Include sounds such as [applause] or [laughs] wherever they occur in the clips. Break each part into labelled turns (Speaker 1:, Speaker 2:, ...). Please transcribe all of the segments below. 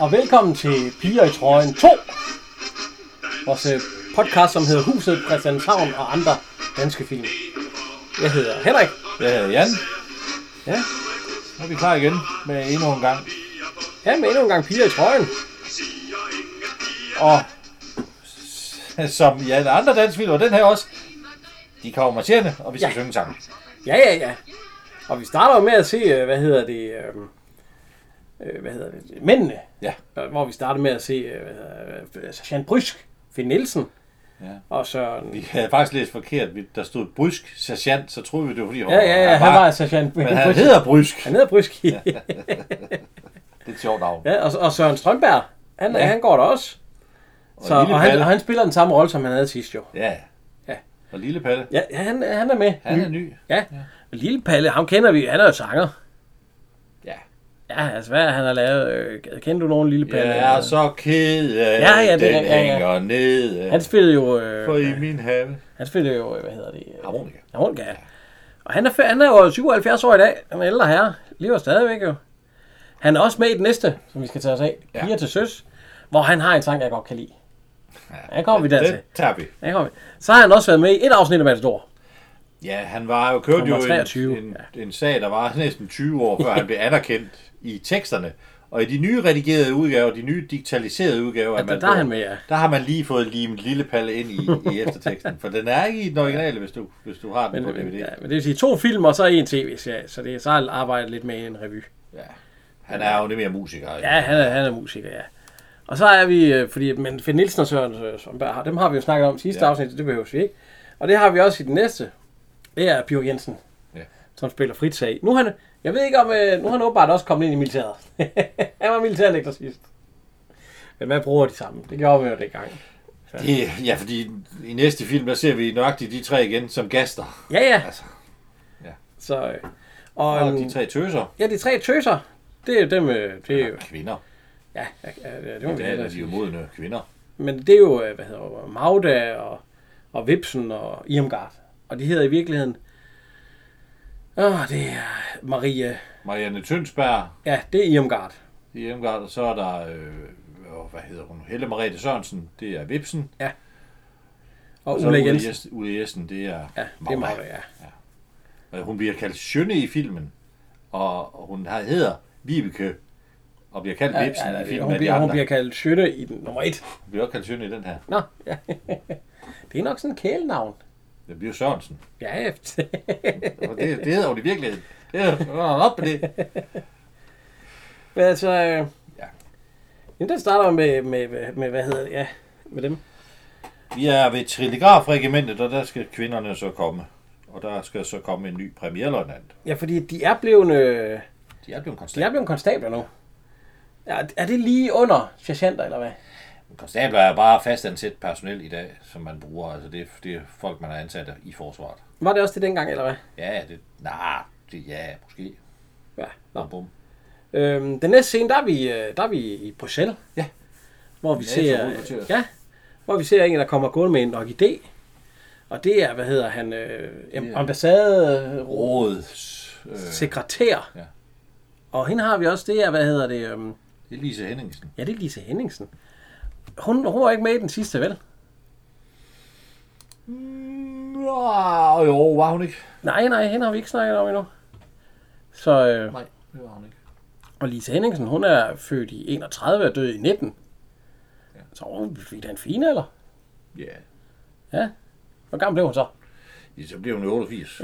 Speaker 1: og velkommen til Piger i Trøjen 2. Vores øh, podcast, som hedder Huset, Christianshavn og andre danske film. Jeg hedder Henrik.
Speaker 2: Jeg hedder Jan.
Speaker 1: Ja,
Speaker 2: Nu er vi klar igen med endnu en gang.
Speaker 1: ja men endnu en gang Piger i Trøjen.
Speaker 2: Og som i alle andre dansfilm, og den her også, de kommer marcherende, og vi skal
Speaker 1: Ja.
Speaker 2: ja. synge sammen.
Speaker 1: Ja, ja, ja. Og vi starter jo med at se, øh, hvad hedder det, øh, øh, hvad hedder det, Mændene.
Speaker 2: Ja.
Speaker 1: Og Hvor vi starter med at se øh, hvad hedder, øh, Jean Brysk, Finn Nielsen
Speaker 2: Ja.
Speaker 1: og Søren...
Speaker 2: Vi havde faktisk læst forkert. Vi- Der stod Brysk Sergeant, så troede vi, det var fordi,
Speaker 1: Ja, ja, ja, han var altså Jean
Speaker 2: Men han
Speaker 1: Brysk.
Speaker 2: hedder Brysk.
Speaker 1: Han hedder
Speaker 2: [laughs]
Speaker 1: Brysk. Ja,
Speaker 2: Det er et sjovt navn. Ja.
Speaker 1: ja og, og Søren Strømberg, han, ja.
Speaker 2: Ja.
Speaker 1: han går der også. Så,
Speaker 2: Lille
Speaker 1: og, han,
Speaker 2: Palle.
Speaker 1: og han spiller den samme rolle, som han havde sidst jo.
Speaker 2: ja.
Speaker 1: Ja. Mm.
Speaker 2: Og Lille Palle,
Speaker 1: Ja, han, han er med.
Speaker 2: han er ny.
Speaker 1: Ja. Og Lille Palle, ham kender vi. Han er jo sanger.
Speaker 2: Ja.
Speaker 1: Ja, altså hvad han har lavet. Øh, kender du nogen Lille Palle?
Speaker 2: Jeg er så ked af,
Speaker 1: øh, Ja, ja, det er
Speaker 2: den
Speaker 1: rigtigt, ja, ja.
Speaker 2: hænger ned.
Speaker 1: Han spillede jo...
Speaker 2: For
Speaker 1: Øh,
Speaker 2: i min have.
Speaker 1: han spillede jo, øh, hvad hedder det? Øh,
Speaker 2: Harmonika.
Speaker 1: Harmonika. Ja. Og han er, fe- han er jo 77 år i dag. Han er ældre herre. Lever stadigvæk jo. Han er også med i det næste, som vi skal tage os af.
Speaker 2: Ja.
Speaker 1: Piger til søs. Hvor han har en sang, jeg godt kan lide.
Speaker 2: Ja,
Speaker 1: Den kommer vi dertil.
Speaker 2: Den tager vi.
Speaker 1: Den kommer vi. Så har han også været med i et afsnit af Matador.
Speaker 2: Ja, han var jo kørt
Speaker 1: Han var
Speaker 2: jo en,
Speaker 1: 23,
Speaker 2: en, en sag, der var [laughs] næsten 20 år, før han blev anerkendt i teksterne. Og i de nye redigerede udgaver, de nye digitaliserede udgaver, af
Speaker 1: der- der
Speaker 2: Matador,
Speaker 1: er han med, ja.
Speaker 2: der har man lige fået limet lille palle ind i, i efterteksten. For den er ikke i den originale, hvis du, hvis du har den
Speaker 1: Men,
Speaker 2: på
Speaker 1: men,
Speaker 2: DVD.
Speaker 1: ja, men det vil sige to film og så en tv-serie, så det er så har han arbejdet lidt med i en revy.
Speaker 2: Ja. Han er jo lidt mere musiker. ikke?
Speaker 1: Ja, han er, han er musiker, ja. Og så er vi, øh, fordi, men Finn Nielsen og Søren øh, Strømberg, har- dem har vi jo snakket om i sidste ja.
Speaker 2: Ja.
Speaker 1: afsnit, så det behøver vi ikke. Og det har vi også i den næste. Det er Pio Jensen, ja.
Speaker 2: Ja.
Speaker 1: som spiller Fritzag. Nu er han, jeg ved ikke om, øh, nu er han åbenbart også kommet ind i militæret. [laughs] han var militærnægter sidst. Men man bruger de samme. Det gjorde vi jo dengang.
Speaker 2: Det, ja, fordi i næste film, der ser vi nøjagtigt de tre igen som gaster.
Speaker 1: Ja, ja.
Speaker 2: Altså, ja.
Speaker 1: Så, øh, og,
Speaker 2: Og
Speaker 1: øhm,
Speaker 2: de tre tøser,
Speaker 1: ja, de tre tøser, det er jo dem, øh, det er jo,
Speaker 2: kvinder.
Speaker 1: ja, ja, ja, det må
Speaker 2: I
Speaker 1: vi
Speaker 2: dag er
Speaker 1: hellere
Speaker 2: de
Speaker 1: sige.
Speaker 2: jo modne kvinder.
Speaker 1: Men det er jo, øh, hvad hedder det, Magda og, og Vipsen og Irmgard. Og de hedder i virkeligheden... Åh, det er Maria...
Speaker 2: Marianne Tønsberg,
Speaker 1: Ja, det er Irmgard.
Speaker 2: i Emgard, og så er der, øh, åh, hvad hedder hun, Helle Merete Sørensen, det er Vipsen.
Speaker 1: Og
Speaker 2: Og så
Speaker 1: Ulla Jensen.
Speaker 2: Jensen. Ulle Jensen, det er
Speaker 1: Ja, det er Magda, ja.
Speaker 2: Og Hun bliver kaldt Sjønne i filmen, og og hun har- hedder Vibeke, og bliver kaldt
Speaker 1: Ja,
Speaker 2: Vipsen
Speaker 1: ja,
Speaker 2: i filmen
Speaker 1: hun,
Speaker 2: af de
Speaker 1: bliver,
Speaker 2: andre.
Speaker 1: hun bliver kaldt Schøtte i den nummer et.
Speaker 2: Hun bliver også kaldt Sjønne i den her.
Speaker 1: Nå, ja. [laughs] Det er nok sådan en kælenavn.
Speaker 2: Det bliver Sørensen.
Speaker 1: Ja, [laughs] ja.
Speaker 2: Og det, det hedder hun i virkeligheden. Det er hun op med det.
Speaker 1: Men altså... Øh, ja.
Speaker 2: Ja.
Speaker 1: Jamen, den starter med, med, med, med, hvad hedder det? Ja, med dem.
Speaker 2: Vi er ved Trillegrafregimentet, og der skal kvinderne så komme. Og der skal så komme en ny premierløjtnant.
Speaker 1: Ja, fordi de er blevet... Øh,
Speaker 2: De er blevet
Speaker 1: de er
Speaker 2: konstabler.
Speaker 1: blevet konstabler nu. Er, er det lige under sergeanter, eller hvad?
Speaker 2: Konstabler er bare fastansat personel i dag, som man bruger. Altså det, det er folk, man har ansat i forsvaret.
Speaker 1: Var det også det dengang, eller hvad?
Speaker 2: Ja, det... Nej, det, ja, måske.
Speaker 1: Ja.
Speaker 2: Nå, bum.
Speaker 1: Øhm, den næste scene, der er vi, øh, der er vi i Bruxelles.
Speaker 2: Ja.
Speaker 1: Hvor vi
Speaker 2: NATO
Speaker 1: ser,
Speaker 2: hovedkvarteret.
Speaker 1: ja, hvor vi ser en, der kommer gående med en orkidé. Og det er, hvad hedder han, øh, yeah. ambassadesekretær.
Speaker 2: Rådets... Øh,
Speaker 1: Ja.
Speaker 2: Ja.
Speaker 1: Og hende har vi også, det er, hvad hedder det, øhm,
Speaker 2: Elise Henningsen.
Speaker 1: ja, det er Lise Henningsen. Hun, hun var ikke med i den sidste, vel?
Speaker 2: Nå, jo, var hun ikke?
Speaker 1: Nej, nej, hende har vi ikke snakket om endnu. Så, øh,
Speaker 2: Nej, det var hun ikke.
Speaker 1: og Lise Henningsen, hun er født i 31 og død i 19. Ja. Så hun fik da en fin, eller?
Speaker 2: Ja.
Speaker 1: Ja. Hvor gammel blev hun så?
Speaker 2: ja. Så bliver hun
Speaker 1: [laughs]
Speaker 2: jo 88.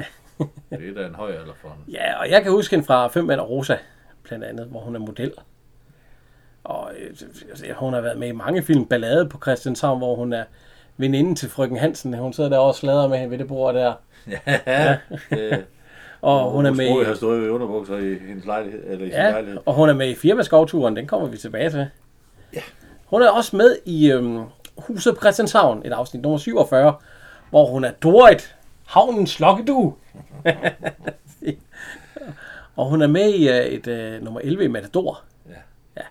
Speaker 2: det er da en høj alder for hende.
Speaker 1: Ja, og jeg kan huske hende fra Fem Mænd og Rosa, blandt andet, hvor hun er model. Og øh, altså, hun har været med i mange film. Ballade på Christianshavn, hvor hun er veninden til frøken Hansen. Hun sidder der og slader med hende ved det bord der.
Speaker 2: [laughs] ja. Øh,
Speaker 1: [laughs] Og hun er med
Speaker 2: Hun har
Speaker 1: i,
Speaker 2: stået i underbukser i hendes lejlighed. Eller i sin
Speaker 1: ja,
Speaker 2: lejlighed.
Speaker 1: og hun er med i Firmaskovturen. Den kommer vi tilbage til. Hun er også med i øhm, Huset på Christianshavn, et afsnit nummer 47, hvor hun er Dorit, havnens lokkedue. [laughs] og hun er med i øh, et øh, nummer 11 i Matador.
Speaker 2: Ja.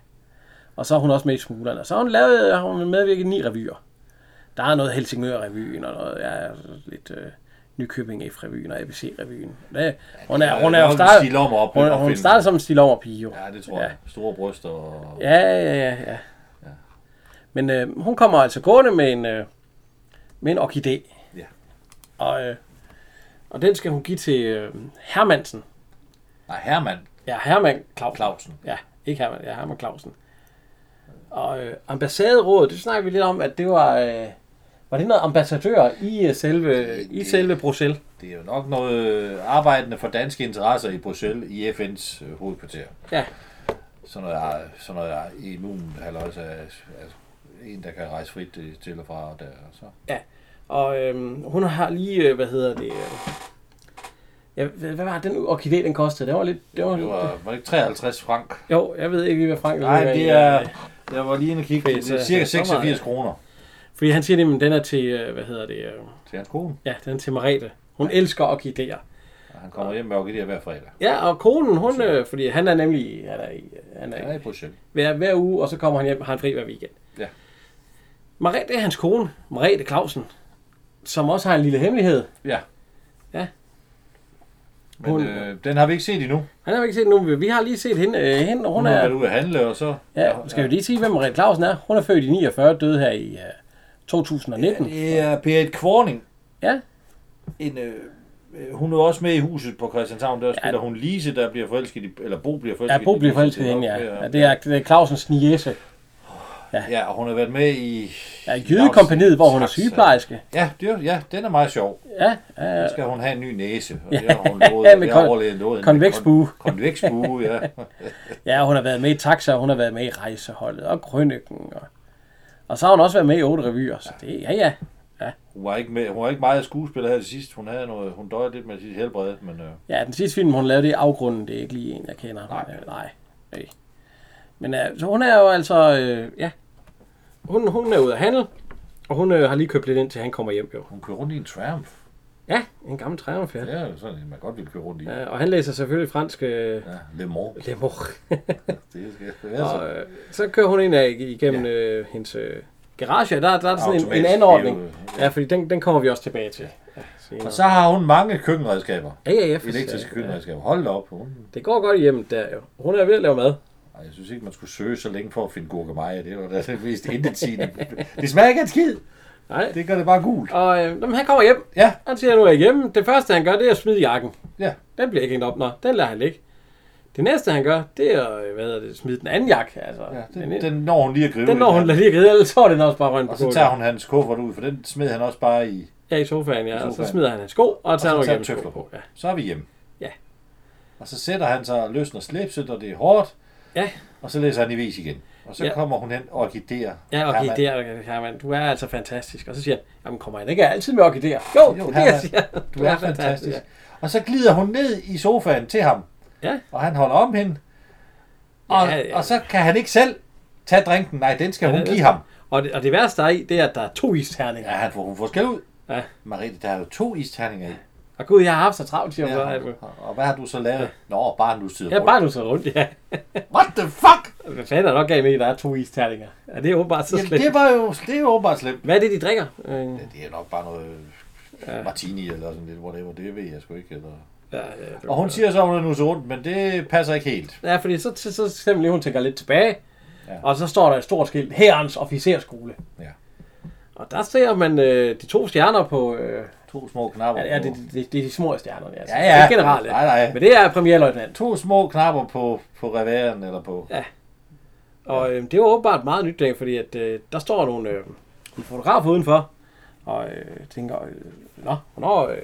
Speaker 1: Og så er hun også med i Smuglerne. Og så har hun, lavet, har hun medvirket i ni revyer. Der er noget Helsingør-revyen og noget ja, lidt øh, Nykøbing F-revyen og ABC-revyen. Ja, hun er,
Speaker 2: det er
Speaker 1: hun er jo
Speaker 2: nok en
Speaker 1: startet,
Speaker 2: stil om at op-
Speaker 1: hun, hun
Speaker 2: opfinde.
Speaker 1: startede som en stilommerpige jo.
Speaker 2: Ja, det tror jeg. Store bryster og...
Speaker 1: Ja, ja, ja, ja. Men øh, hun kommer altså gående med en, øh, med en orkidé.
Speaker 2: Ja.
Speaker 1: Og, øh, og den skal hun give til øh, Hermansen.
Speaker 2: Nej, Hermann
Speaker 1: Ja, Hermann Clausen.
Speaker 2: Clausen.
Speaker 1: Ja, ikke Hermann, ja, Hermann Clausen. Og øh, ambassaderådet, det snakker vi lidt om, at det var... Øh, var det noget ambassadør i øh, selve, i
Speaker 2: Det-
Speaker 1: selve Bruxelles?
Speaker 2: Det er jo nok noget øh, arbejdende for danske interesser i Bruxelles i FN's øh, hovedkvarter.
Speaker 1: Ja.
Speaker 2: Sådan noget, øh, sådan noget øh, immun, halløjs, altså, en, der kan rejse frit øh, til og fra og der. Og så.
Speaker 1: Og øhm, hun har lige, øh, hvad hedder det... Øh, ja, hvad hvad var den orkidé, den kostede? Det var lidt... Det var,
Speaker 2: Det var, var det ikke 53 frank?
Speaker 1: Jo, jeg Mm. ved ikke lige, hvad Frank... ligger
Speaker 2: Nej,
Speaker 1: i,
Speaker 2: det
Speaker 1: øh,
Speaker 2: er... Jeg var lige inde og kigge.
Speaker 1: Okay,
Speaker 2: Det er
Speaker 1: så-
Speaker 2: cirka
Speaker 1: så meget,
Speaker 2: 86
Speaker 1: ja.
Speaker 2: kroner
Speaker 1: Fordi han siger nemlig, den er til, øh, hvad hedder det, øh,
Speaker 2: til hans kone.
Speaker 1: ja, den er til Marete. Hun elsker at give idéer.
Speaker 2: Og han kommer hjem med orkidéer hver fredag.
Speaker 1: Ja, og konen, hun, øh, fordi han er nemlig, han er, i- han
Speaker 2: Han er
Speaker 1: er
Speaker 2: i Bruxelles.
Speaker 1: hver, hver uge, og så kommer han hjem og har en fri hver weekend.
Speaker 2: Ja.
Speaker 1: Marete er hans kone, Marete Clausen, som også har en lille hemmelighed.
Speaker 2: Ja.
Speaker 1: Ja.
Speaker 2: Men
Speaker 1: Hun-
Speaker 2: øh, den har vi ikke set endnu.
Speaker 1: Han har vi ikke set nu, men vi har lige set hende, øh, hende og hun
Speaker 2: Hun har været
Speaker 1: er,
Speaker 2: ude at handle, og så...
Speaker 1: ja, skal vi lige sige, hvem Marete Clausen er? Hun er født i 49, døde her i øh, 2019.
Speaker 2: Det er Berit Kvorning,
Speaker 1: Ja,
Speaker 2: en, øh, øh, hun er også med i huset på Christianshavn, der spiller hun Lise, der bliver forelsket i, eller Bo bliver forelsket
Speaker 1: ja, Bo bliver forelsket i hende, ja. ja. Det er, det er Clausens niese.
Speaker 2: Ja, og hun har været med i...
Speaker 1: Ja, Jydekompaniet, hvor hun er sygeplejerske.
Speaker 2: Ja, det er, ja, den er meget sjov.
Speaker 1: Ja, ja,
Speaker 2: Så
Speaker 1: ja.
Speaker 2: skal hun have en ny næse, og det
Speaker 1: [laughs]
Speaker 2: har hun lovet.
Speaker 1: Ja, med
Speaker 2: det har
Speaker 1: kon-
Speaker 2: overlevet noget.
Speaker 1: konveks bue.
Speaker 2: Kon- Konveks bue, ja.
Speaker 1: Ja, hun har været med i Taxa, og hun har været med i Rejseholdet og Krønningen. Og, og så har hun også været med i otte revyer, så det ja, ja.
Speaker 2: Hun var ikke, med, hun var ikke meget skuespiller her til sidst. Hun, havde noget, hun døjede lidt med sit helbred, men øh,
Speaker 1: Ja, den sidste film, hun lavede, det er Afgrunden. Det er ikke lige en, jeg kender.
Speaker 2: Nej.
Speaker 1: Øh, Nej. Nej. Men ja, så hun er jo altså, øh, ja. Hun, hun er ude at handle, og hun øh, har lige købt lidt ind, til han kommer hjem jo.
Speaker 2: hun kører rundt i en Triumph.
Speaker 1: Ja, en gammel triumf, ja.
Speaker 2: Det er jo sådan en, man godt vil køre rundt i. Ja,
Speaker 1: ja. Og han læser selvfølgelig fransk øh,
Speaker 2: Le Mans.
Speaker 1: Le [laughs] Mans.
Speaker 2: Det skal være så.
Speaker 1: og øh, så kører hun ind af, igennem ja. øh, hendes øh, garage, og der, der er sådan en, en
Speaker 2: Automatisk,
Speaker 1: anordning.
Speaker 2: det er jo-
Speaker 1: Ja, fordi den, den kommer vi også tilbage til. Ja,
Speaker 2: Og
Speaker 1: senere.
Speaker 2: så har hun mange køkkenredskaber.
Speaker 1: Ja, ja, ja, for
Speaker 2: Elektriske
Speaker 1: satan.
Speaker 2: køkkenredskaber. Hold da op. Hun,
Speaker 1: Det går godt i hjemmet der jo. Hun er ved at lave mad.
Speaker 2: Ej, jeg synes ikke, man skulle søge så længe for at finde gurkemeje. Det var da det mest intetsigende. Det smager ikke af en skid.
Speaker 1: Nej.
Speaker 2: Det gør det bare gult.
Speaker 1: Og øh, jamen, han kommer hjem.
Speaker 2: Ja,
Speaker 1: Han siger, nu er jeg hjemme. Det første, han gør, det er at smide jakken.
Speaker 2: ja.
Speaker 1: Den bliver ikke hængt op. Nå, den lader han ligge. Det næste, han gør, det er at øh, hvad hedder det, smide den anden jakke. Altså,
Speaker 2: ja
Speaker 1: den,
Speaker 2: den,
Speaker 1: den,
Speaker 2: den, når hun lige at gribe.
Speaker 1: den når hun
Speaker 2: i.
Speaker 1: lader ligge, ellers så er den også bare rønt på
Speaker 2: Og så tager hun hans kuffert ud, for den smed han også bare i.
Speaker 1: Ja, i sofaen, ja.
Speaker 2: I
Speaker 1: Og så
Speaker 2: sofaen.
Speaker 1: smider han hans sko, og tager
Speaker 2: så
Speaker 1: nogle
Speaker 2: tager han
Speaker 1: gennemsko
Speaker 2: tøfler på.
Speaker 1: Ja.
Speaker 2: Så er vi hjemme.
Speaker 1: Ja.
Speaker 2: Og så sætter han sig og løsner slipset, og det er hårdt.
Speaker 1: Ja.
Speaker 2: Og så læser han i vis igen. Og så
Speaker 1: Ja.
Speaker 2: kommer hun hen og orkiderer.
Speaker 1: Ja, okay,
Speaker 2: Herman.
Speaker 1: det er Herman. Du er altså fantastisk. Og så siger han, jamen kommer han ikke altid med orkideer? Jo, jo det er det, jeg
Speaker 2: Herman,
Speaker 1: siger.
Speaker 2: Du er fantastisk. Og så glider hun ned i sofaen til ham.
Speaker 1: Ja.
Speaker 2: Og han holder om hende. Og,
Speaker 1: Ja, ja.
Speaker 2: og så kan han ikke selv tage drinken. Nej, den skal
Speaker 1: Ja,
Speaker 2: hun
Speaker 1: det-
Speaker 2: give ham.
Speaker 1: Og det, og det værste der er i, det er, at der er to isterninger.
Speaker 2: Ja, han får, hun får skæld ud.
Speaker 1: Ja.
Speaker 2: Marie, der er jo to isterninger i.
Speaker 1: Og gud, jeg har haft så travlt, siger hun.
Speaker 2: Ja,
Speaker 1: Ja,
Speaker 2: og- og hvad har du så lavet? Nå, bare nu sidder
Speaker 1: ja, bare du så rundt, ja.
Speaker 2: What the fuck?
Speaker 1: Hvad fanden er der nok af med, at der er to isterninger? Ja, det er åbenbart så
Speaker 2: Jamen,
Speaker 1: slemt.
Speaker 2: det var jo, det er jo åbenbart slemt.
Speaker 1: Hvad er det, de drikker? Øh,
Speaker 2: Ja, det er nok bare noget ja. martini eller sådan lidt, whatever. Det ved jeg sgu ikke. Eller...
Speaker 1: ja, ja, det var-
Speaker 2: Og hun siger så, at hun er nu så rundt, men det passer ikke helt.
Speaker 1: Ja, fordi så, så, så simpelthen hun tænker lidt tilbage.
Speaker 2: Ja.
Speaker 1: Ja. Og så står der et stort skilt, Herrens Officerskole.
Speaker 2: Ja.
Speaker 1: Og der ser man øh, de to stjerner på... Øh,
Speaker 2: To små knapper.
Speaker 1: ja, det,
Speaker 2: på-
Speaker 1: det, det, det, er de små stjerner, det er altså.
Speaker 2: Ja,
Speaker 1: Ja,
Speaker 2: ja.
Speaker 1: ja. Det er generelt.
Speaker 2: Nej, nej.
Speaker 1: Men det er premierløjtnant.
Speaker 2: To små knapper på, på reværen eller på...
Speaker 1: Og øh, det var åbenbart meget nyt dag, fordi at, øh, der står nogle, øh, en fotograf udenfor, og øh, tænker, øh, nå, hvornår... Øh,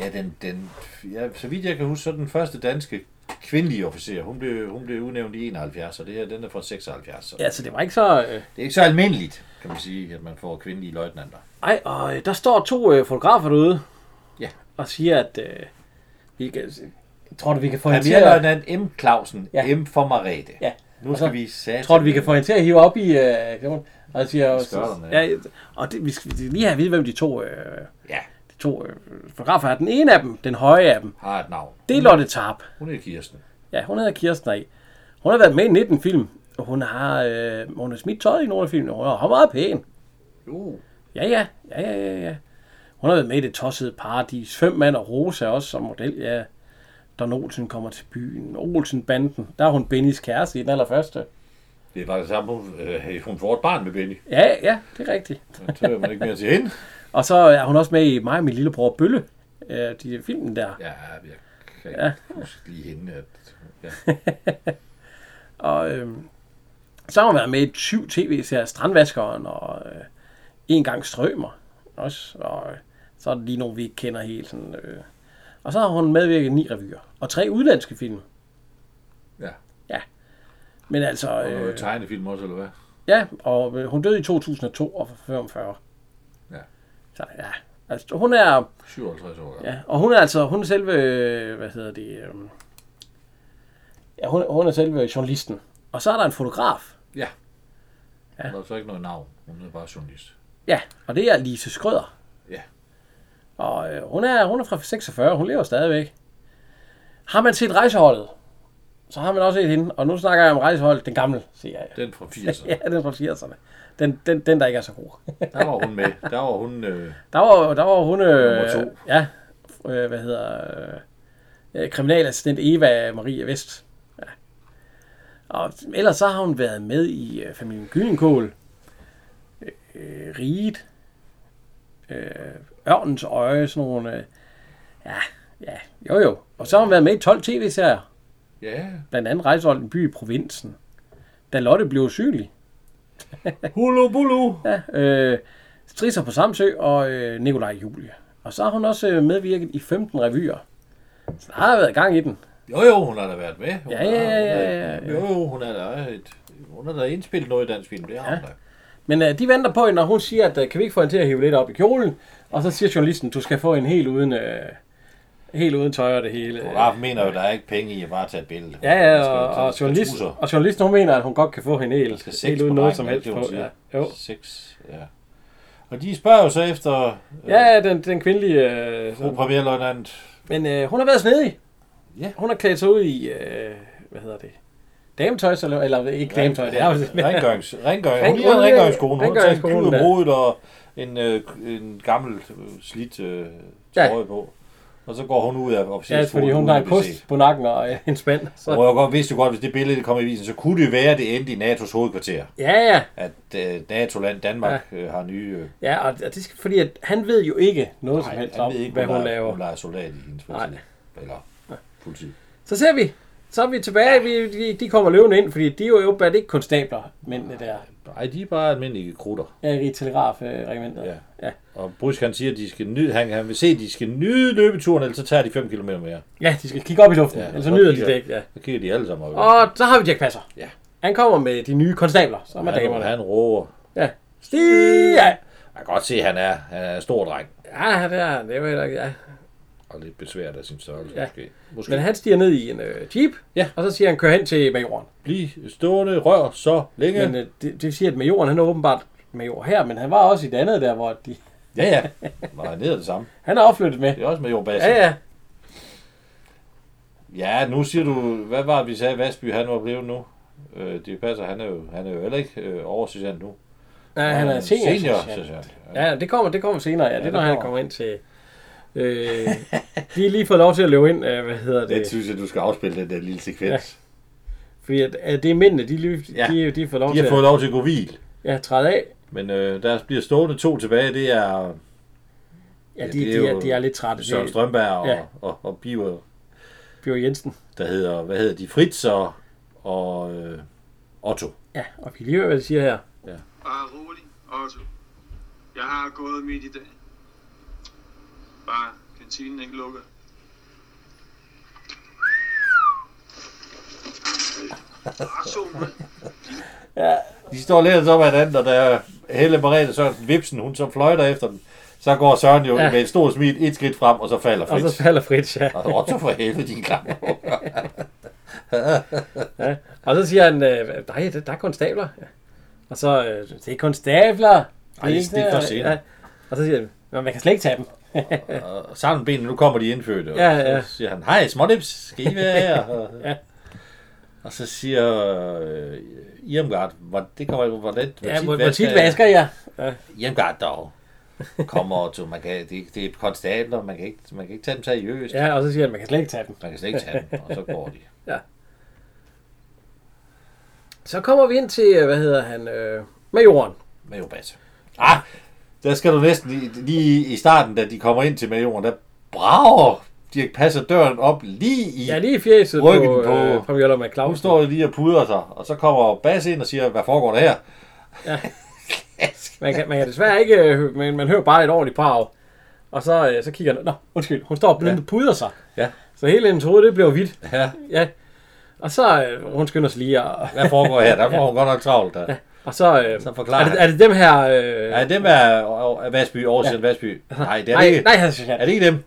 Speaker 2: Ja, den, den, ja, så vidt jeg kan huske, så er den første danske kvindelige officer. Hun blev, hun blev udnævnt i 71, og det her, den er fra 76. Så
Speaker 1: ja, så det var ikke så... Øh,
Speaker 2: Det er ikke så almindeligt, kan man sige, at man får kvindelige løjtnanter.
Speaker 1: ej, og øh, der står to øh, fotografer derude,
Speaker 2: Ja.
Speaker 1: og siger, at... Øh, vi kan, tror du, vi kan få hende til at...
Speaker 2: Premierløjtnant M. Clausen,
Speaker 1: Ja.
Speaker 2: ja. M. for Marete.
Speaker 1: Ja.
Speaker 2: Nu
Speaker 1: Og
Speaker 2: skal
Speaker 1: så-
Speaker 2: vi sætte...
Speaker 1: Tror du, vi kan få hende til at hive op i... Øh, knogen? og jeg siger,
Speaker 2: Skørterne, ja.
Speaker 1: ja, og det, vi skal lige have at vide, hvem de to, øh,
Speaker 2: Ja,
Speaker 1: de to øh, fotografer er. Den ene af dem, den høje af dem,
Speaker 2: har et navn.
Speaker 1: det er Lotte Tarp.
Speaker 2: Hun er Kirsten.
Speaker 1: Ja, hun hedder Kirsten i. Hun har været med i 19 film, og hun har, øh, hun har smidt tøjet i nogle af filmene. Hun er hun er meget pæn.
Speaker 2: Jo.
Speaker 1: Ja, ja, ja, ja, ja, ja. Hun har været med i det tossede paradis. Fem mand og Rosa også som model, ja. Don Olsen kommer til byen. Olsen-banden. Der er hun Bennys kæreste i den allerførste.
Speaker 2: Det var det samme, hun, øh, hun får et barn med Benny.
Speaker 1: Ja, ja, det er rigtigt.
Speaker 2: Så hører man ikke mere til hende.
Speaker 1: Og så er hun også med i mig og min lillebror Bølle. Øh, de filmen der.
Speaker 2: Ja, jeg kan ikke huske lige hende. At,
Speaker 1: Øh.
Speaker 2: ja.
Speaker 1: Og øhm, så har hun været med i syv tv-serier, Strandvaskeren og øh, En gang Strømer også. Og øh, så er der lige nogle, vi ikke kender helt. Sådan, øh. Og så har hun medvirket i ni revyer og tre udlandske film.
Speaker 2: ja.
Speaker 1: Men altså,
Speaker 2: Og noget
Speaker 1: øh,
Speaker 2: tegnefilm også, eller hvad?
Speaker 1: ja, og øh, hun døde i 2002 og var 45.
Speaker 2: Ja.
Speaker 1: Så ja, altså, hun er
Speaker 2: 57 år gammel.
Speaker 1: Ja, og hun er altså, hun er selve, øh, hvad hedder det, øh, ja, hun, hun er selve journalisten. Og så er der en fotograf.
Speaker 2: Ja. ja. Hun har så ikke noget navn. Hun er bare journalist.
Speaker 1: Ja, og det er Lise Skrøder.
Speaker 2: Ja.
Speaker 1: Og øh, hun, er, hun er fra 46, hun lever stadigvæk. Har man set rejseholdet, så har man også set hende. Og nu snakker jeg om rejseholdet, den gamle, siger jeg. [laughs]
Speaker 2: Den fra 80'erne.
Speaker 1: Ja, den fra 80'erne. Den, den, den, der ikke er så god.
Speaker 2: Der var hun med. Der var hun... Øh,
Speaker 1: Der var, der var hun... Øh,
Speaker 2: Nummer to.
Speaker 1: Ja, øh, hvad hedder... Øh, øh, kriminalassistent Eva Marie Vest. Ja. Og ellers så har hun været med i øh, familien Gyllenkål, øh, Riget, øh, Ørnens Øje, sådan nogle... Øh, ja, ja, jo jo. Og så har hun været med i 12 tv-serier,
Speaker 2: ja.
Speaker 1: blandt andet Rejseholdt, en by i provinsen. Da Lotte blev usynlig.
Speaker 2: Hulu bulu.
Speaker 1: Ja, øh, Strisser på Samsø og øh, Nikolaj Julie. Og så har hun også øh, medvirket i 15 revyer. Så der har været gang i den.
Speaker 2: Jo, jo, hun har da været med. Hun
Speaker 1: Ja,
Speaker 2: har-
Speaker 1: ja,
Speaker 2: hun
Speaker 1: ja,
Speaker 2: er-
Speaker 1: ja, ja.
Speaker 2: Jo, jo, hun har da, et, hun har da indspillet noget i dansk film. Det har
Speaker 1: Ja.
Speaker 2: hun da.
Speaker 1: Men øh, de venter på hende, når hun siger, at øh, kan vi ikke få hende til at hive lidt op i kjolen? Og så siger journalisten, du skal få en helt uden, øh, helt uden tøj og det hele.
Speaker 2: Fotografen mener jo, der er ikke penge i at bare tage et billede.
Speaker 1: Ja, ja,
Speaker 2: Der skal-
Speaker 1: og,
Speaker 2: der
Speaker 1: og,
Speaker 2: skal
Speaker 1: journalisten,
Speaker 2: trusser.
Speaker 1: og journalisten, hun mener, at hun godt kan få hende
Speaker 2: Der
Speaker 1: helt,
Speaker 2: skal
Speaker 1: helt uden noget som helst på. Ja. Jo.
Speaker 2: Seks, ja. Og de spørger jo så efter øh,
Speaker 1: ja, ja, den, den kvindelige... Øh,
Speaker 2: fru
Speaker 1: sådan.
Speaker 2: premierløjtnant.
Speaker 1: Men øh, hun har været snedig.
Speaker 2: Ja.
Speaker 1: Hun har klædt sig ud i, øh, hvad hedder det? Dametøj, så- eller, eller ikke dametøj, det er jo
Speaker 2: Rengørings, rengørings, hun
Speaker 1: Rengøring-
Speaker 2: ligner en rengøringskone. Hun har taget en
Speaker 1: rengøringskone,
Speaker 2: kniv om
Speaker 1: ja.
Speaker 2: hovedet og en, øh, en gammel øh, slidt øh,
Speaker 1: Ja.
Speaker 2: trøje på. Og så går hun ud af
Speaker 1: [laughs]
Speaker 2: officers
Speaker 1: Ja, fordi hun har en kost på nakken og øh, en
Speaker 2: [laughs]
Speaker 1: spand. Så.
Speaker 2: Og jeg godt, vidste jo godt, hvis det billede kom i visen, så kunne det være, det endte i NATO's hovedkvarter.
Speaker 1: Ja, ja.
Speaker 2: At øh, NATO-land Danmark øh, har nye... Øh,
Speaker 1: Ja, og og det skal, fordi at han ved jo ikke noget som
Speaker 2: nej,
Speaker 1: helst
Speaker 2: han
Speaker 1: om,
Speaker 2: ved ikke,
Speaker 1: hvad hun
Speaker 2: laver.
Speaker 1: laver.
Speaker 2: Hun leger soldat i hendes
Speaker 1: Nej.
Speaker 2: fritid. Eller politi.
Speaker 1: Så ser vi. Så er vi tilbage. Vi, de, de kommer løvende ind, fordi de er jo åbenbart ikke konstabler, mændene der.
Speaker 2: Nej, de er bare almindelige krutter.
Speaker 1: Ja, i telegrafregimentet.
Speaker 2: Ja.
Speaker 1: ja.
Speaker 2: Og Brysk, han siger, at de skal nyde, han, han vil se, at de skal nyde løbeturen, ellers så tager de 5 km mere.
Speaker 1: Ja, de skal kigge op i luften,
Speaker 2: Ja,
Speaker 1: ja, ellers
Speaker 2: så
Speaker 1: så nyder de
Speaker 2: kigger-
Speaker 1: det ikke. Ja.
Speaker 2: Så kigger de alle sammen op.
Speaker 1: Og så har vi Jack Passer.
Speaker 2: Ja.
Speaker 1: Han kommer med de nye konstabler, som er
Speaker 2: han,
Speaker 1: damerne.
Speaker 2: han råber.
Speaker 1: Ja. Stig! Ja,
Speaker 2: Jeg kan godt se, at han er, han er en stor dreng.
Speaker 1: ja det er det var heller ikke. Ja.
Speaker 2: Og lidt besværet af sin størrelse,
Speaker 1: Ja.
Speaker 2: ja. måske. måske.
Speaker 1: Men han stiger ned i en øh, jeep,
Speaker 2: Ja.
Speaker 1: og så siger han, kør hen til majoren.
Speaker 2: Bliv stående, rør så længe.
Speaker 1: Men øh, det, det siger, at majoren, han er åbenbart major her, men han var også i det andet der, hvor de,
Speaker 2: Ja,
Speaker 1: [laughs]
Speaker 2: ja. Var han nede af det samme.
Speaker 1: han er opflyttet med.
Speaker 2: Det er også med Jon
Speaker 1: Ja,
Speaker 2: Basse.
Speaker 1: ja.
Speaker 2: ja, nu siger du, hvad var det, vi sagde, Vasby, han var blevet nu? Øh, det passer, han er jo, han er jo heller ikke øh, oversergeant nu.
Speaker 1: Nej, han er senior.
Speaker 2: senior
Speaker 1: ja.
Speaker 2: sergeant. Ja.
Speaker 1: Ja, det kommer, det kommer senere. Ja, det er,
Speaker 2: det
Speaker 1: når han
Speaker 2: kommer.
Speaker 1: kommer ind til... Øh, de har lige fået lov til at løbe ind, øh, hvad hedder
Speaker 2: Det
Speaker 1: det?
Speaker 2: synes jeg, du skal afspille den der lille sekvens.
Speaker 1: Fordi at, at det er mændene, de, lige,
Speaker 2: Ja.
Speaker 1: de, de får lov
Speaker 2: De
Speaker 1: til
Speaker 2: har fået lov til at gå hvil.
Speaker 1: at ja, træde af.
Speaker 2: Men øh, der bliver stående to tilbage, det er
Speaker 1: Ja,
Speaker 2: Ja,
Speaker 1: de,
Speaker 2: det er
Speaker 1: de, er,
Speaker 2: jo
Speaker 1: de er lidt trætte.
Speaker 2: Søren
Speaker 1: Det er
Speaker 2: Strømberg og,
Speaker 1: Ja.
Speaker 2: ja. og, og Biver,
Speaker 1: Bjørn Jensen.
Speaker 2: der hedder, hvad hedder de, Fritz og, og øh, Otto.
Speaker 1: Ja, og vi lige hører, hvad de siger her.
Speaker 3: Bare rolig, Otto. Jeg har gået midt i dag. Bare kantinen ikke lukker. Otto, mand.
Speaker 2: De står lidt så med hinanden, og da Helle Merete Sørensen Vipsen, hun så fløjter efter den, så går Søren jo
Speaker 1: Ja.
Speaker 2: ja. med et stort smil et skridt frem, og så falder
Speaker 1: Og
Speaker 2: Fritz.
Speaker 1: så falder Fritz, ja.
Speaker 2: Og Otto for helvede,
Speaker 1: [laughs]
Speaker 2: din gamle.
Speaker 1: ja. Og så siger han, øh, nej, det- der er konstabler. Ja. Og så, øh, det er konstabler.
Speaker 2: Ej, det er
Speaker 1: ikke-
Speaker 2: for sent.
Speaker 1: Og så siger han, "Nå, man kan slet ikke tage dem.
Speaker 2: Og sammen med benene, nu kommer de indfødte. Og
Speaker 1: Ja, ja.
Speaker 2: Så siger han, hej smånips, skal I være her? Og,
Speaker 1: [laughs] Ja.
Speaker 2: og så siger øh, Irmgard, hvor- det kommer jo, hvordan...
Speaker 1: Ja, hvor tit vasker jeg? Ja.
Speaker 2: Irmgard dog. kommer Otto. Man kan, det, det er konstabler, man kan, ikke, man kan ikke tage dem seriøst.
Speaker 1: Ja, og så siger han, at man kan slet ikke tage dem.
Speaker 2: Man kan slet ikke tage dem, og så går de.
Speaker 1: Så kommer vi ind til, øh, hvad hedder han, øh, majoren.
Speaker 2: Majorbas. Ah, der skal du næsten lige, lige i starten, da de kommer ind til majoren, der brager Dirk Passer døren op lige i.
Speaker 1: Ja, lige i fjeset på,
Speaker 2: Ryggen
Speaker 1: på...
Speaker 2: på-
Speaker 1: Øh, Pamjoller med
Speaker 2: Nu
Speaker 1: Claus.
Speaker 2: står de lige og pudrer sig, og så kommer Bas ind og siger, hvad foregår der her?
Speaker 1: Ja. Man kan, man kan desværre ikke, øh, men man hører bare et ordentligt brag. Og så, øh, så kigger han, nå, undskyld, hun står og blindt ja. puder sig.
Speaker 2: Ja.
Speaker 1: Så hele hendes hoved, det bliver hvidt.
Speaker 2: Ja,
Speaker 1: Ja. Og så, øh, hun skynder sig lige, og,
Speaker 2: hvad foregår her? Der får hun godt nok travlt. Der.
Speaker 1: og så, øh,
Speaker 2: Så
Speaker 1: er,
Speaker 2: forklarer
Speaker 1: det, er det dem her... Øh,
Speaker 2: Ja, dem er og- og- Vasby, Aarhusian ja. Vasby. Nej, det er det
Speaker 1: nej,
Speaker 2: ikke.
Speaker 1: nej, han siger,
Speaker 2: Er det ikke dem?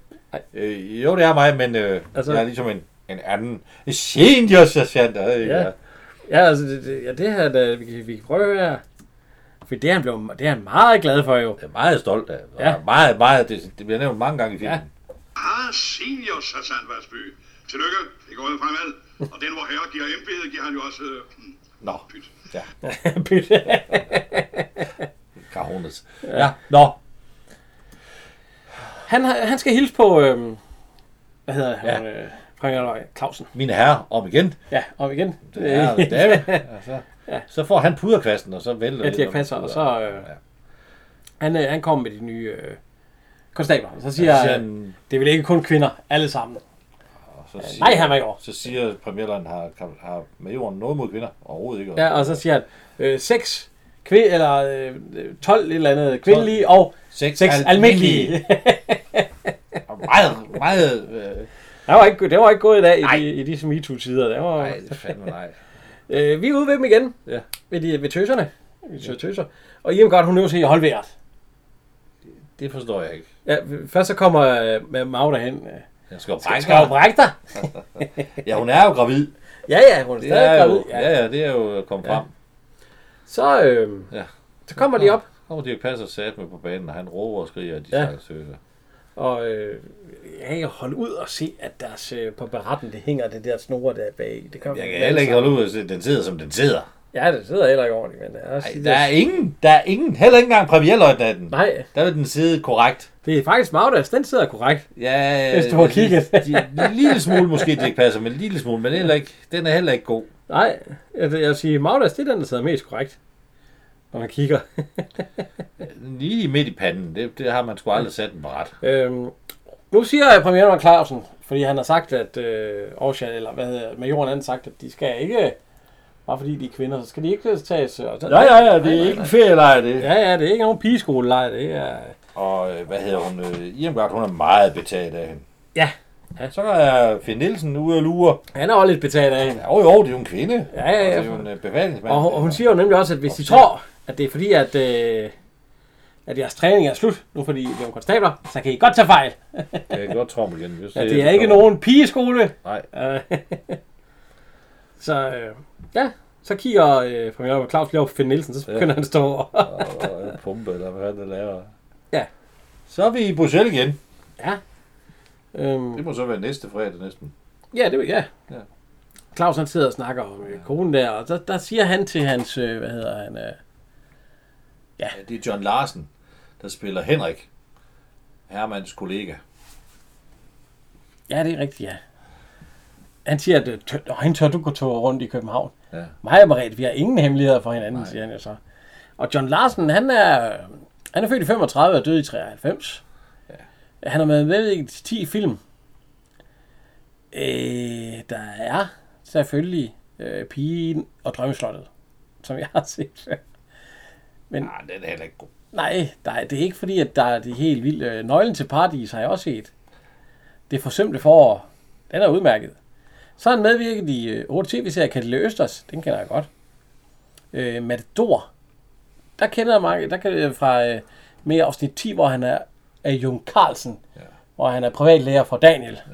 Speaker 2: Øh, jo, det er mig, men øh,
Speaker 1: Altså-
Speaker 2: altså, jeg er ligesom en, en anden en senior sergeant. Øh,
Speaker 1: Ja.
Speaker 2: ja.
Speaker 1: Ja, altså, det, det, ja, det her, da, vi, kan- vi kan prøve her. For det er han, blev, det er han meget glad for,
Speaker 2: [laughs]
Speaker 1: jo.
Speaker 2: Jeg er meget stolt af.
Speaker 1: Ja.
Speaker 2: Ja. Meget, meget, det, det bliver nævnt mange gange i filmen.
Speaker 1: Ja.
Speaker 2: Ja.
Speaker 3: Ah, senior, Sassan Vasby. Tillykke, det går ud fremad. Og den, hvor herre giver embedet, giver han jo også... Øh, hmm,
Speaker 2: Nå,
Speaker 3: pyt.
Speaker 2: ja.
Speaker 1: Bitte.
Speaker 2: Kahones. Ja, nå.
Speaker 1: han, har- han skal hilse på, øh, hvad hedder han, ja. øh, Frank Clausen.
Speaker 2: Mine herrer, om igen.
Speaker 1: Ja, om igen.
Speaker 2: Det er
Speaker 1: Øh,
Speaker 2: David. Altså,
Speaker 1: Ja.
Speaker 2: ja. Så får han puderkvasten, og så vælter
Speaker 1: [laughs] Ja,
Speaker 2: lidt,
Speaker 1: Dirk
Speaker 2: når man
Speaker 1: Passer, og
Speaker 2: puder.
Speaker 1: så... Øh,
Speaker 2: Ja.
Speaker 1: han, øh, han kommer med de nye øh, konstabler, og så siger
Speaker 2: Ja, så siger
Speaker 1: han,
Speaker 2: han-
Speaker 1: det vil ikke kun kvinder, alle sammen.
Speaker 2: Og så siger,
Speaker 1: Nej, han var i år.
Speaker 2: Så siger premierløgnen, har, har majoren noget mod kvinder? Overhovedet ikke.
Speaker 1: Ja, og så siger han, øh, seks kvind, eller øh, 12 et eller andet kvindelige, og
Speaker 2: Seks,
Speaker 1: seks almindelige.
Speaker 2: Og meget, meget... Øh,
Speaker 1: [laughs] Der var ikke, det var ikke gået i dag
Speaker 2: Nej.
Speaker 1: i, de, i disse MeToo-tider. Det var,
Speaker 2: nej, fandme nej.
Speaker 1: øh, vi er ude ved dem igen.
Speaker 2: Ja.
Speaker 1: Ved, de, ved tøserne. Vi tøser, tøser. Og Iam godt, hun nødt til at holde vejret.
Speaker 2: Det forstår jeg ikke.
Speaker 1: Ja, først så kommer øh, med Magda hen. Øh,
Speaker 2: Jeg skal jo
Speaker 1: skal skal jo
Speaker 2: brække
Speaker 1: brække dig?
Speaker 2: Ja, hun er jo gravid.
Speaker 1: Ja, ja, hun er
Speaker 2: Det er
Speaker 1: stadig
Speaker 2: jo,
Speaker 1: gravid.
Speaker 2: ja,
Speaker 1: Ja.
Speaker 2: ja, det er jo kommet frem.
Speaker 1: Så, øh,
Speaker 2: Ja.
Speaker 1: så kommer de op,
Speaker 2: Og Dirk Passer sat med på banen, og han råber og skriger, og de
Speaker 1: Ja.
Speaker 2: ja. snakker søger.
Speaker 1: og øh, jeg kan holde ud og se, at deres, øh, på beretten, det hænger det der snore der bag. Det kan
Speaker 2: Jeg kan heller ikke holde ud og se, at den sidder, som den sidder.
Speaker 1: Ja, det sidder heller ikke ordentligt, men det er også...
Speaker 2: Ej, der er ingen, der er ingen, heller ikke engang premierløjtnanten.
Speaker 1: Nej,
Speaker 2: Der vil den sidde korrekt.
Speaker 1: det er faktisk Magdas, den sidder korrekt.
Speaker 2: Ja, øh,
Speaker 1: Hvis du har kigget.
Speaker 2: de- de- En lille smule måske, det ikke passer, men en lille smule, men heller ikke, den er heller ikke god.
Speaker 1: Nej, jeg, jeg vil sige, Magdas, det er den, der sidder mest korrekt, når man kigger. [laughs]
Speaker 2: Lige midt i panden, det, det har man sgu aldrig sat den på ret.
Speaker 1: øhm, nu siger premieren Clausen, fordi han har sagt, at øh, Aarhusian, eller hvad hedder majoren han har sagt, at de skal ikke, bare fordi de er kvinder, så skal de ikke tages... Og så,
Speaker 2: ja, det er ikke en ferielejr, det. Ja.
Speaker 1: Ja, ja, det er ikke nogen pigeskolelejr, det er...
Speaker 2: Og øh, hvad hedder hun? Øh, Irmgard, hun er meget betaget af hende.
Speaker 1: Ja.
Speaker 2: Så er Finn Nielsen ude og lure.
Speaker 1: Han er også lidt betaget af hende.
Speaker 2: Ja, jo, jo, det er jo en kvinde.
Speaker 1: Ja, ja, ja.
Speaker 2: Og det er jo en øh, befalingsmand.
Speaker 1: Og hun, og hun siger jo nemlig også, at hvis de
Speaker 2: Og-
Speaker 1: tror, at det er fordi, at, øh, at jeres træning er slut, nu fordi I er konstabler, så kan I godt tage fejl.
Speaker 2: Jeg kan godt tromle igen. Hvis
Speaker 1: Ja, det er ikke nogen pigeskole. [laughs]
Speaker 2: Nej.
Speaker 1: Øh, så øh, ja, så kigger øh, premiere på Claus lige over på Finn Nielsen, så begynder ja. han at stå over. [laughs]
Speaker 2: Og, og en pumpe, eller hvad han laver.
Speaker 1: Ja.
Speaker 2: Så er vi i Bruxelles igen.
Speaker 1: øhm,
Speaker 2: Det må så være næste fredag næsten.
Speaker 1: ja, det Øhm, ja.
Speaker 2: Ja.
Speaker 1: Claus han sidder og snakker om øh, konen der, og der, der siger han til hans, øh, hvad hedder han, øh,
Speaker 2: Ja, det er John Larsen, der spiller Henrik, Hermans kollega.
Speaker 1: ja det er rigtigt, ja. Han siger, at øh, tør, "Nå, hende tør du gå tur rundt i København.
Speaker 2: Ja.
Speaker 1: Mig og Mariette, vi har ingen hemmeligheder for hinanden, Nej. siger han jo så. Og John Larsen, han er, han er født i 35 og død i 93. Ja. Han har været med i 10 film. Øh, der er selvfølgelig øh, Pigen og Drømmeslottet, som jeg har set [laughs] før.
Speaker 2: Nej, Ah, den er heller ikke god.
Speaker 1: Nej, der er, det er ikke fordi, at der er de helt vilde... Øh, Nøglen til Paradis har jeg også set. Det forsømte forår. Den er udmærket. Så har han medvirket i øh, 8 tv-serier Katalé Østers. Den kender jeg godt. Øh, Matador. Der kender jeg mange. Der kan jeg fra øh, mere afsnit 10, hvor han er af Jon Carlsen. Ja.
Speaker 2: Ja.
Speaker 1: Hvor han er privatlærer for Daniel. Ja.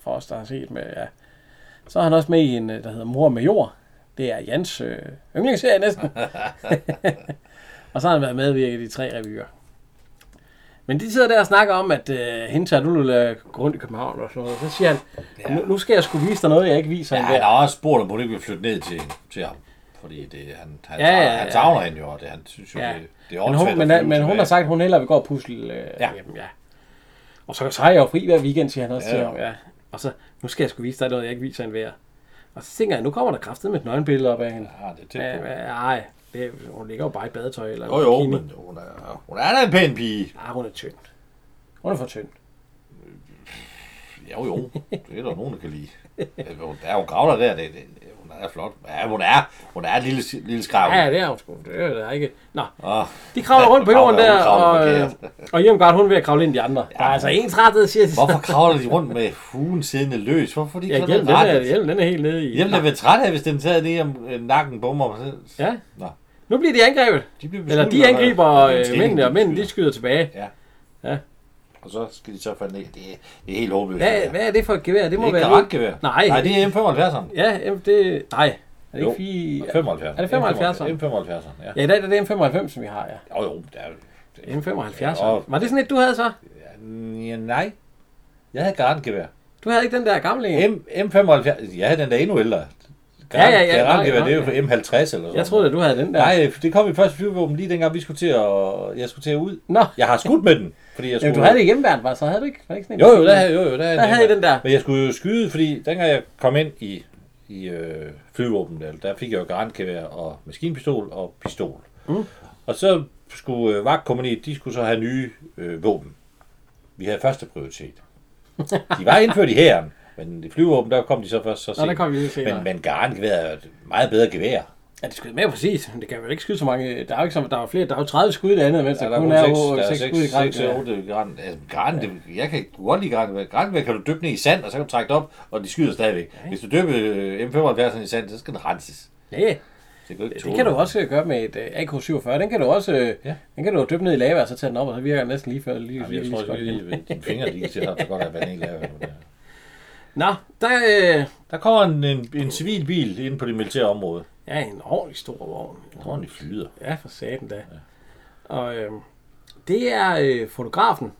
Speaker 1: For os, der har set med... Ja. Så er han også med i en, øh, der hedder Mor med jord. Det er Jans øh, yndlingsserie [laughs] næsten. Og så har han været medvirket i tre revyer. Men de sidder der og snakker om, at øh, hende tager du øh, gå rundt i København og sådan noget. Så siger han, nu, nu skal jeg sgu vise dig noget, jeg ikke viser
Speaker 2: Ja,
Speaker 1: ja,
Speaker 2: han
Speaker 1: hende.
Speaker 2: har også spurgt, om hun ikke vil flytte ned til, til ham. Fordi det, han, han,
Speaker 1: Ja, ja,
Speaker 2: han
Speaker 1: ja.
Speaker 2: savner hende jo, og det, han synes jo,
Speaker 1: Ja.
Speaker 2: det, det er
Speaker 1: Men hun,
Speaker 2: åndssvagt at
Speaker 1: men,
Speaker 2: flyve
Speaker 1: men hun har
Speaker 2: tilbage.
Speaker 1: sagt, at hun hellere vil gå og pusle. Øh,
Speaker 2: Ja.
Speaker 1: Jamen, ja. Og så, så har jeg jo fri hver weekend, siger han også
Speaker 2: Ja,
Speaker 1: ja. til
Speaker 2: ja.
Speaker 1: ham. Ja. Og så, nu skal jeg sgu vise dig noget, jeg ikke viser en hver. Og så tænker jeg, nu kommer der kraftet med et nøgenbillede op af hende.
Speaker 2: Ja, det er tæt
Speaker 1: Ja,
Speaker 2: på.
Speaker 1: ja, Nej, det, hun ligger jo bare i badetøj. Eller
Speaker 2: Jo, jo,
Speaker 1: bikini.
Speaker 2: men hun er, hun er da en pæn pige.
Speaker 1: Ah, hun er tynd. Hun er for tynd.
Speaker 2: Jo, jo, det er der nogen, der kan
Speaker 1: [laughs]
Speaker 2: lide. Altså, Hun, der, hun gravler der, det, det, det- hun er flot. Ja, hun er, hun er et lille, lille skrav.
Speaker 1: Ja, det er hun sgu. Det er der ikke. Nå,
Speaker 2: Ah,
Speaker 1: de kravler rundt på jorden
Speaker 2: Kravler,
Speaker 1: der,
Speaker 2: hun kravler
Speaker 1: og, øh, og Hjelmgard, hun er ved at kravle ind i de andre. Der er altså ensrettet, siger de. så.
Speaker 2: hvorfor kravler de rundt med huen siddende løs? Hvorfor er de
Speaker 1: Ja,
Speaker 2: ikke
Speaker 1: hjelmen,
Speaker 2: sådan
Speaker 1: den er,
Speaker 2: rettet?
Speaker 1: hjelmen, den er helt nede i.
Speaker 2: Hjelm, der vil træt af, hvis den sad ned om øh, nakken på mig. Så,
Speaker 1: Ja.
Speaker 2: Nå.
Speaker 1: Nu bliver de angrebet.
Speaker 2: De bliver
Speaker 1: Eller de
Speaker 2: beskudt,
Speaker 1: angriber
Speaker 2: Det er en
Speaker 1: øh,
Speaker 2: skilling,
Speaker 1: mændene, og mændene de
Speaker 2: beskyder.
Speaker 1: skyder tilbage.
Speaker 2: Ja.
Speaker 1: Ja.
Speaker 2: Og så skal de så falde ned. Det er, det er helt håbløst. det
Speaker 1: Hvad,
Speaker 2: her.
Speaker 1: hvad er det for et gevær? Det
Speaker 2: Det
Speaker 1: må
Speaker 2: er ikke
Speaker 1: være...
Speaker 2: karatgevær.
Speaker 1: Nej.
Speaker 2: Nej, det er M75'eren.
Speaker 1: Ja, jamen, det... Nej. Er det
Speaker 2: Jo.
Speaker 1: ikke fire...
Speaker 2: 75.
Speaker 1: Er det 75'eren?
Speaker 2: M75'eren, ja.
Speaker 1: Ja, i dag er det M95, som vi har, ja.
Speaker 2: Jo, jo, det er det er-
Speaker 1: M75.
Speaker 2: Ja,
Speaker 1: Var det sådan et, du havde så?
Speaker 2: Ja, nej. Jeg havde garantgevær.
Speaker 1: Du havde ikke den der gamle en?
Speaker 2: M, M75, jeg havde den der endnu ældre.
Speaker 1: Ja, ja, ja,
Speaker 2: Garantgevær,
Speaker 1: nej,
Speaker 2: det er jo
Speaker 1: nej.
Speaker 2: M50 eller sådan
Speaker 1: Jeg troede, at du havde den der.
Speaker 2: Nej, det kom i første flyvevåben lige dengang, vi skulle til at, jeg skulle til at ud.
Speaker 1: Nå.
Speaker 2: Jeg har skudt med den, fordi jeg skulle...
Speaker 1: Jamen, du havde det hjemme, Bernd, var, så havde du ikke? Var det ikke sådan en?
Speaker 2: Jo, jo, der havde, jo, jo, der havde,
Speaker 1: Der havde I den der.
Speaker 2: Men jeg skulle jo skyde, fordi dengang jeg kom ind i, i øh, flyvåbnet, der, der fik jeg jo garantgevær og maskinpistol og pistol.
Speaker 1: Mm.
Speaker 2: Og så skulle øh, vagtkompaniet, de skulle så have nye øh, våben. Vi havde første prioritet.
Speaker 1: [laughs]
Speaker 2: De var indført i hæren, men i flyvåben, der kom de så først så
Speaker 1: Nå,
Speaker 2: sent.
Speaker 1: der kom vi lidt senere.
Speaker 2: men, men garantgevær er jo et meget bedre gevær.
Speaker 1: Ja, det skød mere præcis. Men det kan vel ikke skyde så mange. Der er jo ikke så, der er jo flere. Der er jo 30 skud i det andet, mens der,
Speaker 2: der er
Speaker 1: kun
Speaker 2: kun
Speaker 1: er
Speaker 2: 6,
Speaker 1: jo
Speaker 2: der er
Speaker 1: 6,
Speaker 2: 6,
Speaker 1: skud i
Speaker 2: 6, 6
Speaker 1: grænsen.
Speaker 2: 8 gran. Altså, gran, det, jeg kan godt lide gran. Gran kan du dyppe ned i sand, og så kan du trække det op, og de skyder stadigvæk. Hvis du dypper øh, M75'eren i sand, så skal den renses.
Speaker 1: Ja,
Speaker 2: Det, ikke
Speaker 1: det
Speaker 2: tåle.
Speaker 1: kan du også gøre med et øh, AK-47. Den kan du også ja.
Speaker 2: Ja.
Speaker 1: den kan du jo dyppe ned i lava, og så tage den op, og så virker den næsten lige før. Lige,
Speaker 2: Jamen,
Speaker 1: lige,
Speaker 2: jeg
Speaker 1: lige,
Speaker 2: tror,
Speaker 1: lige,
Speaker 2: at
Speaker 1: lige, lige.
Speaker 2: lige, dine fingre lige til ham, så godt at være helt lavet.
Speaker 1: Nå, der er øh,
Speaker 2: Der kommer en, en, en civil bil ind på det militære område.
Speaker 1: ja, en ordentlig stor vogn.
Speaker 2: En ordentlig flyder.
Speaker 1: Ja, for satan da. Og øh, det er øh, fotografen,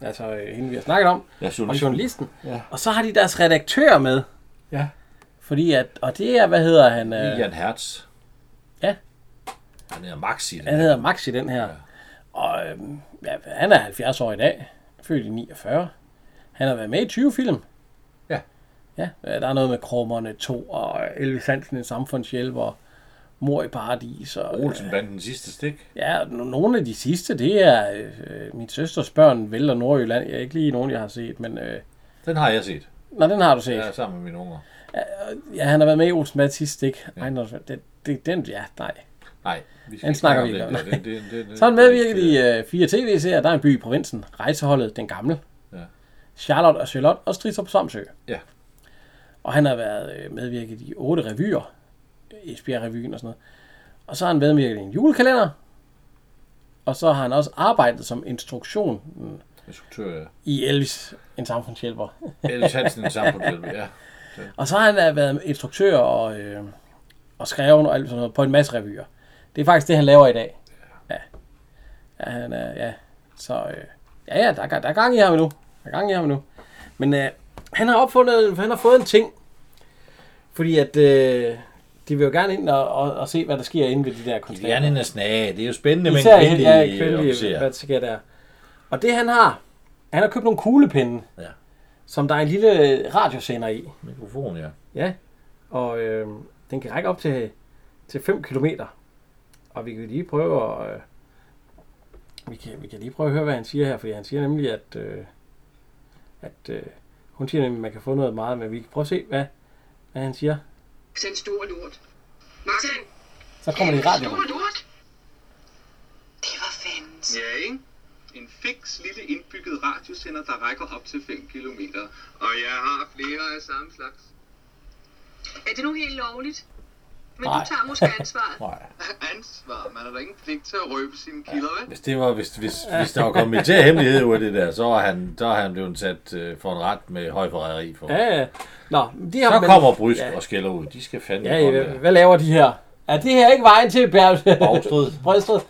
Speaker 1: altså øh, hende vi har snakket om,
Speaker 2: Ja,
Speaker 1: og journalisten.
Speaker 2: Ja.
Speaker 1: Og så har de deres redaktør med.
Speaker 2: Ja.
Speaker 1: Fordi at, og det er, hvad hedder han? Øh,
Speaker 2: Lilian Hertz.
Speaker 1: Ja.
Speaker 2: Han hedder Max i den.
Speaker 1: Han hedder Max i den her. Og øhm, ja, han er 70 år i dag. Født i 49. Han har været med i 20 film.
Speaker 2: Ja.
Speaker 1: Ja, øh, der er noget med Krummerne 2 og Elvis Hansen, en samfundshjælp og Mor i Paradis. Og, øh,
Speaker 2: Olsen blandt den sidste stik.
Speaker 1: ja, og no- nogle af de sidste, det er øh, min søsters børn, Vælter Nordjylland. Jeg er ikke lige nogen, jeg har set, men... Øh,
Speaker 2: Den har jeg set.
Speaker 1: Nå, den har du set.
Speaker 2: Jeg
Speaker 1: Ja,
Speaker 2: er sammen med mine unger.
Speaker 1: ja han har været med i Olsen Mads sidste, ikke? Ja. Ej, nå, det, det, den, ja, nej.
Speaker 2: Nej, vi skal
Speaker 1: Den
Speaker 2: ikke
Speaker 1: snakker
Speaker 2: snakke
Speaker 1: vi
Speaker 2: om
Speaker 1: ikke
Speaker 2: den.
Speaker 1: om.
Speaker 2: Det- det- det- det-
Speaker 1: Så har han medvirket
Speaker 2: det-
Speaker 1: i øh, fire tv-serier. Der er en by i provinsen. Rejseholdet, den gamle. Ja.
Speaker 2: Ja.
Speaker 1: Charlotte og Charlotte og Stristrup Samsø.
Speaker 2: Ja.
Speaker 1: Og han har været øh, medvirket i otte revyer. Esbjerg-revyen og sådan noget. Og så har han medvirket i en julekalender. Og så har han også arbejdet som instruktion
Speaker 2: Instruktør ja.
Speaker 1: i Elvis, en samfundshjælper.
Speaker 2: Elvis Hansen i samfundet. Ja.
Speaker 1: Og så har han øh, været instruktør og, øh, og skrevet og alt sådan noget på en masse revyer. Det er faktisk det, han laver i dag. Ja. Ja, han er, ja. Så, øh, ja, ja, der, er ga- der er gang i ham nu. Der er gang i ham nu. Men øh, han har opfundet, han har fået en ting. Fordi at øh, de vil jo gerne ind og, og, og se, hvad der sker inde ved de der
Speaker 2: [laughs] Det er
Speaker 1: konstater.
Speaker 2: en af snage. Det er jo spændende med en
Speaker 1: Især
Speaker 2: kvindelig,
Speaker 1: kvindelig, ja, kvindelig
Speaker 2: officer.
Speaker 1: hvad der sker der. Og det han har, han har købt nogle kuglepinde,
Speaker 2: Ja.
Speaker 1: som der er en lille radiosender i.
Speaker 2: Mikrofon, ja.
Speaker 1: Ja, og øh, den kan række op til, til 5 km. Og vi kan lige prøve at... Øh, vi, kan, vi kan lige prøve at høre, hvad han siger her, fordi han siger nemlig, at, øh, at øh, hun siger nemlig, at man kan få noget meget, men vi kan prøve at se, hvad, hvad han siger.
Speaker 4: Den store lort. Martin,
Speaker 1: Så kommer det i radioen.
Speaker 4: store lort. Det var fandens.
Speaker 3: Ja, ikke? En fiks lille indbygget radiosender, der rækker op til 5 km. Og jeg har flere af samme slags.
Speaker 4: Er det nu helt lovligt? Men
Speaker 1: Nej.
Speaker 4: du tager
Speaker 1: [laughs]
Speaker 4: måske ansvaret.
Speaker 2: Nej.
Speaker 3: Ansvar. Man har da ingen pligt til at røbe sine kilder, vel?
Speaker 2: Hvis, det var, hvis, hvis, hvis der var kommet militær hemmelighed ud af det der, så er han, så er han blevet sat øh, for en ret med høj forræderi for.
Speaker 1: Ja, ja. Nå, de har,
Speaker 2: Så
Speaker 1: men-
Speaker 2: kommer Brysk
Speaker 1: Ja.
Speaker 2: og skælder ud. De skal fandme
Speaker 1: Ja,
Speaker 2: ja,
Speaker 1: hvad,
Speaker 2: ja.
Speaker 1: hvad laver de her? Er det her ikke vejen til Bjerg? [laughs]
Speaker 2: Bagstrid.
Speaker 1: Brødstrid?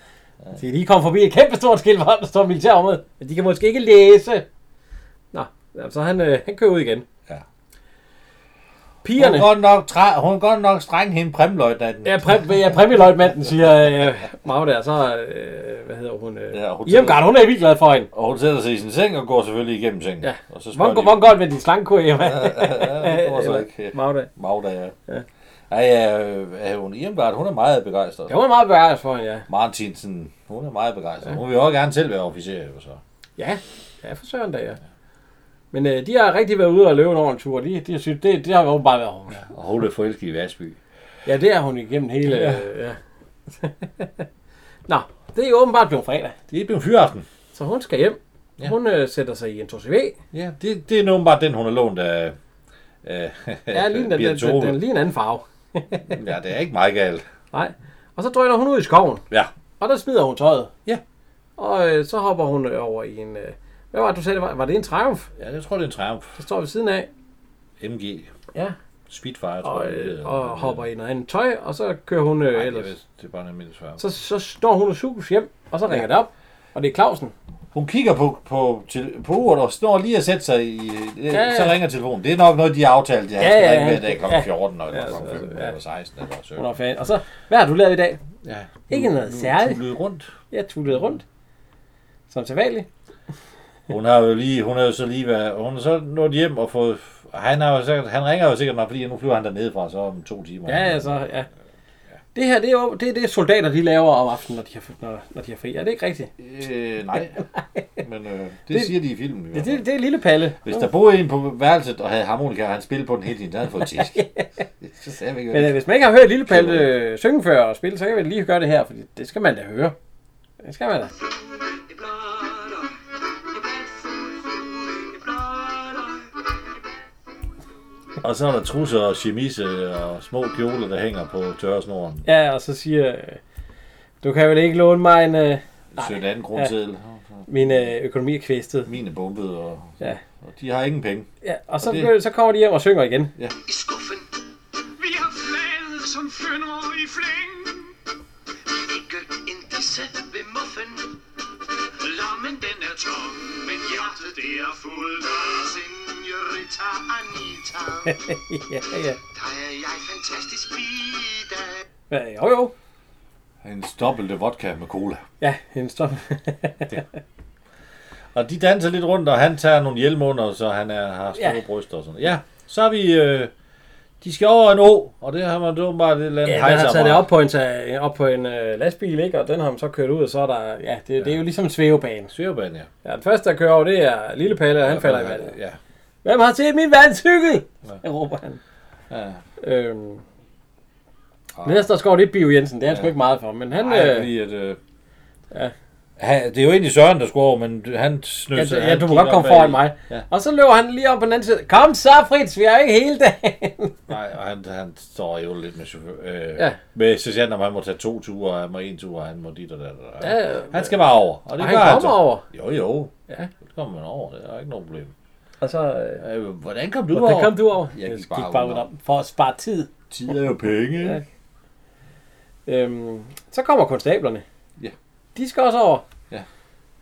Speaker 1: De er lige kommet forbi et kæmpe stort skilt, hvor der står militærområde, men de kan måske ikke læse. Nå, jamen, så han, øh, han kører ud igen.
Speaker 2: Ja. Hun
Speaker 1: pigerne...
Speaker 2: er godt nok, træ, hun er godt nok streng hende præmløjtnanten.
Speaker 1: Ja, præ, ja præmieløjtmanden, siger øh, Mag der, så, øh, hvad hedder hun? Øh,
Speaker 2: Ja, hun
Speaker 1: ja, Irmgard, hun er vildt glad for hende.
Speaker 2: Og hun sætter sig i sin seng og går selvfølgelig igennem sengen.
Speaker 1: Ja.
Speaker 2: Og så spørger
Speaker 1: Hvor,
Speaker 2: de,
Speaker 1: hvor godt med din slangekur, Irma?
Speaker 2: [laughs] ja,
Speaker 1: [laughs]
Speaker 2: det går så
Speaker 1: Eller
Speaker 2: ikke.
Speaker 1: Magda.
Speaker 2: Magda, ja. ja. Ej, ja, øh, er hun Irmgard, hun er meget begejstret.
Speaker 1: Ja, hun er meget begejstret for hende, ja.
Speaker 2: Martinsen, hun er meget begejstret. Hun vil jo også gerne selv være officer, jo så.
Speaker 1: Ja, ja for søren da, ja. Men øh, de har rigtig været ude og løbe en ordentlig tur. De, de har synes, det, det har åbenbart været hun.
Speaker 2: Og hun er forelsket i Vasby.
Speaker 1: Ja, det er hun igennem hele... Øh, ja. [laughs] Nå, det er jo åbenbart blevet fredag,
Speaker 2: Det er blevet fyraften.
Speaker 1: så hun skal hjem. Ja. Hun øh, sætter sig i en 2CV.
Speaker 2: Ja, det, det er åbenbart den, hun har lånt af... af
Speaker 1: Ja, lige den, den, den,
Speaker 2: Birthe Tove.
Speaker 1: den, den lige en anden farve.
Speaker 2: Ja, det er ikke meget galt.
Speaker 1: Nej. Og så drøner hun ud i skoven,
Speaker 2: Ja,
Speaker 1: og der smider hun tøjet.
Speaker 2: Ja.
Speaker 1: Og øh, så hopper hun over i en... Øh, hvad var det, du sagde? Det var, var det en triumf,
Speaker 2: ja jeg tror, det er en triumf.
Speaker 1: der står ved siden af?
Speaker 2: MG.
Speaker 1: Ja.
Speaker 2: Spitfire, tror
Speaker 1: Og,
Speaker 2: jeg. det
Speaker 1: øh,
Speaker 2: hedder.
Speaker 1: og hopper i noget andet tøj, og så kører hun øh,
Speaker 2: Ej, jeg
Speaker 1: ellers.
Speaker 2: ved, det er bare en almindelig triumf.
Speaker 1: Så, så står hun og suges hjem, og så ringer det op. Og det er Clausen.
Speaker 2: Hun kigger på, på, til, på uret og står lige og sætter sig i... Ja,
Speaker 1: ja.
Speaker 2: ja. Så ringer telefonen. Det er nok noget, de har aftalt. Ja,
Speaker 1: Ja,
Speaker 2: ja,
Speaker 1: ja,
Speaker 2: ja.
Speaker 1: ja.
Speaker 2: Ikke med i dag kl.
Speaker 1: Ja.
Speaker 2: 14 eller
Speaker 1: Ja,
Speaker 2: kl.
Speaker 1: altså,
Speaker 2: 15
Speaker 1: ja.
Speaker 2: eller 16 eller 17.
Speaker 1: Hun er fan. Og så, Mm, hvad har du lavet i dag?
Speaker 2: Ja.
Speaker 1: Ikke noget særligt.
Speaker 2: Hun rundt.
Speaker 1: Jeg tullede rundt. Som til vanligt.
Speaker 2: Hun har jo lige, hun har jo så lige været, hun er så nået hjem og fået, han, har jo sikkert, han ringer jo sikkert mig, fordi nu flyver han dernede fra, så om to timer.
Speaker 1: Ja, altså, ja. Det her, det er jo det, er det soldater, de laver om aftenen, når de har, når, når de har fri. Er det ikke rigtigt? [laughs]
Speaker 2: Øh, nej. Men øh, det,
Speaker 1: Det-
Speaker 2: det, siger de i filmen. I
Speaker 1: Det,
Speaker 2: hvert fald.
Speaker 1: det, det er lille Palle.
Speaker 2: Hvis der boede en på værelset og havde harmonika, og han spillede på den hele tiden, så havde han fået
Speaker 1: [laughs]
Speaker 2: tæsk. så sagde vi
Speaker 1: Men øh,
Speaker 2: ikke.
Speaker 1: hvis man ikke har hørt Lille Palle øh, synge før og spille, så kan vi lige gøre det her, for det skal man da høre. Det skal man da.
Speaker 4: Jeg blotter, jeg blandt solfluge, jeg blotter.
Speaker 2: Og så er der trusser og chemise og små kjoler, der hænger på tørresnoren.
Speaker 1: Ja, og så siger... øh, Du kan vel ikke låne mig en... Øh,
Speaker 2: 17 grundseddel.
Speaker 1: min øh, økonomi er kvæstet.
Speaker 2: Mine bombede, og,
Speaker 1: Ja.
Speaker 2: og de har ingen penge.
Speaker 1: Ja, og så,
Speaker 2: Og det-
Speaker 1: begynder- så kommer de hjem og synger igen.
Speaker 3: i skuffen. Vi har flaget som fønner i flæng. Ikke en disse ved muffen. Lommen den er tom, men hjertet det er fuldt af senorita Anita.
Speaker 1: ja, ja.
Speaker 3: Der er jeg fantastisk pige, da.
Speaker 1: Ja, jo, jo.
Speaker 2: En dobbelte vodka med cola.
Speaker 1: Ja, hendes drøm.
Speaker 2: Og de danser lidt rundt, og han tager nogle hjelme under, så han er, har store
Speaker 1: Ja.
Speaker 2: ja. bryster og sådan noget. Ja, så er vi... Øh, de skal over en å, og det har man jo bare et eller andet
Speaker 1: ja, man har taget det
Speaker 2: hejseapparat.
Speaker 1: op på en, ta- op på en øh, lastbil, ikke? Og den har man så kørt ud, og så er der... Ja, det, det er jo ligesom en svævebane.
Speaker 2: Svævebane, ja.
Speaker 1: Ja, den første, der kører over, det er Lille Palle, og han falder i vandet.
Speaker 2: Ja.
Speaker 1: Hvem har set min vandcykel? Ja. råber han.
Speaker 2: ja.
Speaker 1: Øhm. Næste skov, det er Bio Jensen. Det er han ja. sgu ikke meget for, men han...
Speaker 2: Nej,
Speaker 1: øh,
Speaker 2: fordi at... Øh,
Speaker 1: ja.
Speaker 2: Ha, det er jo egentlig Søren, der skulle over, men han snød
Speaker 1: ja,
Speaker 2: sig.
Speaker 1: ja,
Speaker 2: han
Speaker 1: du må
Speaker 2: gik
Speaker 1: godt komme
Speaker 2: op ad
Speaker 1: foran
Speaker 2: i-
Speaker 1: mig. Ja.
Speaker 2: Ja.
Speaker 1: Og så løber han lige op på den anden side. Kom så, Fritz, vi er jo ikke hele dagen.
Speaker 2: Nej, og han, han står jo lidt med chauffør. Øh,
Speaker 1: Ja.
Speaker 2: ja. Med sergeanten, om han må tage to ture, og han må en ture, og han må dit og dat. Og dat.
Speaker 1: Ja,
Speaker 2: han skal bare over. Og det
Speaker 1: og
Speaker 2: gør
Speaker 1: han kommer
Speaker 2: så.
Speaker 1: over.
Speaker 2: Jo, jo.
Speaker 1: Ja.
Speaker 2: Det kommer man over. Det er ikke noget problem.
Speaker 1: Og så... Øh,
Speaker 2: Øh, hvordan kom du
Speaker 1: Hvordan
Speaker 2: over?
Speaker 1: kom du over?
Speaker 2: Jeg gik bare udenom.
Speaker 1: udenom. For at spare tid.
Speaker 2: Tid er jo penge.
Speaker 1: Ja. Øhm, så kommer konstablerne.
Speaker 2: Ja.
Speaker 1: De skal også over.
Speaker 2: Ja.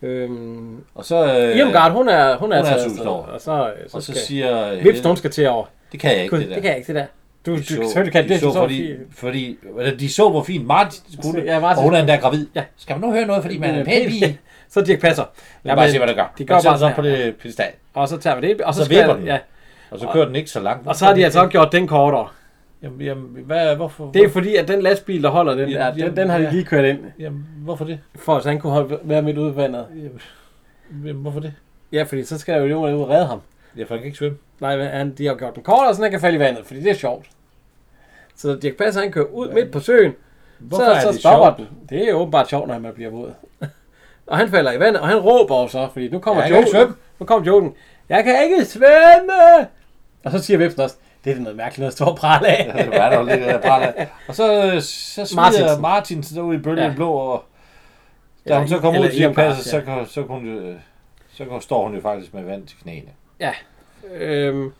Speaker 1: Øhm,
Speaker 2: Og så... Øh,
Speaker 1: Irmgard, hun er, hun er,
Speaker 2: hun er
Speaker 1: taget
Speaker 2: suset
Speaker 1: afsted,
Speaker 2: over.
Speaker 1: Og så, øh, så,
Speaker 2: Og så
Speaker 1: skal,
Speaker 2: siger... øh,
Speaker 1: Vips, hun skal til over.
Speaker 2: Det kan jeg ikke,
Speaker 1: Gud,
Speaker 2: det der.
Speaker 1: det kan jeg ikke, det der. Du, du,
Speaker 2: De så,
Speaker 1: selvfølgelig kan
Speaker 2: de
Speaker 1: det, det
Speaker 2: så,
Speaker 1: står
Speaker 2: fordi,
Speaker 1: fint.
Speaker 2: fordi, eller de så, hvor fint Martin kunne,
Speaker 1: Ja,
Speaker 2: ja,
Speaker 1: Martin-
Speaker 2: Martin. og hun er endda gravid.
Speaker 1: Ja.
Speaker 2: Skal man nu høre noget, fordi man er en
Speaker 1: [laughs]
Speaker 2: pæn pige?
Speaker 1: så Dirk passer.
Speaker 2: Lad bare se, hvad der gør.
Speaker 1: De
Speaker 2: De
Speaker 1: gør
Speaker 2: gør man
Speaker 1: bare
Speaker 2: sætter sig
Speaker 1: sådan
Speaker 2: op på
Speaker 1: her.
Speaker 2: det pedestal,
Speaker 1: Og så tager vi det. Og så,
Speaker 2: Så
Speaker 1: skal,
Speaker 2: vipper den.
Speaker 1: Ja,
Speaker 2: og så kører den ikke så langt.
Speaker 1: og så har de altså også gjort den kortere.
Speaker 2: Jamen, jamen hvad, hvorfor?
Speaker 1: Det er fordi, at den lastbil, der holder den der, den,
Speaker 2: Jamen,
Speaker 1: den har de
Speaker 2: ja.
Speaker 1: lige kørt ind,
Speaker 2: Jamen, hvorfor det?
Speaker 1: for at han kunne holde, være midt ude i vandet.
Speaker 2: Jamen, hvorfor det?
Speaker 1: Ja, fordi så skal jeg jo ud og redde ham.
Speaker 2: Jeg kan ikke svømme.
Speaker 1: Nej, men han, de har gjort den kortere, så den kan falde i vandet, fordi det er sjovt. Så Dirk Passer, han kører ud midt på søen,
Speaker 2: Hvorfor
Speaker 1: så, så
Speaker 2: det
Speaker 1: stopper
Speaker 2: sjovt?
Speaker 1: den. Det er jo åbenbart sjovt, når man bliver våd. [laughs] og han falder i vandet, og han råber jo så, fordi nu kommer
Speaker 2: Jeg kan ikke
Speaker 1: joken.
Speaker 2: svømme.
Speaker 1: Nu kommer joken. Jeg kan ikke svømme! Og så siger Vipsen også, det er da noget mærkeligt noget at stå og prale af.
Speaker 2: [laughs] Ja, det var der jo lidt der prale. Og så, øh, så
Speaker 1: Martinsen.
Speaker 2: smider Martinsen ud i bølgen
Speaker 1: Ja.
Speaker 2: ja. blå, og da
Speaker 1: Eller
Speaker 2: hun så
Speaker 1: i-
Speaker 2: kommer ud
Speaker 1: eller
Speaker 2: til
Speaker 1: i-
Speaker 2: passet,
Speaker 1: ja.
Speaker 2: så, kan- så, kan hun, jo, øh, så kan- står hun jo faktisk med vand til knæene.
Speaker 1: ja. Øhm,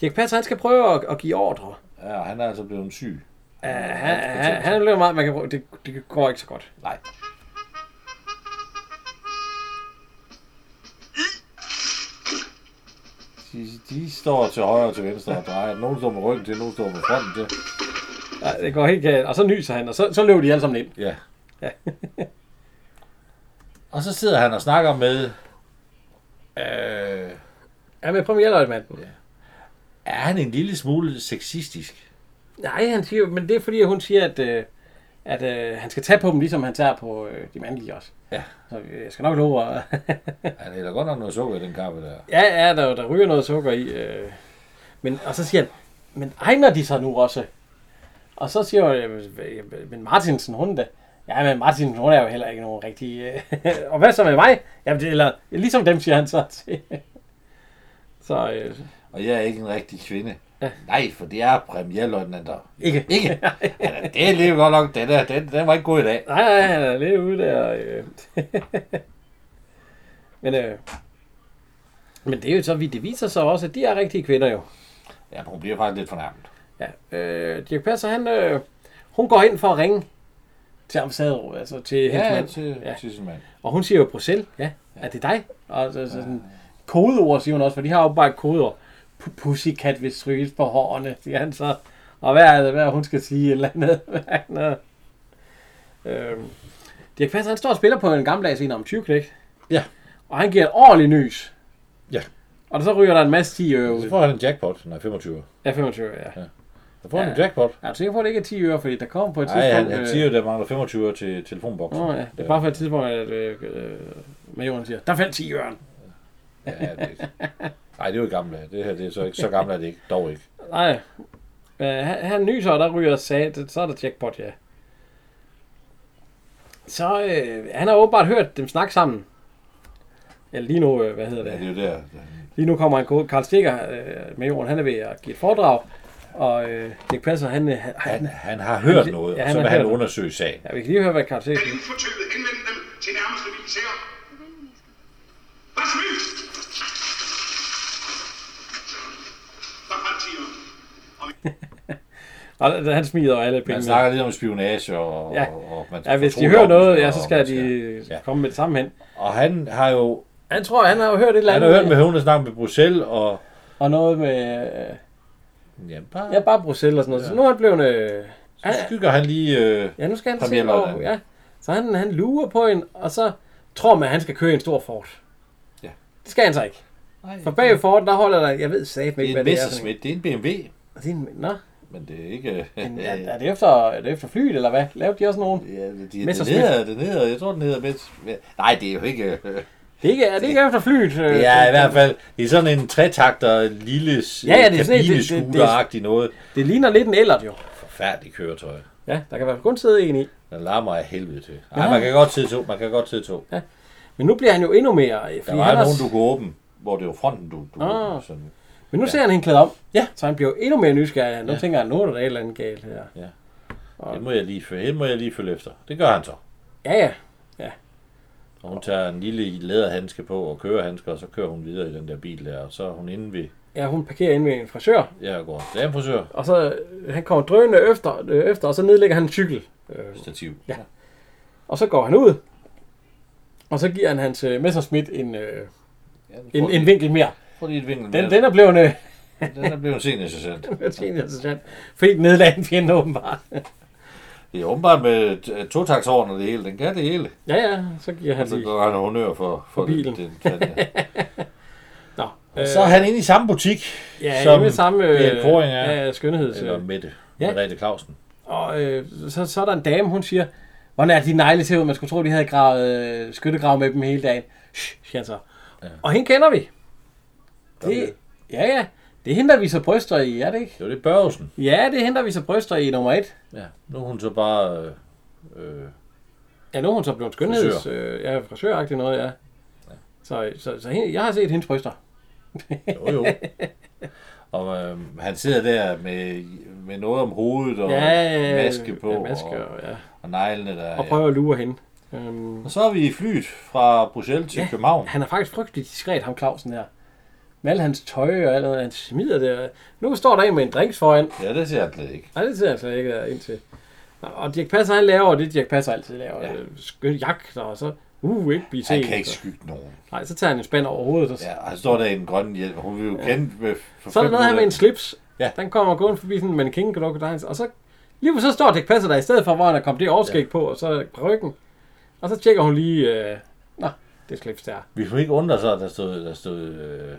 Speaker 1: Dirk Passer, han skal prøve at, at give ordre.
Speaker 2: Ja, og han er altså blevet syg.
Speaker 1: Uh, han, han, han er lidt meget, man kan prøve. Det, det går ikke så godt.
Speaker 2: Nej. De, de står til højre og til venstre og drejer. Nogen står med ryggen til, nogen står med fronten til.
Speaker 1: Nej, det går helt galt. Og så nyser han, og så, så løber de alle sammen ind.
Speaker 2: Ja. [laughs] og så sidder han og snakker med... Øh,
Speaker 1: Ja, med premierløjtmanden. Ja.
Speaker 2: er han en lille smule sexistisk?
Speaker 1: Nej, han siger, men det er fordi, hun siger, at, øh, at øh, han skal tage på dem, ligesom han tager på øh, de mandlige også.
Speaker 2: Ja.
Speaker 1: Så øh, jeg skal nok love at... [laughs]
Speaker 2: Han er da godt nok noget sukker i den kaffe der.
Speaker 1: ja, ja, der, der ryger noget sukker i. Øh. Men, og så siger han, men egner de sig nu også? Og så siger hun, "Øh, men Martinsen, hun da. Ja, men Martinsen, hun er jo heller ikke nogen rigtig... Øh. [laughs] og hvad så med mig? Jamen, det, eller, ligesom dem, siger han så til. [laughs] så øh,
Speaker 2: Og jeg er ikke en rigtig kvinde. Nej, for det er premierløjtnanter.
Speaker 1: ikke.
Speaker 2: Ikke? [laughs] Ja, det er lige godt nok. Den, der, den, den var ikke god i dag.
Speaker 1: Nej, nej, han er lidt ude der. Øh. [laughs] men, øh, men det er jo så, vi- det viser sig også, at de er rigtige kvinder jo.
Speaker 2: Ja, hun bliver faktisk lidt fornærmet.
Speaker 1: Ja, øh, Dirk Passer, han, øh, hun går ind for at ringe til ambassaderådet, altså til hendes
Speaker 2: Ja,
Speaker 1: mand.
Speaker 2: til,
Speaker 1: Ja.
Speaker 2: ja. til sin mand.
Speaker 1: Og hun siger jo Bruxelles, ja, er det dig? Og så, så sådan, kodeord siger hun også, for de har jo bare et kodeord. P- Pussycat vil stryges på hårene, siger han så. Og hvad er det, hvad er hun skal sige, et eller andet. [laughs] Hvad er det? øhm, Dirk Passer, han står og spiller på en gammeldags en om 20 knægt.
Speaker 2: Ja.
Speaker 1: Og han giver et ordentligt nys.
Speaker 2: Ja.
Speaker 1: Og så ryger der en masse 10 øre
Speaker 2: Så
Speaker 1: ud.
Speaker 2: får han en jackpot. Nej, 25.
Speaker 1: Ja, 25 øre, ja.
Speaker 2: Så får han
Speaker 1: Ja.
Speaker 2: en jackpot.
Speaker 1: Jeg er du sikker på, at det ikke er 10 øre, fordi der kommer på et
Speaker 2: Nej, han,
Speaker 1: tidspunkt...
Speaker 2: han
Speaker 1: øh,
Speaker 2: siger jo, der mangler 25 øre til telefonboksen.
Speaker 1: Nå, ja. Det er bare for et tidspunkt, at øh, øh, majoren siger, der faldt 10 øren.
Speaker 2: Ja, det, nej, det er jo gamle. dage. Det her det er så ikke så gamle, er det ikke. Dog ikke.
Speaker 1: Nej. Øh, han, han nyser, og der ryger sat, så er der jackpot, ja. Så øh, han har åbenbart hørt dem snakke sammen. Eller lige nu, øh, hvad hedder
Speaker 2: Ja, det
Speaker 1: det?
Speaker 2: er jo der.
Speaker 1: Lige nu kommer en god Karl Stikker øh, med jorden, han er ved at give et foredrag. Og øh, Dirk Passer, han, øh, han,
Speaker 2: Han,
Speaker 1: han,
Speaker 2: han har hørt
Speaker 1: Han-
Speaker 2: noget,
Speaker 1: ja,
Speaker 2: og
Speaker 1: han
Speaker 2: så
Speaker 1: har
Speaker 2: vil han
Speaker 1: hørt noget.
Speaker 2: undersøge sagen.
Speaker 1: Ja, vi kan lige høre, hvad Karl Stikker siger.
Speaker 3: Inden for tøvet henvende dem til nærmeste militær. Was willst? Verpartier.
Speaker 1: Og der- der- han smider og alle
Speaker 2: Man
Speaker 1: pengene.
Speaker 2: snakker lidt om spionage, og,
Speaker 1: Ja.
Speaker 2: og, og man
Speaker 1: Ja, hvis de
Speaker 2: fortrolige
Speaker 1: hører noget,
Speaker 2: oplysninger,
Speaker 1: ja, så
Speaker 2: og
Speaker 1: skal
Speaker 2: man
Speaker 1: de
Speaker 2: Ja.
Speaker 1: komme med det samme hen.
Speaker 2: Og han har jo
Speaker 1: Han tror, han har jo hørt et eller
Speaker 2: han
Speaker 1: andet.
Speaker 2: har hørt med høvende snakke med Bruxelles, og
Speaker 1: Og noget med... Øh,
Speaker 2: ja, bare,
Speaker 1: ja, bare Bruxelles og sådan noget. Så nu er han blevet... Øh,
Speaker 2: så skygger han lige... Øh,
Speaker 1: Ja, nu skal han se,
Speaker 2: Premierløjtnant.
Speaker 1: hvor, ja. Så han, han lurer på en, og så tror man, at han skal køre i en stor Ford.
Speaker 2: Ja.
Speaker 1: Det skal han så ikke. For bag Ford, der holder der, jeg ved satme
Speaker 2: det
Speaker 1: ikke,
Speaker 2: er
Speaker 1: hvad
Speaker 2: en
Speaker 1: det er. for en-
Speaker 2: Messerschmidt, det er en BMW,
Speaker 1: Og Det er en, nå,
Speaker 2: men det er ikke...
Speaker 1: en,
Speaker 2: [laughs] ja,
Speaker 1: er, er, det efter, er det efter flyet, eller hvad? Lavede de også nogen?
Speaker 2: det, det,
Speaker 1: Messerschmidt.
Speaker 2: hedder, det hedder, jeg tror, den hedder Mess... Nej, det er jo ikke... øh,
Speaker 1: Det er ikke, er det ikke efter flyet? øh,
Speaker 2: [laughs] Det er i hvert fald det er sådan en tretakter, lille
Speaker 1: Ja, ja, det er sådan en- det- det-
Speaker 2: kabineskuteragtig noget.
Speaker 1: Det ligner lidt en Ellert, jo.
Speaker 2: Forfærdeligt køretøj.
Speaker 1: Ja, der kan være kun sidde en i.
Speaker 2: Den larmer af helvede til. Nej, man kan godt sidde to, man kan godt sidde to.
Speaker 1: Men nu bliver han jo endnu mere... øh,
Speaker 2: Der
Speaker 1: Fordi
Speaker 2: var
Speaker 1: han
Speaker 2: nogen,
Speaker 1: også-
Speaker 2: du kunne åbne, hvor det var fronten, du, du
Speaker 1: Ah.
Speaker 2: åbnede, sådan.
Speaker 1: Men nu ser han hende klædt om.
Speaker 2: Ja.
Speaker 1: Så han bliver jo endnu mere nysgerrig. Nu tænker han, nu er der et eller andet galt her.
Speaker 2: Det må jeg lige følge, det må jeg lige følge efter. Det gør han så.
Speaker 1: Ja, ja.
Speaker 2: Og hun tager en lille læderhandske på og kørehandsker, og så kører hun videre i den der bil der, og så er hun inde ved,
Speaker 1: Ja, hun parkerer inde ved en frisør.
Speaker 2: ja, går damefrisør,
Speaker 1: Og så øh, han kommer drønende efter, øh, efter, og så nedlægger han en cykel. Øh,
Speaker 2: stativ.
Speaker 1: Ja. og så går han ud. Og så giver han hans øh, Messerschmidt en, øh, en, en vinkel mere.
Speaker 2: Prøv lige et vinkel
Speaker 1: Den,
Speaker 2: mere.
Speaker 1: den er blevet øh, [laughs]
Speaker 2: den er blevet sen interessant.
Speaker 1: interessant. Fordi den nedlagde en fjende åbenbart.
Speaker 2: Det er åbenbart med t- totaktårn og det hele, den kan det hele.
Speaker 1: ja, ja, så giver han
Speaker 2: Så
Speaker 1: lige.
Speaker 2: går han honnør for, for
Speaker 1: bilen.
Speaker 2: Den, den, den
Speaker 1: Nå, Øh,
Speaker 2: og [laughs] så er han inde i samme butik,
Speaker 1: ja,
Speaker 2: som
Speaker 1: som med samme øh,
Speaker 2: Erik Koring er.
Speaker 1: ja, skønhed.
Speaker 2: eller
Speaker 1: Så.
Speaker 2: Mette,
Speaker 1: Ja.
Speaker 2: ja. Merete Clausen.
Speaker 1: Og øh, så, så er der en dame, hun siger, hvordan er de negle til ud? Man skulle tro, de havde gravet øh, skyttegrav med dem hele dagen. Shh, siger han så. Ja. Og hende kender vi. Det, ja, ja. Det er hende, der viser bryster i, er det ikke?
Speaker 2: Det var det Børgesen.
Speaker 1: Ja, det er hende, der viser bryster i nummer et.
Speaker 2: Ja, nu er hun så bare... Øh, øh,
Speaker 1: Ja, nu er hun så blevet skønheds... Øh, ja, frisøragtig noget, ja. Så, så, så hende, jeg har set hendes bryster.
Speaker 2: jo,
Speaker 1: [laughs]
Speaker 2: jo. Og øh, han sidder der med, med noget om hovedet og maske på,
Speaker 1: Ja, maske,
Speaker 2: og,
Speaker 1: og, ja.
Speaker 2: og neglene der.
Speaker 1: og prøver at lure hende. Øhm,
Speaker 2: Og så er vi i flyet fra Bruxelles til
Speaker 1: Ja.
Speaker 2: ja. København.
Speaker 1: han er faktisk frygtelig diskret, ham Clausen her. Med alle hans tøj og alt, andet, han smider det. Nu står der en med en drinks foran.
Speaker 2: Ja, det ser jeg slet ikke.
Speaker 1: Nej, det ser jeg slet ikke ind til. Og Dirk Passer, han laver det, Dirk Passer altid laver. Ja.
Speaker 2: Ja.
Speaker 1: Skøn jagt, og så Uh, ikke blive
Speaker 2: Han
Speaker 1: set.
Speaker 2: kan ikke skygge nogen.
Speaker 1: Nej, så tager han en spand over hovedet. Og... Ja.
Speaker 2: Ja, og han står der i en grøn hjelm. Hun vil jo ja. kende med for
Speaker 1: Så er der
Speaker 2: fem
Speaker 1: noget her med en
Speaker 2: minutter.
Speaker 1: slips.
Speaker 2: Ja.
Speaker 1: Den kommer gående forbi sådan en mannequin, kan du dines, og så lige så står Dirk Passer der i stedet for, hvor han har kommet det overskæg ja. på, og så ryggen. Og så tjekker hun lige, øh... nå, det slips der.
Speaker 2: Vi kunne ikke undre sig, at der stod, der stod øh,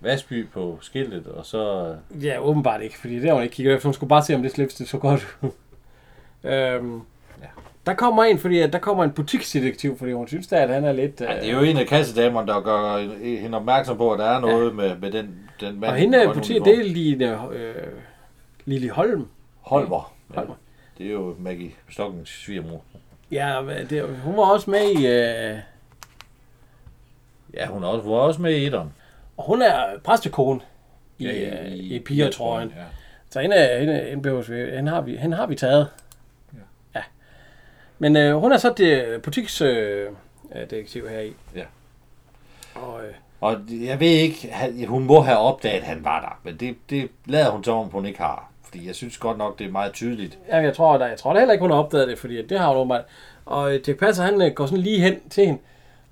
Speaker 2: Vasby på skiltet, og så... øh,
Speaker 1: Ja, åbenbart ikke, fordi det har hun ikke kigget efter. Hun skulle bare se, om det slips det så godt ud. øhm, ja.
Speaker 2: Ja.
Speaker 1: Der kommer en, fordi at der kommer en butiksdetektiv, fordi hun synes da, at han er lidt... Øh,
Speaker 2: Ja, det er jo en af kassedamerne, der gør hende opmærksom på, at der er noget ja. med, med den, den mand.
Speaker 1: og hende
Speaker 2: i
Speaker 1: er
Speaker 2: grøn
Speaker 1: butik,
Speaker 2: uniform.
Speaker 1: det er Line, øh, Lili Holm.
Speaker 2: Holmer. Ja.
Speaker 1: Holmer.
Speaker 2: Det er jo Maggie Stokkens svigermor.
Speaker 1: Ja, hvad- det, hun var også med i... Øh,
Speaker 2: Ja, hun er også, hun er også med i etteren.
Speaker 1: og hun er præstekone i,
Speaker 2: Ja,
Speaker 1: ja, i, i, i pigertrøjen.
Speaker 2: Ja.
Speaker 1: Så hende, er- hende, hende, behøves vi, hende, har, vi, hende har vi taget. Ja. Men øh, hun er så det butiksdetektiv øh, øh, detektiv her i.
Speaker 2: Ja.
Speaker 1: Og, øh,
Speaker 2: Og jeg ved ikke, han- hun må have opdaget, at han var der, men det, det lader hun som om, hun ikke har. Fordi jeg synes godt nok, det er meget tydeligt.
Speaker 1: Jamen, jeg tror, der, jeg tror da heller ikke, hun har opdaget det, fordi det har hun åbenbart. Og øh, Dirk Passer, han øh, går sådan lige hen til hende,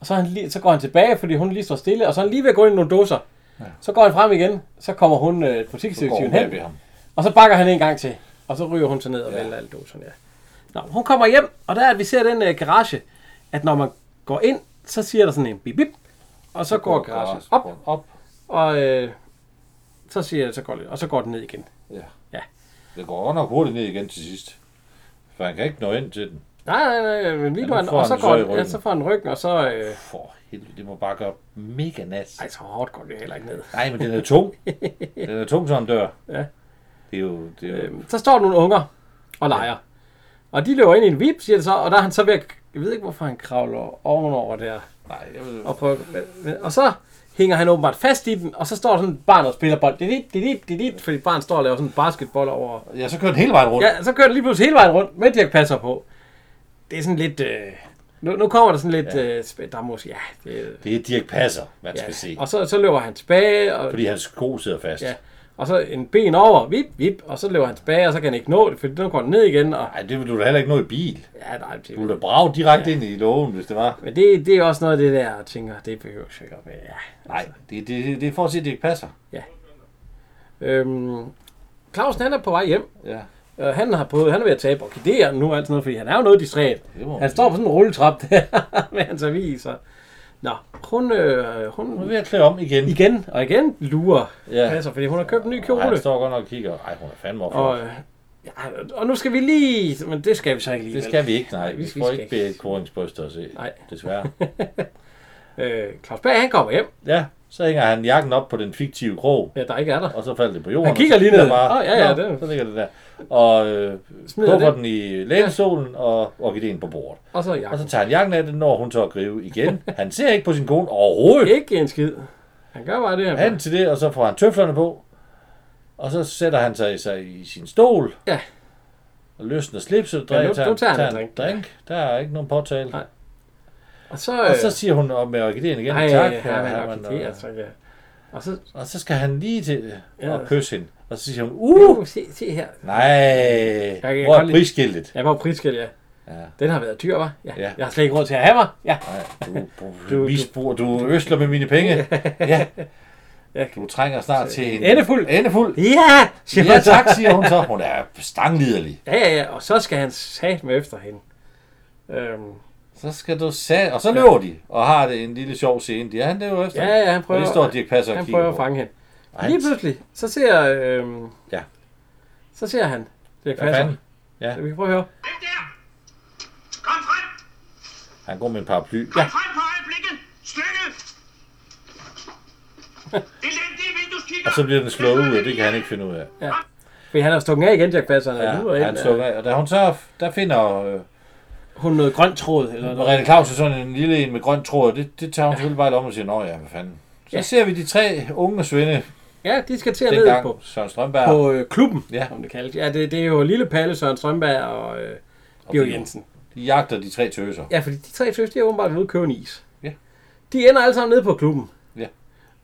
Speaker 1: og så, er han lige, så går han tilbage, fordi hun lige står stille, og så er han lige ved at gå ind i nogle dåser. Ja. Så går han frem igen, så kommer hun øh,
Speaker 2: Så går hun
Speaker 1: butiksdirektiven
Speaker 2: her
Speaker 1: hen,
Speaker 2: ved ham.
Speaker 1: og så bakker han en gang til, og så ryger hun så ned og ja.
Speaker 2: Ja.
Speaker 1: vælter alle dåserne. Ja. Nå, hun kommer hjem, og der er, at vi ser den øh, garage, at når man går ind, så siger der sådan en bip, bip og så, så går garagen
Speaker 2: garagen
Speaker 1: op,
Speaker 2: Op.
Speaker 1: og øh, så siger så går, det- og så går den ned igen.
Speaker 2: Ja.
Speaker 1: Ja.
Speaker 2: Det går godt nok hurtigt ned igen til sidst. For han kan ikke nå ind til den.
Speaker 1: Nej, nej, nej, men lige
Speaker 2: Ja,
Speaker 1: nu,
Speaker 2: nu
Speaker 1: han,
Speaker 2: får
Speaker 1: og så
Speaker 2: han
Speaker 1: går
Speaker 2: så i
Speaker 1: han, ja,
Speaker 2: ryggen.
Speaker 1: så får han ryggen, og så... Øh,
Speaker 2: For helvede, det må bare gøre mega nas.
Speaker 1: Ej, så hårdt går det heller ikke ned.
Speaker 2: Nej, men den er
Speaker 1: [laughs]
Speaker 2: tung. den er tung som en dør.
Speaker 1: Ja.
Speaker 2: Det er jo... Det er jo
Speaker 1: Øhm, så står der nogle unger og leger. Og de løber ind i en vip, siger det så, og der er han så ved at, Jeg ved ikke, hvorfor han kravler ovenover der.
Speaker 2: nej, jeg ved,
Speaker 1: Og, prøver, men- og så hænger han åbenbart fast i den, og så står der sådan et barn og spiller bold. Det er dit, det er dit, det er dit, fordi barnet står og laver sådan en basketball over.
Speaker 2: Ja, så kører den hele vejen rundt.
Speaker 1: Ja, så kører det lige pludselig hele vejen rundt, med Dirk Passer på. Det er sådan lidt... Øh, nu, nu kommer der sådan lidt... Ja. Øh, sp- der er måske... Ja, det,
Speaker 2: Det er Dirk Passer, man ja.
Speaker 1: ja.
Speaker 2: skal se.
Speaker 1: Og så, så løber han tilbage, og
Speaker 2: Fordi hans sko sidder fast.
Speaker 1: Ja.
Speaker 2: Ja.
Speaker 1: Og så en ben over, vip, vip, og så løber han tilbage, og så kan han ikke nå det, for nu går han ned igen, og...
Speaker 2: Ej, det ville du da heller ikke nå i bil.
Speaker 1: Ja, nej, det
Speaker 2: Du ville da brage direkte ja. ind i lågen, hvis det var.
Speaker 1: Men det, det er også noget af det der, jeg tænker, det behøver jeg ikke at være. Ja.
Speaker 2: Nej, det, det, det er for at sige, at det ikke passer.
Speaker 1: Øhm, Clausen, han er på vej hjem.
Speaker 2: Ja.
Speaker 1: Øh, han har prøvet, han er ved at tabe og kidere nu og alt sådan noget, fordi han er jo noget distræt.
Speaker 2: Det må man
Speaker 1: Han
Speaker 2: sige.
Speaker 1: står på sådan en rulletrap der [laughs] med hans aviser. Nå, hun, øh, hun
Speaker 2: Nu er jeg ved at klæde om igen.
Speaker 1: igen og igen lurer ja.
Speaker 2: Ja.
Speaker 1: passer, fordi hun har købt en ny
Speaker 2: Ej,
Speaker 1: kjole.
Speaker 2: jeg står godt nok og kigger. Ej, hun er fandme op.
Speaker 1: Og, øh, ja, og nu skal vi lige... Men det skal vi så ikke lige.
Speaker 2: Det
Speaker 1: vel?
Speaker 2: skal vi ikke, nej.
Speaker 1: vi
Speaker 2: Vi
Speaker 1: skal-
Speaker 2: får
Speaker 1: vi skal
Speaker 2: ikke bedt Korings bryster at se.
Speaker 1: Nej.
Speaker 2: Desværre.
Speaker 1: Øh, Claus Berg, han kommer hjem.
Speaker 2: Ja, så hænger han jakken op på den fiktive krog,
Speaker 1: Ja, der ikke er der.
Speaker 2: og så falder det på jorden.
Speaker 1: Han kigger
Speaker 2: og så
Speaker 1: lige
Speaker 2: ligger
Speaker 1: ned.
Speaker 2: Bare,
Speaker 1: Åh, ja, ja,
Speaker 2: Nå,
Speaker 1: det-
Speaker 2: Så ligger det der. Og øh,
Speaker 1: Smider
Speaker 2: kuffer
Speaker 1: det.
Speaker 2: den i lænestolen, og orkideen på bordet.
Speaker 1: Og så jakken.
Speaker 2: Og så tager han jakken af det, når hun tør at
Speaker 1: [laughs]
Speaker 2: gribe igen. Han ser ikke på sin kone overhovedet.
Speaker 1: Ikke en skid. Han gør bare det her.
Speaker 2: Han til det, og så får han tøflerne på. Og så sætter han sig, sig i sin stol.
Speaker 1: Ja.
Speaker 2: Og løsner slipset. Drik,
Speaker 1: Ja, nu- nu tager han en drink.
Speaker 2: drink. Der er ikke nogen påtale.
Speaker 1: Nej. Øh. Og så...
Speaker 2: Og så siger hun op med orkideen igen.
Speaker 1: nej,
Speaker 2: tak,
Speaker 1: tak,
Speaker 2: herre
Speaker 1: han er
Speaker 2: Hermann,
Speaker 1: nok ikke
Speaker 2: og-
Speaker 1: altså, ja. Og så...
Speaker 2: Og så skal han lige til
Speaker 1: Ja.
Speaker 2: ja. og kysse hende. Og så siger hun, uh!
Speaker 1: Uh, se, se her.
Speaker 2: Nej,
Speaker 1: kan
Speaker 2: hvor
Speaker 1: godt
Speaker 2: er
Speaker 1: lide-
Speaker 2: prisskiltet?
Speaker 1: Jeg var på prisgæld, ja.
Speaker 2: Ja.
Speaker 1: Den har været dyr, var? Ja.
Speaker 2: Ja.
Speaker 1: Jeg har slet ikke råd til at have mig. Ja.
Speaker 2: Nej, du, du,
Speaker 1: Du-
Speaker 2: du,
Speaker 1: du-
Speaker 2: misbruger, du øsler med mine
Speaker 1: [laughs]
Speaker 2: penge. Ja.
Speaker 1: Ja.
Speaker 2: Du trænger snart til en...
Speaker 1: Endefuld.
Speaker 2: Endefuld.
Speaker 1: Ja! Siger
Speaker 2: Ja,
Speaker 1: han så.
Speaker 2: tak, siger hun så. Hun er stangliderlig.
Speaker 1: Ja, ja, ja. Og så skal han sat med efter hende. Øhm,
Speaker 2: Så skal du sæt... Og så løber de, og har det en lille sjov scene. Det er han derude efter.
Speaker 1: ja, ja, han prøver...
Speaker 2: Og det står Dirk Passer og
Speaker 1: Han
Speaker 2: kigger
Speaker 1: prøver at
Speaker 2: på.
Speaker 1: fange hende.
Speaker 2: Og han-
Speaker 1: Lige pludselig, så ser... Øhm,
Speaker 2: Ja.
Speaker 1: Så ser han. Det er
Speaker 2: Hvad
Speaker 1: Passer.
Speaker 2: fanden? Ja,
Speaker 1: Vi kan prøve at høre.
Speaker 3: Den der! Kom frem!
Speaker 2: han går med en paraply.
Speaker 3: Kom ja. frem på øjeblikket!
Speaker 2: [laughs]
Speaker 3: Stykke! Elendige vindueskikker!
Speaker 2: Og så bliver den slået ud, og det kan han ikke finde ud af.
Speaker 1: Fordi han har stukket af igen, Jack Passer. Han er luret
Speaker 2: Ja,
Speaker 1: ind,
Speaker 2: han
Speaker 1: øh,
Speaker 2: slukker af. Og da hun så, der finder øh,
Speaker 1: Hun noget grønt tråd, eller noget.
Speaker 2: Marianne Claus sådan en lille en med grøn tråd, og det, det tager hun ja. selvfølgelig bare om og siger, nå ja, hvad fanden. Så
Speaker 1: Ja.
Speaker 2: ja. ser vi de tre unge svende
Speaker 1: Ja, de skal til at ned på,
Speaker 2: dengang, Søren Strømberg
Speaker 1: på øh, klubben, ja.
Speaker 2: Ja.
Speaker 1: som det kaldes. Ja, det, det er jo Lille Palle, Søren Strømberg og øh, Georg
Speaker 2: Bio.
Speaker 1: Jensen.
Speaker 2: de jagter de tre tøser.
Speaker 1: Ja, fordi de tre tøs, de er åbenbart ude at købe en is.
Speaker 2: Ja.
Speaker 1: De ender alle sammen nede på klubben.
Speaker 2: Ja.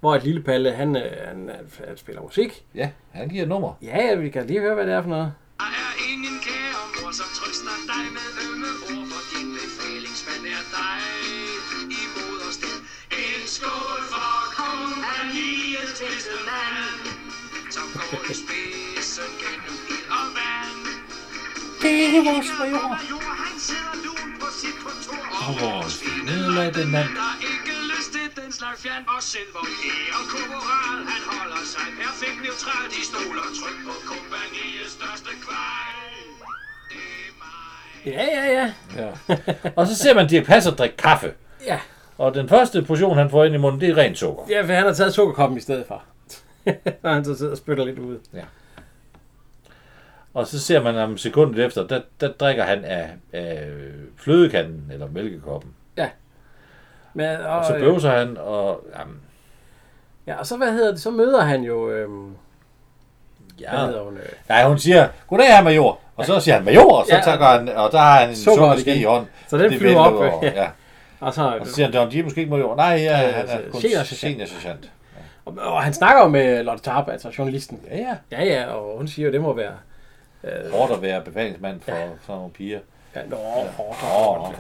Speaker 1: Hvor et Lille Palle, han, øh, han, øh, han spiller musik.
Speaker 2: Ja, han giver et nummer.
Speaker 1: Ja, ja, vi kan lige høre, hvad det er for noget.
Speaker 3: Der er ingen kære mor, som trøster dig med ømme ord, for din befalingsmand er dig. sidste mand, som går i spidsen gennem ild og vand.
Speaker 1: Det er vores
Speaker 3: Major,
Speaker 1: major.
Speaker 3: major, han sidder lun på sit kontor
Speaker 2: Og vores
Speaker 3: den
Speaker 2: nedladende mand.
Speaker 3: Der er ikke lyst til den slags fjern og silver Ære korporal, han holder sig perfekt neutral De stoler tryk på kompaniets største kvej Det er mig
Speaker 1: Ja, ja, ja.
Speaker 2: Ja. [laughs] Og så ser man Dirk Passer drikke kaffe.
Speaker 1: Ja,
Speaker 2: Og den første portion, han får ind i munden, det er rent sukker.
Speaker 1: ja for han har taget sukkerkoppen i stedet
Speaker 2: [laughs]
Speaker 1: for. Når han så sidder og spytter lidt ud.
Speaker 2: Og så ser man om sekundet efter, der, der drikker han af, af flødekanden eller mælkekoppen.
Speaker 1: Men, øh,
Speaker 2: Og så bøvser han, og jamen,
Speaker 1: Ja, og så hvad hedder det? Så møder han jo... Øhm, hvad
Speaker 2: ja.
Speaker 1: hedder hun? Øh,
Speaker 2: Nej, hun siger, goddag her, major. Og så siger han, major, og så
Speaker 1: Ja.
Speaker 2: ja. tager han, og der har han en
Speaker 1: Sukker
Speaker 2: sukkerske
Speaker 1: igen.
Speaker 2: i hånden.
Speaker 1: Så den
Speaker 2: Det
Speaker 1: flyver
Speaker 2: vælter
Speaker 1: op,
Speaker 2: over,
Speaker 1: ja. [laughs]
Speaker 2: ja.
Speaker 1: og så,
Speaker 2: Og så siger han, John, de er måske ikke major. Nej, ja, han
Speaker 1: altså,
Speaker 2: er kun
Speaker 1: seniorsergeant.
Speaker 2: seniorsergeant.
Speaker 1: og, og han snakker jo med Lotte Tarp, altså journalisten.
Speaker 2: Ja, ja.
Speaker 1: Ja, ja, og hun siger jo, det må være...
Speaker 2: Hårdt at være befalingsmand for ja. sådan nogle piger.
Speaker 1: Ja, nå, hårdt,
Speaker 2: Åh,
Speaker 1: hårdt,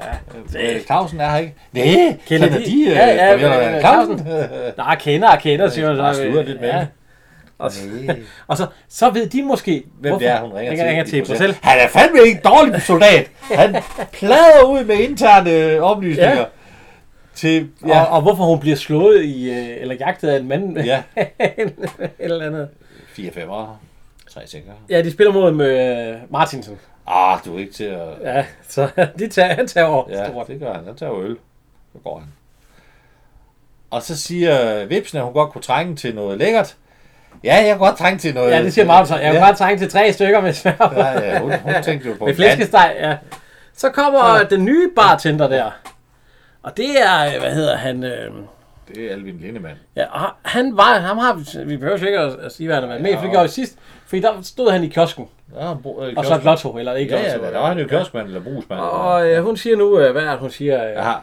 Speaker 1: ja.
Speaker 2: Øh, Clausen er her ikke. Nej,
Speaker 1: Kender
Speaker 2: kender
Speaker 1: de?
Speaker 2: de?
Speaker 1: Ja, ja,
Speaker 2: øh, Pernille
Speaker 1: øh,
Speaker 2: Clausen.
Speaker 1: Der er kender og kender, siger man så.
Speaker 2: Bare slutter lidt med
Speaker 1: Ja.
Speaker 2: ja.
Speaker 1: Og, og så, så ved de måske,
Speaker 2: Hvem det er, hun ringer til.
Speaker 1: til. Ringer
Speaker 2: i
Speaker 1: til Bruxelles.
Speaker 2: Han er fandme ikke en dårlig soldat. Han plader ud med interne øh, oplysninger. Til,
Speaker 1: Ja.
Speaker 2: ja,
Speaker 1: Og, og, hvorfor hun bliver slået i, øh, eller jagtet af en mand. [laughs]
Speaker 2: ja.
Speaker 1: et eller andet.
Speaker 2: 4 5'ere. 3 6'ere.
Speaker 1: Ja, de spiller mod øh, Martinsen.
Speaker 2: Ah, du er ikke til at...
Speaker 1: Ja, så [laughs] de tager, han tager over ja,
Speaker 2: Ja,
Speaker 1: stort.
Speaker 2: det gør han. Han tager jo øl. Så går han. Og så siger Vipsen, at hun godt kunne trænge til noget lækkert. Ja, jeg kunne godt trænge til noget...
Speaker 1: Ja, det siger Martin så. Jeg kan
Speaker 2: ja.
Speaker 1: bare trænge til tre stykker med svær.
Speaker 2: Ja, ja, hun, hun tænkte jo
Speaker 1: [laughs]
Speaker 2: på
Speaker 1: Med
Speaker 2: en mand.
Speaker 1: flæskesteg, ja. Så kommer den nye bartender der. Og det er, øh, hvad hedder han? Øh,
Speaker 2: Det er Alvin Lindemann.
Speaker 1: ja, og han- han var, ham har vi, vi behøver sikkert at, at sige, hvad han har været med, i, for det gjorde vi sidst. Fordi der stod han i kiosken,
Speaker 2: Ja, han bor, øh,
Speaker 1: og så et
Speaker 2: kiosk-
Speaker 1: lotto, eller ikke
Speaker 2: Ja,
Speaker 1: lotto.
Speaker 2: ja, der var han jo kioskmand eller brugsmand.
Speaker 1: Og øh, hun siger nu, øh, hvad er det, hun siger? Øh,
Speaker 2: Aha.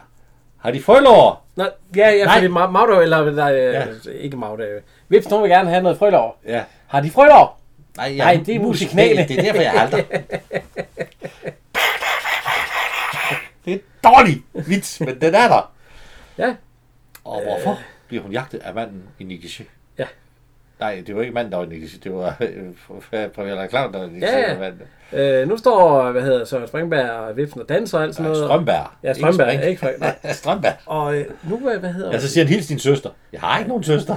Speaker 2: Har de frølår?
Speaker 1: Nå, ja, ja,
Speaker 2: Nej.
Speaker 1: fordi Ma- Magda, eller øh, nej, ja. ikke Magda. øh, Vips, hun vil gerne have noget frølår.
Speaker 2: Ja.
Speaker 1: Har de frølår?
Speaker 2: Nej,
Speaker 1: Nej, det er musikanale.
Speaker 2: Det er derfor, jeg
Speaker 1: [laughs]
Speaker 2: halter. det er en dårlig vits, men den er der.
Speaker 1: Ja.
Speaker 2: Og hvorfor bliver hun jagtet af manden i Nikishi?
Speaker 1: Øh. Ja.
Speaker 2: Nej, det var ikke manden, der var i Nikishi. Det var øh, [laughs] Premier Clown, der var i Nikishi.
Speaker 1: Ja, ja. Øh, nu står, hvad hedder Søren Springberg og Vipsen og danser og alt sådan noget.
Speaker 2: Strømberg.
Speaker 1: Ja, Strømberg,
Speaker 2: Spring.
Speaker 1: ikke Spring- nej.
Speaker 2: [laughs] Strømberg.
Speaker 1: Og øh, nu, hvad, hvad hedder
Speaker 2: Ja, så siger han, hils din søster. Jeg har ikke nogen
Speaker 1: [laughs]
Speaker 2: søster.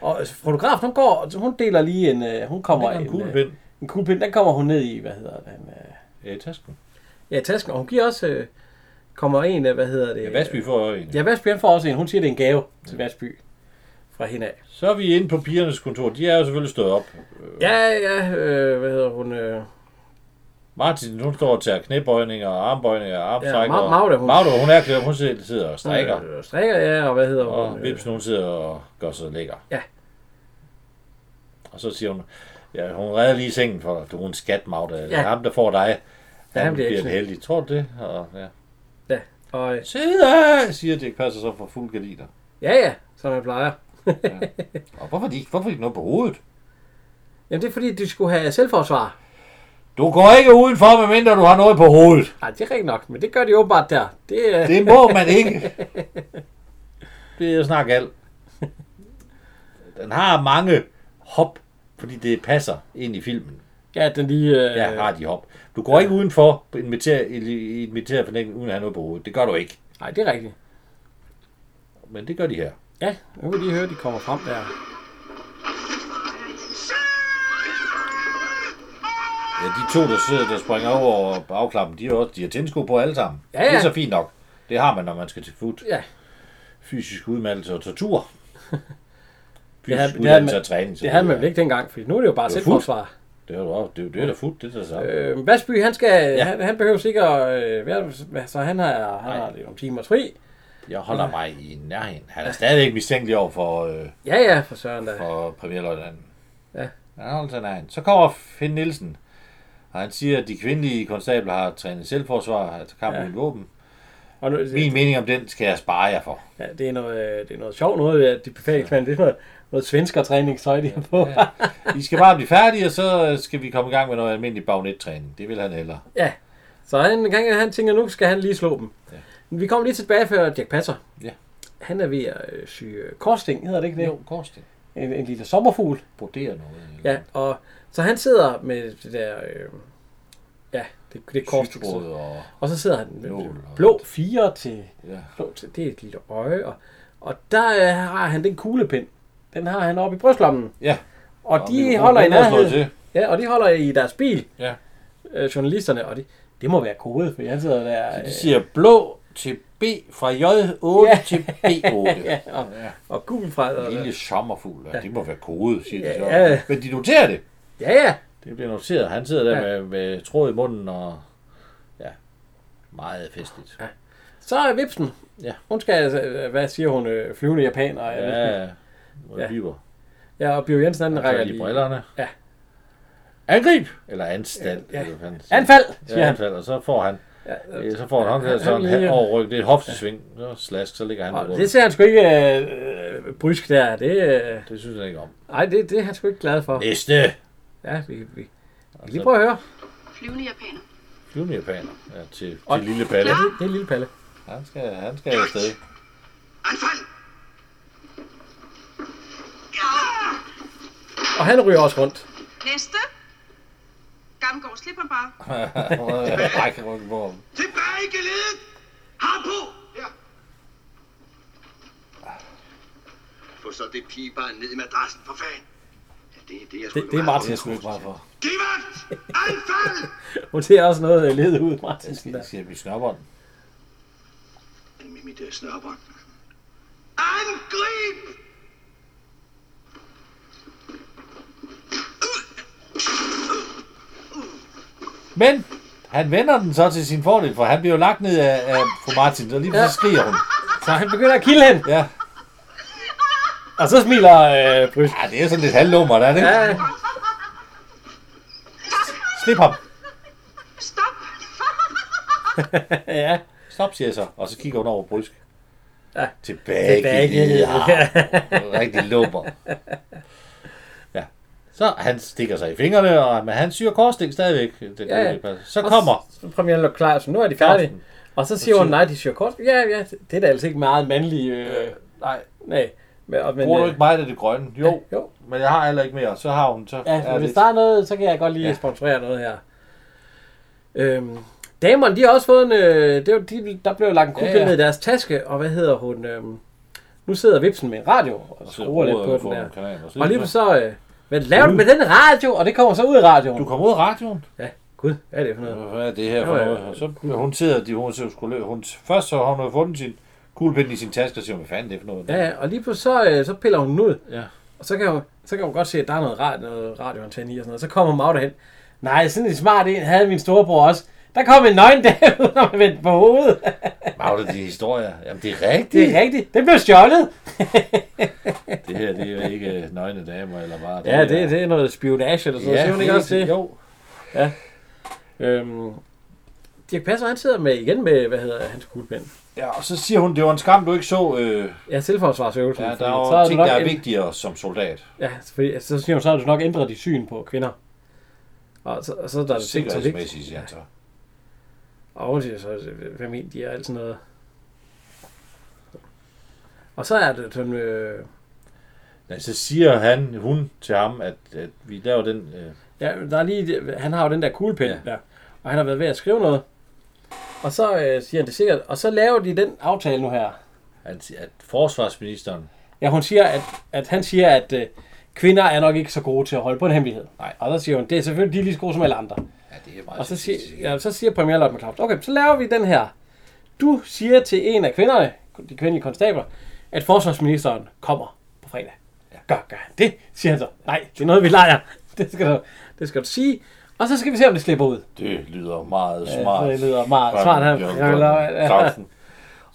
Speaker 1: Og fotografen, hun går, og hun deler lige en, øh, hun kommer
Speaker 2: Det er en
Speaker 1: øh,
Speaker 2: kuglepind.
Speaker 1: en kuglepind, den kommer hun ned i, hvad hedder den, øh,
Speaker 2: Ja, i tasken.
Speaker 1: ja, tasken, og hun giver også, øh, kommer en, øh, hvad hedder det?
Speaker 2: Ja, Vasby får øjen.
Speaker 1: Ja, Vasby, han får også en, hun siger, det er en gave til Vasby fra hende af.
Speaker 2: Så er vi inde på pigernes kontor. De er jo selvfølgelig stået op.
Speaker 1: Ja, ja, øh, hvad hedder hun, øh,
Speaker 2: Martin, hun står og tager knæbøjninger, armbøjninger, armstrækker.
Speaker 1: Ja, Ma- Magda, hun-
Speaker 2: Magda, hun er klædt. Hun sidder- sidder og strækker.
Speaker 1: øh, strikker, ja, og hvad hedder hun?
Speaker 2: Og
Speaker 1: øh,
Speaker 2: Vips, hun sidder og gør sig lækker.
Speaker 1: Ja.
Speaker 2: Og så siger hun, ja, hun redder lige sengen for dig. Du er en skat, Magda. Ja.
Speaker 1: Ja.
Speaker 2: Ham, der får dig.
Speaker 1: Ja,
Speaker 2: Han,
Speaker 1: han bliver
Speaker 2: bliver,
Speaker 1: ikke
Speaker 2: bliver
Speaker 1: sådan.
Speaker 2: heldig. Tror du det? Og, ja.
Speaker 1: Ja, og, øh,
Speaker 2: Sidder, siger Dirk Passer så for fuld gardiner.
Speaker 1: ja, ja, som jeg plejer.
Speaker 2: Og hvorfor de, hvorfor de ikke noget på hovedet?
Speaker 1: Jamen, det er fordi, de skulle have selvforsvar.
Speaker 2: Du går ikke udenfor, medmindre du har noget på hovedet.
Speaker 1: Nej, det er rigtigt nok, men det gør de åbenbart der. Det, øh,
Speaker 2: Det må man
Speaker 1: [laughs]
Speaker 2: ikke. Det er jo snak alt. Den har mange hop, fordi det passer ind i filmen.
Speaker 1: ja, den lige... Øh,
Speaker 2: Ja, har de hop. Du går ikke udenfor på en militær, i en militær fornemmelse uden at have noget på hovedet. Det gør du ikke.
Speaker 1: Nej, det er rigtigt.
Speaker 2: Men det gør de her.
Speaker 1: Ja, nu kan vi lige høre, at de kommer frem der.
Speaker 2: Ja, de to, der sidder, der springer over bagklappen, de har, også, de har tændsko på alle sammen.
Speaker 1: Ja, ja.
Speaker 2: Det er så fint nok. Det har man, når man skal til fut.
Speaker 1: Ja.
Speaker 2: Fysisk udmattelse og [laughs] tortur.
Speaker 1: Det havde-
Speaker 2: Fysisk
Speaker 1: det havde
Speaker 2: udmattelse
Speaker 1: man-
Speaker 2: og træning. så
Speaker 1: Det havde man vel ikke dengang, for nu er det jo bare
Speaker 2: Det er
Speaker 1: selvforsvar.
Speaker 2: Det er jo også- det, er jo det, der er fut. Det er det samme.
Speaker 1: Øh, Vasby, han, skal, ja.
Speaker 2: Ja.
Speaker 1: han, han behøver sikkert øh, være, så han har, han har lidt om timers fri.
Speaker 2: Jeg holder mig i nærheden. Han er stadigvæk mistænkelig over for, øh,
Speaker 1: Ja, ja, for søren da.
Speaker 2: for premierløjtnanten.
Speaker 1: Ja.
Speaker 2: Han holder sig i nærheden. Så kommer Finn Nielsen, og han siger, at de kvindelige konstabler har trænet selvforsvar, altså kamp
Speaker 1: Ja.
Speaker 2: ja. uden våben.
Speaker 1: Og nu,
Speaker 2: Min mening om den skal jeg spare jer for.
Speaker 1: ja, det, er noget, øh, det er noget sjovt noget, at de befalingsmænd, det er noget, noget svensker træningstøj, de har på. Ja,
Speaker 2: I skal bare blive færdige, og så skal vi komme i gang med noget almindelig bagnettræning. Det vil han hellere.
Speaker 1: [laughs] ja. Så han, han, han tænker, nu skal han lige slå dem. Ja. Vi kommer lige tilbage før Jack Passer.
Speaker 2: Ja.
Speaker 1: Han er ved at øh, sy øh, korsting, hedder det ikke det?
Speaker 2: Korsten.
Speaker 1: en, en lille sommerfugl.
Speaker 2: Brodere noget. eller-
Speaker 1: Ja, og så han sidder med det der, øh, ja, det, det kors,
Speaker 2: Sytråd og...
Speaker 1: og så sidder han med
Speaker 2: Nål og-
Speaker 1: blå fire til,
Speaker 2: Ja.
Speaker 1: blå til, det er et lille øje, og, og der øh, har han den kuglepind. Den har han oppe i brystlommen.
Speaker 2: ja.
Speaker 1: Og, og de
Speaker 2: mikrofonen
Speaker 1: holder i
Speaker 2: den er slået
Speaker 1: nærheden.
Speaker 2: til.
Speaker 1: Ja, og de holder i deres bil,
Speaker 2: Ja.
Speaker 1: øh, journalisterne, og de, det må være kode, for jeg sidder der... øh,
Speaker 2: De siger blå til B fra J8
Speaker 1: Ja.
Speaker 2: til B8.
Speaker 1: [laughs] ja, og, og gul fra... Og,
Speaker 2: Lille sommerfugl, ja. det må være kode, siger de så.
Speaker 1: Ja, ja.
Speaker 2: Men de noterer det.
Speaker 1: ja, ja.
Speaker 2: Det bliver noteret. Han sidder der
Speaker 1: Ja.
Speaker 2: med, med tråd i munden og... Ja, meget festligt. Ja,
Speaker 1: Så er Vipsen.
Speaker 2: Ja.
Speaker 1: Hun skal, altså, øh, hvad siger hun, øh, flyvende japaner. Ja,
Speaker 2: ja.
Speaker 1: Ja.
Speaker 2: ja. Biber.
Speaker 1: ja og Bio Jensen, han
Speaker 2: Så er
Speaker 1: rækker
Speaker 2: de
Speaker 1: lige.
Speaker 2: brillerne.
Speaker 1: Ja.
Speaker 2: Angrib! Eller anstand.
Speaker 1: Ja.
Speaker 2: Ja. Eller, han,
Speaker 1: Anfald, siger
Speaker 2: Ja,
Speaker 1: han.
Speaker 2: anfald, og så får han, ja, så får han ham der,
Speaker 1: han
Speaker 2: så han
Speaker 1: lige-
Speaker 2: lige... overryk, det er et hoftesving, så slask, så ligger han på
Speaker 1: Og
Speaker 2: det,
Speaker 1: det ser han sgu ikke øh, øh, brysk der. Det, øh,
Speaker 2: det synes jeg ikke om.
Speaker 1: ej, det, det er han sgu ikke glad for.
Speaker 2: Næste!
Speaker 1: Ja, vi, vi, vi kan lige
Speaker 2: så-
Speaker 1: prøve at høre.
Speaker 4: Flyvende japaner.
Speaker 2: Flyvende japaner, ja, til,
Speaker 1: Og-
Speaker 2: til lille palle.
Speaker 1: Det er lille Palle.
Speaker 2: Han skal, han skal
Speaker 1: [laughs]
Speaker 2: afsted.
Speaker 3: Anfald!
Speaker 4: Ja.
Speaker 1: Og han ryger også rundt.
Speaker 4: Næste. Gammelgaard, slip ham bare.
Speaker 2: Jeg kan rykke på ham.
Speaker 3: Tilbage i geledet! Har på! Ja. Få så det pigebarn ned i madrassen, for fanden. Ja, det, er det, jeg
Speaker 1: Det, det er Martin sgu ikke meget for.
Speaker 3: Giv vagt! Anfald!
Speaker 1: Hun ser også noget øh, ledet ud, Martin.
Speaker 2: Det siger vi snørbånd.
Speaker 3: Med mit uh, snørbånd. Angrib!
Speaker 2: Men han vender den så til sin fordel, for han bliver jo lagt ned af, af fru Martin, så lige
Speaker 1: Ja.
Speaker 2: så skriger hun.
Speaker 1: Så han begynder at kilde hende.
Speaker 2: Ja.
Speaker 1: Og så smiler øh, Brysk.
Speaker 2: ja, det er sådan lidt halvlummer, der er det?
Speaker 1: Ja,
Speaker 2: Ja. Slip ham.
Speaker 1: [laughs]
Speaker 4: Stop.
Speaker 1: [laughs] ja.
Speaker 2: Stop, siger jeg så. Og så kigger hun over på brysk.
Speaker 1: Ja.
Speaker 2: Tilbage,
Speaker 1: Tilbage,
Speaker 2: Tilbage i det
Speaker 1: ja.
Speaker 2: her. Rigtig lummer. Ja. Så han stikker sig i fingrene, og, men han syr korsning stadigvæk. Den
Speaker 1: Ja, ja.
Speaker 2: ja. Så kommer.
Speaker 1: Så er premieren lå klar, så nu er de færdige. Og så siger hun, nej, de siger kort. Ja, ja, det er da altså ikke meget mandlige... Øh,
Speaker 2: Nej,
Speaker 1: nej. Men, og- men,
Speaker 2: bruger du
Speaker 1: øh,
Speaker 2: ikke meget af det grønne? Jo,
Speaker 1: Jo.
Speaker 2: men jeg har heller ikke mere. Så har hun så.
Speaker 1: Ja,
Speaker 2: er
Speaker 1: ja hvis
Speaker 2: lidt-
Speaker 1: der er noget, så kan jeg godt lige ja.
Speaker 2: Ja.
Speaker 1: sponsorere noget her. Øhm, damerne, de har også fået en... Øh, det var, de, der blev lagt en kuglepind ja, ja.
Speaker 2: Ja, ja.
Speaker 1: ned i deres taske, og hvad hedder hun? Øhm, nu sidder Vipsen med en radio og
Speaker 2: så
Speaker 1: skruer lidt
Speaker 2: roder
Speaker 1: på
Speaker 2: jeg
Speaker 1: den
Speaker 2: på
Speaker 1: der.
Speaker 2: en kanal, og så-
Speaker 1: Og lige så... Øh, hvad laver du med den radio? Og det kommer så ud af radioen.
Speaker 2: Du kommer ud af radioen.
Speaker 1: Ja, gud, hvad er det for noget?
Speaker 2: Hvad er det her for
Speaker 1: Ja, ja.
Speaker 2: noget? Og så hun sidder, de, hun sidder skulle, hun, først så har hun jo fundet sin kuglepind i sin taske og siger, hvad fanden er det for noget?
Speaker 1: Ja, ja, og lige pludselig så, øh, så piller hun den ud.
Speaker 2: Ja.
Speaker 1: Og så kan, hun, så kan hun godt se, at der er noget, radio, noget radioantenne i og sådan noget. Så kommer Magda hen. Nej, sådan en smart en havde min storebror også. Der kom en [laughs] nøgen dame, ud, når man vendte på hovedet.
Speaker 2: Magde de historier. Jamen, det er rigtigt.
Speaker 1: Det er rigtigt. Den blev stjålet.
Speaker 2: Det her, det er jo ikke øh, nøgne damer eller bare...
Speaker 1: Ja, det, det er noget spionage eller sådan noget. Siger hun ikke også det?
Speaker 2: Jo.
Speaker 1: Øhm, Dirk Passer, han sidder med, igen med, hvad hedder hans kuglepind.
Speaker 2: Ja, og så siger hun, det var en skam, du ikke så... Øh,
Speaker 1: Ja, selvforsvarsøvelsen.
Speaker 2: ja, der
Speaker 1: fordi
Speaker 2: er
Speaker 1: så
Speaker 2: jo ting,
Speaker 1: du nok
Speaker 2: der er
Speaker 1: en-
Speaker 2: vigtigere som soldat.
Speaker 1: Ja, fordi, altså, så siger hun, så har du nok ændret dit syn på kvinder. Og så, og så er der ting, som er vigtigt.
Speaker 2: Sikkerhedsmæssigt, ja. Så.
Speaker 1: Og hun siger så, hvad mener de og alt sådan noget. Og så er det sådan, øh,
Speaker 2: Ja, så siger han, hun til ham, at, at vi laver den... Øh,
Speaker 1: ja, der er lige, han har jo den der kuglepind ja.
Speaker 2: Ja.
Speaker 1: der, og han har været ved at skrive noget. Og så øh, siger han det sikkert, og så laver de den aftale nu her.
Speaker 2: at, at forsvarsministeren
Speaker 1: Ja, hun siger, at, at han siger, at øh, kvinder er nok ikke så gode til at holde på en hemmelighed.
Speaker 2: Nej.
Speaker 1: Og så siger hun, det er selvfølgelig de er lige så gode som alle andre.
Speaker 2: Ja, det er meget
Speaker 1: Og så siger,
Speaker 2: sexistisk.
Speaker 1: ja, så siger Premier Lord McCloud, okay, så laver vi den her. Du siger til en af kvinderne, de kvindelige konstabler, at forsvarsministeren kommer på fredag. Gør, gør han det, siger han så. Nej, det er noget, vi leger. [laughs] Det skal du, det skal du sige. Og så skal vi se, om det slipper ud.
Speaker 2: Det lyder meget
Speaker 1: Ja,
Speaker 2: smart.
Speaker 1: det lyder meget
Speaker 2: Fra
Speaker 1: smart, han-
Speaker 2: Jørgen
Speaker 1: Jørgen Lund. Ja.
Speaker 2: Clausen.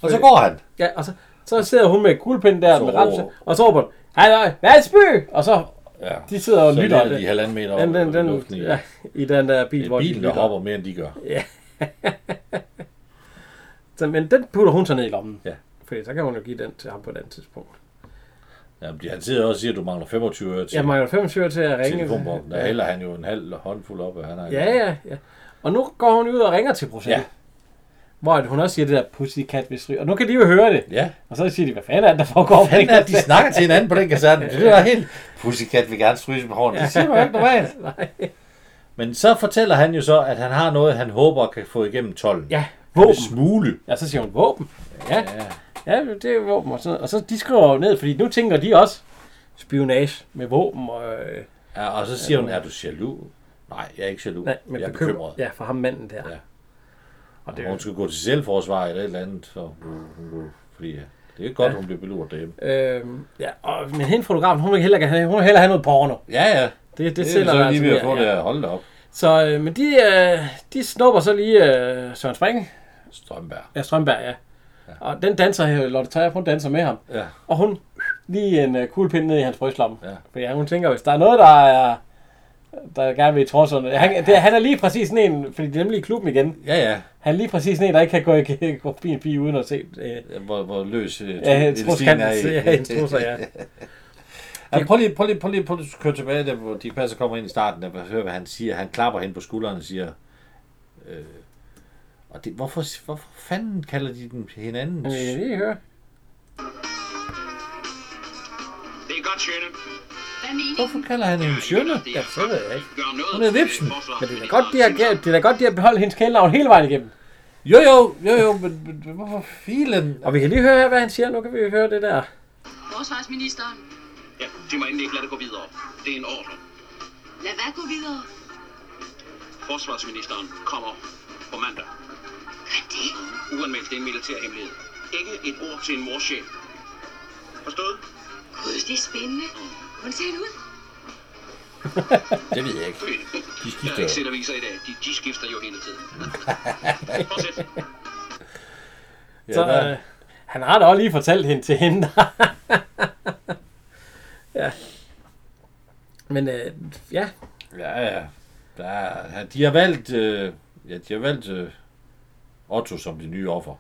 Speaker 2: Og så går han.
Speaker 1: Ja, og så, så sidder hun med kuglepinden der
Speaker 2: Så
Speaker 1: med
Speaker 2: råber-
Speaker 1: ramse, og så råber hun, hej, hej, spøg! Og så,
Speaker 2: Ja.
Speaker 1: de sidder og
Speaker 2: så
Speaker 1: lytter.
Speaker 2: ligger de halvanden meter
Speaker 1: den, den, den,
Speaker 2: luften i.
Speaker 1: ja, i den der bil,
Speaker 2: Det
Speaker 1: hvor
Speaker 2: er
Speaker 1: de
Speaker 2: bilen, der
Speaker 1: lytter.
Speaker 2: hopper mere, end de gør.
Speaker 1: Så, men den putter hun så ned i lommen.
Speaker 2: Ja.
Speaker 1: Fordi så kan hun jo give den til ham på et andet tidspunkt.
Speaker 2: Jamen, de- han sidder også og siger, at du mangler 25 øre til
Speaker 1: Jeg mangler 25 til at ringe.
Speaker 2: telefonbomben. Der hælder han jo en halv håndfuld op af. Han har
Speaker 1: Ja, ja, ja. Og nu går hun ud og ringer til Bruxelles. Ja.
Speaker 2: Ja.
Speaker 1: Hvor at hun også siger det der pussycat visteri. Og nu kan de jo høre det.
Speaker 2: Ja.
Speaker 1: Og så siger de, hvad fanden er det, der foregår? på den
Speaker 2: Fanden er, at de
Speaker 1: kaserne?
Speaker 2: snakker til hinanden på den kaserne. Det er helt... Pussycat vil gerne stryge med hånden. Det siger man jo ikke normalt.
Speaker 1: [laughs] Nej.
Speaker 2: Men så fortæller han jo så, at han har noget, han håber kan få igennem tolden.
Speaker 1: [laughs] Ja,
Speaker 2: Våben.
Speaker 1: våben.
Speaker 2: Smule.
Speaker 1: Ja, så siger hun våben. Ja, ja det er våben. Og, sådan, og så de skriver jo ned, fordi nu tænker de også spionage med våben. Og, øh,
Speaker 2: Ja, og så siger hun, er du jaloux? Nej, jeg er ikke jaloux.
Speaker 1: nej,
Speaker 2: jeg
Speaker 1: med
Speaker 2: er bekymret.
Speaker 1: Ja, for ham manden der.
Speaker 2: Ja.
Speaker 1: Og
Speaker 2: Hun
Speaker 1: det,
Speaker 2: skal gå til selvforsvar eller et eller andet. Så hun, hun, hun, fordi ja, det er godt, ja. hun bliver beluret derhjemme.
Speaker 1: øh, ja, og, men hende fotografen, hun vil hellere, have- hun vil hellere have noget porno.
Speaker 2: Ja, ja.
Speaker 1: Det, det,
Speaker 2: Det,
Speaker 1: det
Speaker 2: det er
Speaker 1: sælger
Speaker 2: så
Speaker 1: altså
Speaker 2: lige ved at
Speaker 1: mere,
Speaker 2: få det at holde op.
Speaker 1: Så, øh, men de, øh, de snupper så lige øh, Søren Spring.
Speaker 2: Strømberg.
Speaker 1: Ja, Strømberg, ja. ja. Og den danser, her, Lotte Tøjer, hun danser med ham.
Speaker 2: Ja.
Speaker 1: Og hun lige en øh, kuglepind ned i hans brystlomme.
Speaker 2: Ja.
Speaker 1: Fordi ja, hun tænker, hvis der er noget, der er der gerne vil i Torsund. Han, det, han er lige præcis sådan en, fordi det er nemlig i klubben igen.
Speaker 2: Ja, ja.
Speaker 1: Han er lige præcis sådan en, der ikke kan gå, i- [laughs] gå forbi en pige uden at se. Øh,
Speaker 2: Hvor, hvor løs øh,
Speaker 1: ja, hendes
Speaker 2: elastinen
Speaker 1: trusser kan
Speaker 2: er
Speaker 1: se.
Speaker 2: i-
Speaker 1: Ja, hendes
Speaker 2: [laughs]
Speaker 1: trusser, ja.
Speaker 2: Ja, prøv lige, prøv lige, prøv lige, prøv lige at køre tilbage, der, hvor de passer kommer ind i starten, der hører, hvad han siger. Han klapper hen på skulderen og siger, øh, og det, hvorfor, hvorfor fanden kalder de den hinanden?
Speaker 1: Men jeg kan lige høre.
Speaker 3: Det er godt, Sjøne.
Speaker 4: Hvad mener I?
Speaker 2: Hvorfor kalder han hende Sjønne?
Speaker 3: Ja,
Speaker 1: så ved jeg ikke.
Speaker 3: Gør noget
Speaker 2: Hun er vipsen.
Speaker 3: til forsvar.
Speaker 1: Men det er da godt, de har, det er da godt, de har beholdt hendes kælenavn hele vejen igennem.
Speaker 2: Jo, jo, jo, jo, men, men, men hvorfor filen?
Speaker 1: Og vi kan lige høre, her, hvad han siger. Nu kan vi høre det der.
Speaker 4: Forsvarsministeren.
Speaker 3: Ja, de må endelig ikke lade det gå videre. Det er en ordre.
Speaker 4: Lad hvad gå videre?
Speaker 3: Forsvarsministeren kommer på mandag.
Speaker 4: Gør det?
Speaker 3: Uanmeldt, det er en militær hemmelighed. Ikke et ord til en morschef. Forstået?
Speaker 4: Gud, det er spændende. Hvordan ser han ud?
Speaker 2: Det ved jeg ikke. De
Speaker 3: Jeg har
Speaker 2: skifter
Speaker 3: ikke set
Speaker 2: jo.
Speaker 3: aviser i dag. De, de skifter jo hele tiden. Fortsæt.
Speaker 2: Ja,
Speaker 1: Så,
Speaker 2: der,
Speaker 1: øh, han har da også lige fortalt hende til hende. [laughs] ja. Men øh, ja,
Speaker 2: ja, ja. Der, er- han- de har valgt, øh, ja, de har valgt øh, Otto som det nye offer.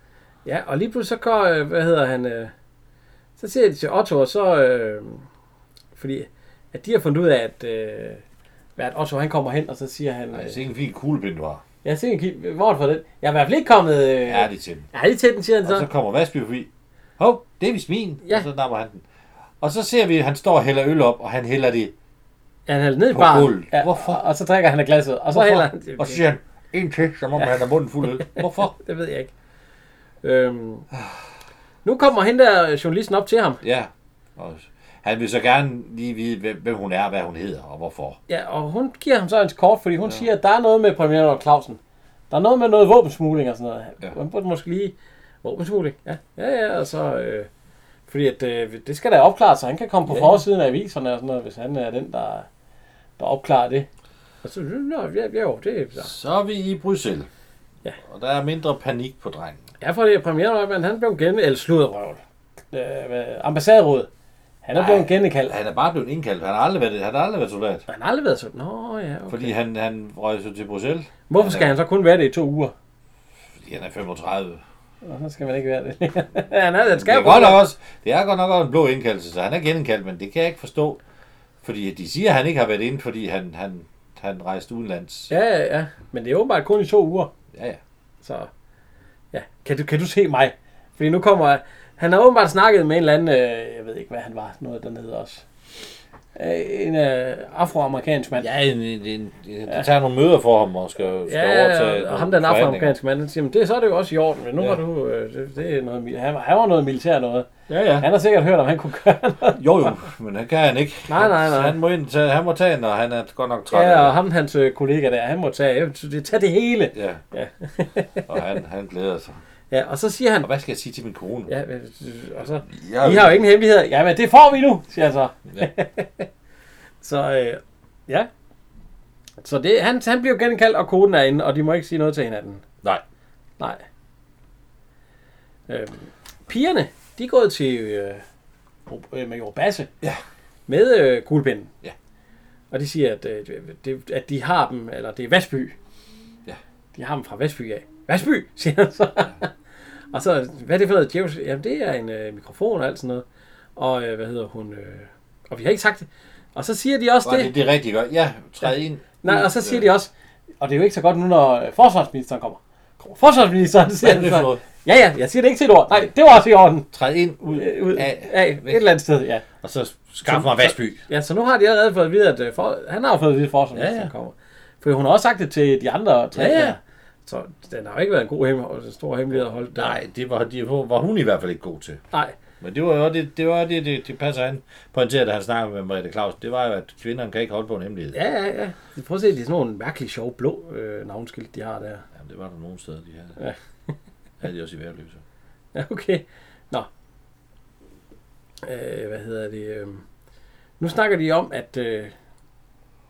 Speaker 1: ja, og lige pludselig så går, øh, hvad hedder han, øh, så siger de til Otto, og så, øh, fordi at de har fundet ud af, at, øh, at Otto han kommer hen, og så siger han,
Speaker 2: Nej,
Speaker 1: øh,
Speaker 2: det er ikke en fin kuglepind, du har.
Speaker 1: jeg ser en kig, hvor er det fra den? Jeg er i hvert fald ikke kommet, øh,
Speaker 2: Ja, det er til dem.
Speaker 1: er det til den, siger han
Speaker 2: Og så
Speaker 1: så.
Speaker 2: kommer Vasby forbi. Hov, det er vist min.
Speaker 1: Ja.
Speaker 2: Ja. Og så napper han den. Og så ser vi, at han står og hælder øl op, og han hælder det.
Speaker 1: Ja, han hælder ned i
Speaker 2: På
Speaker 1: baren,
Speaker 2: gulvet.
Speaker 1: ja,
Speaker 2: Hvorfor?
Speaker 1: og, og så drikker han af glasset, og så
Speaker 2: Hvorfor?
Speaker 1: hælder han,
Speaker 2: Og så siger han, en til, som om han har munden [laughs] fuld af øl. Hvorfor?
Speaker 1: Det ved jeg ikke. Øhm, nu kommer hende der øh, journalisten op til ham.
Speaker 2: Ja. Og han vil så gerne lige vide, hvem- hvem hun er, hvad hun hedder, og hvorfor.
Speaker 1: Ja, og hun giver ham så hans kort, fordi hun ja. siger, at der er noget med premierlov Clausen. Der er noget med noget våbensmugling og sådan noget. Ja.
Speaker 2: Ja.
Speaker 1: Man burde måske lige... Våbensmugling? Ja, ja, ja og så... Øh, fordi at, øh, det skal da opklare, så han kan komme på ja. forsiden af aviserne og sådan noget, hvis han er den, der, der opklarer det. Og så, nå, ja, ja, jo, det er så.
Speaker 2: Så er vi i Bruxelles.
Speaker 1: Ja.
Speaker 2: Og der er mindre panik på drengen.
Speaker 1: Ja, fordi premierløjmanden, han blev gen... Eller sludderøvel. Øh, hvad- ambassaderådet. Han er blevet genkaldt.
Speaker 2: Han er bare blevet indkaldt. Han har aldrig været, han har aldrig været soldat.
Speaker 1: Han har aldrig været sådan. Nå, ja, okay.
Speaker 2: Fordi han, han røg så til Bruxelles.
Speaker 1: Hvorfor skal han så kun være det i to uger?
Speaker 2: Fordi han er 35.
Speaker 1: Og så skal man ikke være det længere. [laughs] ja, nej, den
Speaker 2: Det
Speaker 1: skal
Speaker 2: er
Speaker 1: jo
Speaker 2: godt
Speaker 1: kun-
Speaker 2: nok også, det er godt nok også en blå indkaldelse, så han er genindkaldt, men det kan jeg ikke forstå. Fordi de siger, at han ikke har været inde, fordi han, han, han rejste udenlands. Ja.
Speaker 1: Ja, ja, ja. Men det er åbenbart kun i to uger.
Speaker 2: ja, ja.
Speaker 1: Så ja, kan du, kan du se mig? Fordi nu kommer... Han har åbenbart snakket med en eller anden... Øh, jeg ved ikke, hvad han var. Noget dernede også. Øh, en øh, afroamerikansk mand.
Speaker 2: ja en, en, en, en, de tager nogle møder for ham og skal, skal overtage
Speaker 1: og ham der
Speaker 2: nogle
Speaker 1: er en
Speaker 2: forhandlinger.
Speaker 1: afroamerikansk mand, han siger, "Men det, så er det jo også i orden, men nu
Speaker 2: Ja.
Speaker 1: var du, øh, det, det, er noget, mil- han, var- han var noget militær noget.
Speaker 2: Ja, ja.
Speaker 1: Han har sikkert hørt, om han kunne gøre noget.
Speaker 2: Jo, jo, men det kan han ikke.
Speaker 1: Nej, nej, nej.
Speaker 2: Han må, ind, tage, han må tage, når han er godt nok træt.
Speaker 1: Ja,
Speaker 2: af
Speaker 1: og
Speaker 2: det.
Speaker 1: ham, hans øh, kollega der, han må tage, jeg, det, tage det hele.
Speaker 2: ja.
Speaker 1: Ja.
Speaker 2: og han, han glæder sig.
Speaker 1: ja, og så siger han,
Speaker 2: Og hvad skal jeg sige til min kone?
Speaker 1: Ja, men, øh, og så,
Speaker 2: Jeg-
Speaker 1: I har jo ingen hemmeligheder. Ja, men det får vi nu, siger jeg så.
Speaker 2: Ja.
Speaker 1: [laughs] Så, øh, ja. Så det, han, han bliver genkaldt, og koden er inde, og de må ikke sige noget til hinanden.
Speaker 2: Nej.
Speaker 1: Nej. Øh, pigerne, de er gået til øh, Ro- øh, Major Basse.
Speaker 2: Ja.
Speaker 1: Med øh, kuglepinden.
Speaker 2: Ja.
Speaker 1: Og de siger, at, øh, det, at de har dem, eller det er Vasby.
Speaker 2: Ja.
Speaker 1: De har dem fra Vasby af. Vasby, [laughs] siger han så. og så, hvad er det for noget djævs? Jamen, det er en øh, mikrofon og alt sådan noget. Og øh, hvad hedder hun? Øh, og vi har ikke sagt det. Og så siger de også
Speaker 2: Det, det, det er rigtig godt. Ja, træd ind.
Speaker 1: Nej, og så siger de også, og det er jo ikke så godt nu, når øh, forsvarsministeren kommer. Forsvarsministeren siger
Speaker 2: er det for noget?
Speaker 1: Ja, ja, jeg siger det ikke til et ord. Nej, det var også i orden.
Speaker 2: Træd ind, ud,
Speaker 1: Øh, Ud,
Speaker 2: af,
Speaker 1: af, et eller andet sted, ja.
Speaker 2: og så skaf mig Vasby.
Speaker 1: Ja, så nu har de allerede fået at vide, at øh, for, han har fået at vide, at forsvarsministeren ja,
Speaker 2: Ja, ja.
Speaker 1: ja. kommer. For hun har også sagt det til de andre. Tre,
Speaker 2: Ja, ja.
Speaker 1: Så den har jo ikke været en god hemmelig, stor hemmelighed at holde. der.
Speaker 2: Nej, det var, de, var hun i hvert fald ikke god til.
Speaker 1: Nej.
Speaker 2: Men det var jo det, det, var det, det, det passer han pointerede, da han snakkede med Mariette Claus. Det var jo, at kvinderne kan ikke holde på en hemmelighed.
Speaker 1: Ja, ja, ja. Prøv at se, det er sådan nogle mærkelige sjove blå øh, navnskilt, de har der.
Speaker 2: Jamen, det var der nogle steder, de havde.
Speaker 1: Ja.
Speaker 2: [laughs] havde de også i værløb, så.
Speaker 1: Ja, okay. Nå. Øh, hvad hedder det? Øh, nu snakker de om, at, øh,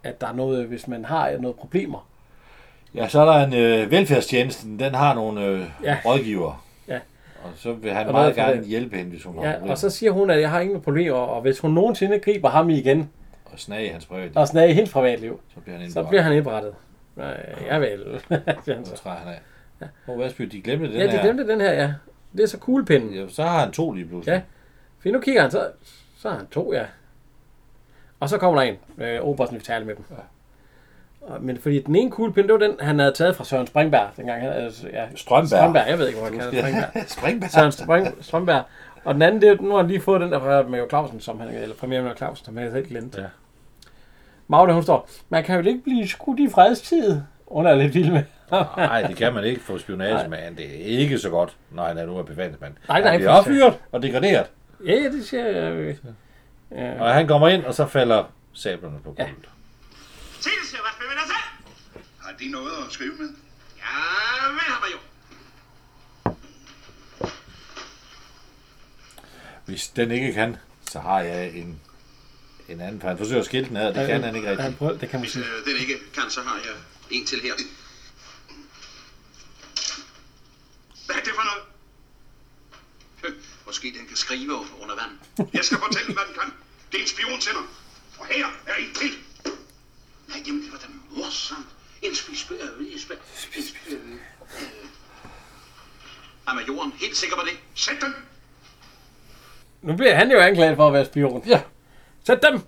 Speaker 1: at der er noget, hvis man har noget problemer.
Speaker 2: Ja, så er der en øh, velfærdstjenesten, den har nogle øh,
Speaker 1: Ja.
Speaker 2: rådgiver.
Speaker 1: Ja.
Speaker 2: Og så vil han
Speaker 1: Og
Speaker 2: meget
Speaker 1: hvad er det for
Speaker 2: gerne
Speaker 1: det?
Speaker 2: hjælpe hende, hvis hun har
Speaker 1: Ja,
Speaker 2: problemer.
Speaker 1: og så siger hun, at jeg har ingen problemer, og hvis hun nogensinde griber ham i igen,
Speaker 2: og snage i hans privatliv,
Speaker 1: og snage i hendes privatliv,
Speaker 2: så bliver han
Speaker 1: så
Speaker 2: indbragt.
Speaker 1: bliver han indberettet. Nej, jeg [laughs] vil.
Speaker 2: Så træder han af. Hvor Vasby, de glemte den
Speaker 1: ja, de
Speaker 2: her.
Speaker 1: glemte den her, ja. Det er så kuglepinden.
Speaker 2: Ja, så har han to lige pludselig.
Speaker 1: Ja. For nu kigger han, så, så har han to, ja. Og så kommer der en, øh, Obersten vil tale med dem. Og, men fordi den ene kuglepind, det var den, han havde taget fra Søren Springberg, dengang han, altså, ja,
Speaker 2: Strømberg.
Speaker 1: Strømberg, jeg ved ikke, hvor han kalder
Speaker 2: [laughs]
Speaker 1: Springberg.
Speaker 2: Springberg.
Speaker 1: Søren Spring, Strømberg. Og den anden, det, er- nu har han lige fået den der fra Major Clausen, som han, eller premierminister Clausen, som han helt glemte.
Speaker 2: Ja.
Speaker 1: Ja. Magne, hun står, man kan jo ikke blive skudt i fredstid. Hun er lidt vild med.
Speaker 2: Nej, det kan man ikke få spionage med. Det er ikke så godt, når han er nu er bevægelsesmand.
Speaker 1: Nej, nej,
Speaker 2: Han bliver
Speaker 1: for-
Speaker 2: affyret og degraderet.
Speaker 1: Ja, ja, det siger jeg. øh, Ja.
Speaker 2: Og han kommer ind, og så falder sablerne på gulvet.
Speaker 3: Tilse, hvad spiller der selv?
Speaker 5: Har de noget at skrive med?
Speaker 3: Ja, vel har man jo.
Speaker 2: Hvis den ikke kan, så har jeg en, en anden. For han forsøger at skille den ad, det kan han ikke
Speaker 1: Han
Speaker 2: rigtigt.
Speaker 1: prøver, det kan man sige.
Speaker 5: Øh, den ikke kan, så har jeg en til her.
Speaker 3: Hvad er det for noget?
Speaker 5: [laughs] Måske den kan skrive under vand.
Speaker 3: Jeg skal fortælle, hvad den kan. Det er en spionsender. Og her er en til.
Speaker 5: Nej, jamen det var da morsomt. En spispe... Øh, en spispe... En spispe... Øh, er majoren helt sikker på det?
Speaker 3: Sæt den.
Speaker 1: Nu bliver han jo anklaget for at være spion.
Speaker 2: Ja.
Speaker 1: Sæt dem!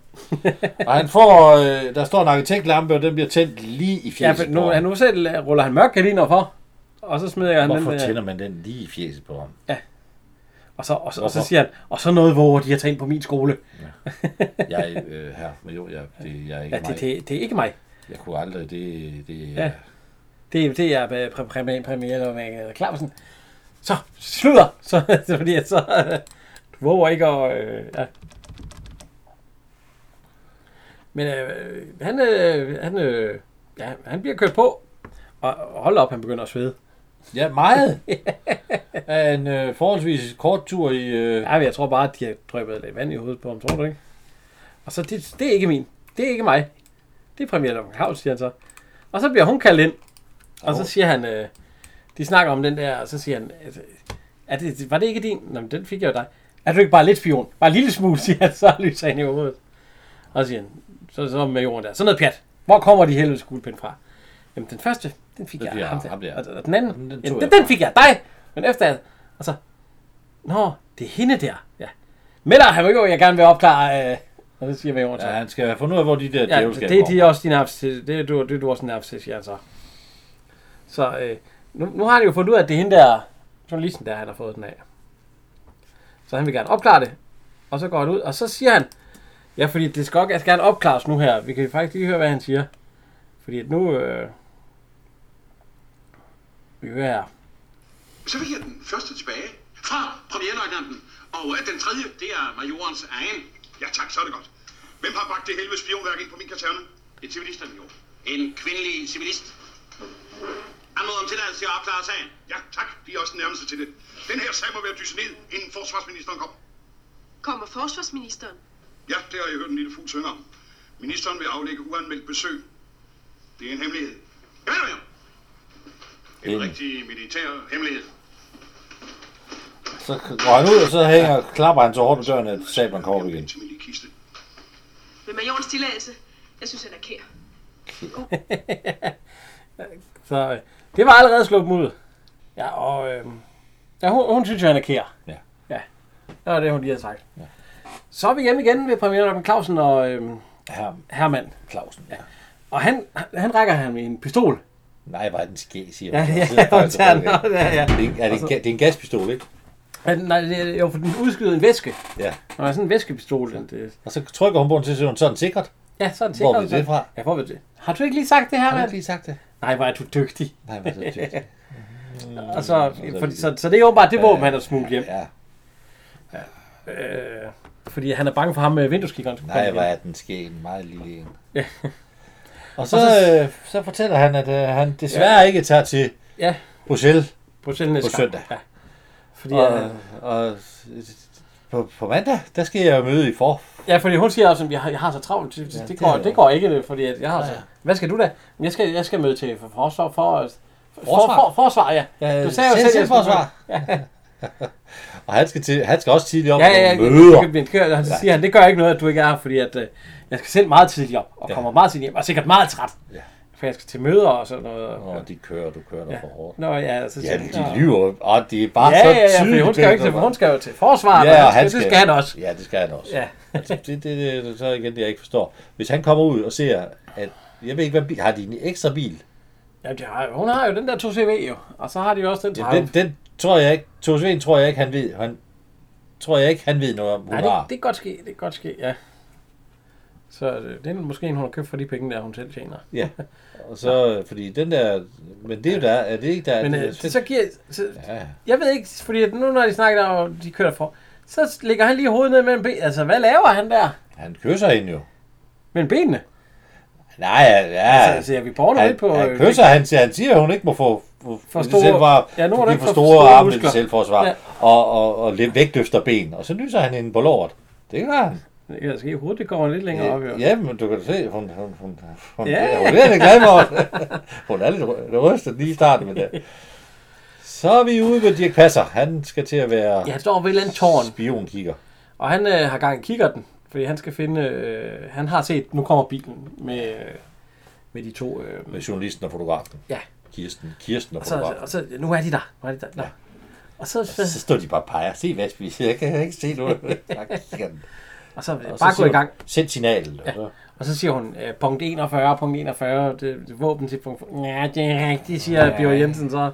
Speaker 2: Og han får, øh, der står en arkitektlampe, og den bliver tændt lige i
Speaker 1: Ja,
Speaker 2: fjeset
Speaker 1: for
Speaker 2: på
Speaker 1: nu,
Speaker 2: ham.
Speaker 1: han nu selv ruller han mørk gardiner for, og så smider jeg han
Speaker 2: Hvorfor
Speaker 1: den der,
Speaker 2: tænder man den lige i fjeset på ham?
Speaker 1: og så, og, så, og så
Speaker 2: Hvorfor?
Speaker 1: siger han, og så noget, hvor de har tænkt på min skole.
Speaker 2: Jeg, øh, her, men jo, jeg, det, jeg er ikke
Speaker 1: Ja, det,
Speaker 2: mig.
Speaker 1: det, det er ikke mig.
Speaker 2: Jeg kunne aldrig, det, det,
Speaker 1: Ja.
Speaker 2: ja.
Speaker 1: Det, er- det er øh, præ- præ- premiere eller med Clausen. Så, slutter! Så, [laughs] så fordi at så, øh, du våger ikke at, øh, ja. Men øh, han, øh, han, øh, ja, han bliver kørt på, og, og hold op, han begynder at svede.
Speaker 2: ja meget. [laughs] Af en øh, forholdsvis kort tur i... Øh,
Speaker 1: Ja, men jeg tror bare, at de har drøbet lidt vand i hovedet på ham, tror du ikke? Og så, det, det er ikke min. Det er ikke mig. Det er premiere Løven Claus, siger han så. Og så bliver hun kaldt ind. Og så siger han, øh, de snakker om den der, og så siger han, at, er det, var det ikke din? Nå, men den fik jeg jo dig. Er du ikke bare lidt spion? Bare en lille smule, [laughs] siger han, så lyser han i hovedet. Og så siger han, så, så med jorden der, sådan noget pjat. Hvor kommer de helvedes kuglepind fra? Jamen den første, den fik
Speaker 2: Den
Speaker 1: jeg.
Speaker 2: fik jeg,
Speaker 1: ham der.
Speaker 2: ham der.
Speaker 1: Og, og den anden,
Speaker 2: Den-
Speaker 1: den,
Speaker 2: den
Speaker 1: den, jamen,
Speaker 2: tog jeg
Speaker 1: den, den fik jeg, dig. Men efter, og så, Nå, det er hende der. Ja. Melder han jo, jeg gerne vil opklare. Øh, og så siger vi over til.
Speaker 2: ja,
Speaker 1: Ja,
Speaker 2: han skal have fundet ud af, hvor de der
Speaker 1: ja
Speaker 2: djævelskaber
Speaker 1: det, er de
Speaker 2: kommer.
Speaker 1: også din abscess. Det er du, det er du også en abscess, siger han så. Så øh, nu, nu, har de jo fundet ud af, at det er hende der, journalisten der, han har fået den af. Så han vil gerne opklare det. Og så går han ud, og så siger han, ja, fordi det skal, også- skal gerne opklares nu her. Vi kan faktisk lige høre, hvad han siger. Fordi at nu, øh, vi hører her.
Speaker 5: Så fik jeg den første tilbage fra premierløjtnanten. Og øh, den tredje, det er majorens egen.
Speaker 3: Ja tak, så er det godt. Hvem har bragt det helvede spionværk ind på min kaserne? En civilist er det jo.
Speaker 5: En kvindelig civilist.
Speaker 3: Anmod om tilladelse til at opklare sagen. Ja tak, de er også den nærmeste til det. Den her sag må være dyset ned, inden forsvarsministeren kommer.
Speaker 4: Kommer forsvarsministeren?
Speaker 3: Ja, det har jeg hørt en lille fugl synge om. Ministeren vil aflægge uanmeldt besøg. Det er en hemmelighed. Jeg ved det jo. En
Speaker 2: En.
Speaker 3: rigtig militær hemmelighed.
Speaker 2: Så går han ud, og så hænger, klapper han så hårdt på døren, at sablen kommer op igen.
Speaker 3: Til min lille kiste.
Speaker 4: Med majorens tilladelse? Jeg synes, han er kær.
Speaker 1: Så øh, det var allerede sluppet ud. Ja, og øh, ja, hun, hun synes jo, han er kær.
Speaker 2: Ja.
Speaker 1: Ja, det var det, hun lige havde sagt. Ja. Så er vi hjemme igen ved premieren Robin Clausen og øh,
Speaker 2: Her,
Speaker 1: Hermann.
Speaker 2: Clausen. Ja.
Speaker 1: Og han, han rækker ham en pistol.
Speaker 2: Nej, hvor er den skæg, siger
Speaker 6: Ja,
Speaker 2: hun.
Speaker 6: ja,
Speaker 2: Hun
Speaker 1: [laughs]
Speaker 2: sidder
Speaker 6: hun
Speaker 2: faktisk
Speaker 6: tager den
Speaker 2: og-
Speaker 6: op, ja, ja.
Speaker 2: Det er, en- er det, en, ga- det er en gaspistol, ikke?
Speaker 1: Ja, nej, det er jo for den udskyder en væske.
Speaker 2: Ja.
Speaker 1: Når er sådan en væskepistol, den, det,
Speaker 2: Og så trykker hun på den, så siger hun, sådan sikkert.
Speaker 1: ja, sådan
Speaker 2: Hvor er
Speaker 1: sikkert.
Speaker 2: det fra?
Speaker 1: Ja, hvor ved det? Har du ikke lige sagt det her,
Speaker 2: Har du
Speaker 1: mand?
Speaker 2: ikke lige sagt det?
Speaker 1: Nej, hvor er du dygtig.
Speaker 2: Nej, men så tykt.
Speaker 1: Og så, fordi, så, så det er jo bare det våben, han har smuglet hjem.
Speaker 2: Ja.
Speaker 1: Øh, fordi han er bange for ham øh, med vindueskikkeren. skulle
Speaker 2: Nej,
Speaker 1: komme
Speaker 2: hvor
Speaker 1: hjem.
Speaker 2: er den ske en meget lille en.
Speaker 1: Ja.
Speaker 2: Og så, øh, så fortæller han, at øh, han desværre ikke tager til
Speaker 1: Ja.
Speaker 2: Bruxelles
Speaker 1: Bruxelles næste
Speaker 2: På
Speaker 1: gang.
Speaker 2: søndag.
Speaker 1: Ja. Fordi,
Speaker 2: og,
Speaker 1: øh,
Speaker 2: og på, på mandag, der skal jeg jo møde i for.
Speaker 1: ja, fordi hun siger også, at jeg har, jeg har så travlt. Det, det, det,
Speaker 2: det
Speaker 1: går,
Speaker 2: er-
Speaker 1: det går ikke, det, fordi at jeg har så...
Speaker 2: ja.
Speaker 1: Hvad skal du da? "Men Jeg skal, jeg skal møde til for- forsvar. For, for,
Speaker 2: Forsvar?
Speaker 1: for, forsvar, ja.
Speaker 2: Ja,
Speaker 1: Du sagde jo selv, jeg skulle-
Speaker 2: selvforsvar. [laughs] og han skal, til, han skal også tidligt op
Speaker 1: Ja, ja, ja.
Speaker 2: nogle møder.
Speaker 1: Det, det, det, han siger, han, det gør ikke noget, at du ikke er her, fordi at, øh, jeg skal selv meget tidligt op, og
Speaker 2: Ja.
Speaker 1: kommer meget tidligt hjem, og er sikkert meget træt.
Speaker 2: Ja.
Speaker 1: For jeg skal til møder og sådan noget.
Speaker 2: Åh, de kører, du kører dig for hårdt.
Speaker 1: Nå, ja, så
Speaker 2: Ja,
Speaker 1: siger han, "Nå."
Speaker 2: de lyver, og det er bare
Speaker 1: Ja,
Speaker 2: så
Speaker 1: ja, ja, fordi
Speaker 2: tydeligt.
Speaker 1: hun skal jo ikke til, hun skal jo til forsvaret,
Speaker 2: Ja,
Speaker 1: ja,
Speaker 2: og han
Speaker 1: det skal han også.
Speaker 2: Ja, det skal han også.
Speaker 1: Ja.
Speaker 2: det, det, det, det, så igen, det jeg ikke forstår. Hvis han kommer ud og ser, at jeg ved ikke, hvad bil, har de en ekstra bil?
Speaker 1: Ja, de har, hun har jo den der 2CV jo, og så har de jo også den 30.
Speaker 2: Den, den tror jeg ikke, Tove Svend tror jeg ikke, han ved. Han, tror jeg ikke, han ved noget om, hun
Speaker 1: Nej,
Speaker 2: har.
Speaker 1: det, det kan godt ske, det kan godt ske, ja. Så øh, det er måske en, hun har købt for de penge, der hun selv tjener.
Speaker 2: Ja. [laughs] Og så, fordi den der, men det er jo der, er det ikke der?
Speaker 1: Men
Speaker 2: det,
Speaker 1: øh, så giver... Så,
Speaker 2: ja,
Speaker 1: jeg ved ikke, fordi at nu når de snakker der, og de kører for, så ligger han lige hovedet ned mellem benene. Altså, hvad laver han der
Speaker 2: han kysser hende jo.
Speaker 1: mellem benene?
Speaker 2: Nej, ja,
Speaker 1: Ja,
Speaker 2: ja.
Speaker 1: altså, ser vi borgerne
Speaker 2: han,
Speaker 1: lidt på...
Speaker 2: han
Speaker 1: øh,
Speaker 2: kysser, han siger, han siger, at hun ikke må få for, for
Speaker 1: store-
Speaker 2: selvvar,
Speaker 1: Ja, nu er der ikke
Speaker 2: for
Speaker 1: for
Speaker 2: store
Speaker 1: store
Speaker 2: arme
Speaker 1: muskler.
Speaker 2: til selvforsvar,
Speaker 1: Ja.
Speaker 2: ja. og, og, og lidt vægtløfter ben, og så nyser han hende på låret. Det gør han.
Speaker 1: det kan Altså, i hovedet, det går lidt længere op, jo.
Speaker 2: Ja, men du kan se, hun, hun, hun, hun,
Speaker 1: Ja,
Speaker 2: ja.
Speaker 1: ja.
Speaker 2: hun er lidt glad for [laughs] det. Hun er lidt ry- rystet lige i starten med det. Så er vi ude ved Dirk Passer. Han skal til at være
Speaker 1: Ja, han står ved et eller andet tårn,
Speaker 2: spionkigger.
Speaker 1: og han øh, har gang i kikkerten, fordi han skal finde... Øh, han har set, nu kommer bilen med, øh, med de to... Øh,
Speaker 2: Med journalisten og fotografen.
Speaker 1: Ja.
Speaker 2: Kirsten, Kirsten og
Speaker 1: og, så,
Speaker 2: fotografen.
Speaker 1: og så, nu er de der, nu er de der. Nå. Og så, så,
Speaker 2: Så står de bare og peger. Se hvad vi siger. Jeg kan ikke se
Speaker 1: [laughs]
Speaker 2: noget. Tak, kigger den.
Speaker 1: og så,
Speaker 2: Og så
Speaker 1: bare gå
Speaker 2: siger
Speaker 1: i
Speaker 2: hun,
Speaker 1: gang.
Speaker 2: Send signalet. Ja.
Speaker 1: Og så siger hun, øh, punkt 41, punkt 41, det, det våben til punkt... Ja, det er rigtigt, siger ja. Bjørn Jensen så.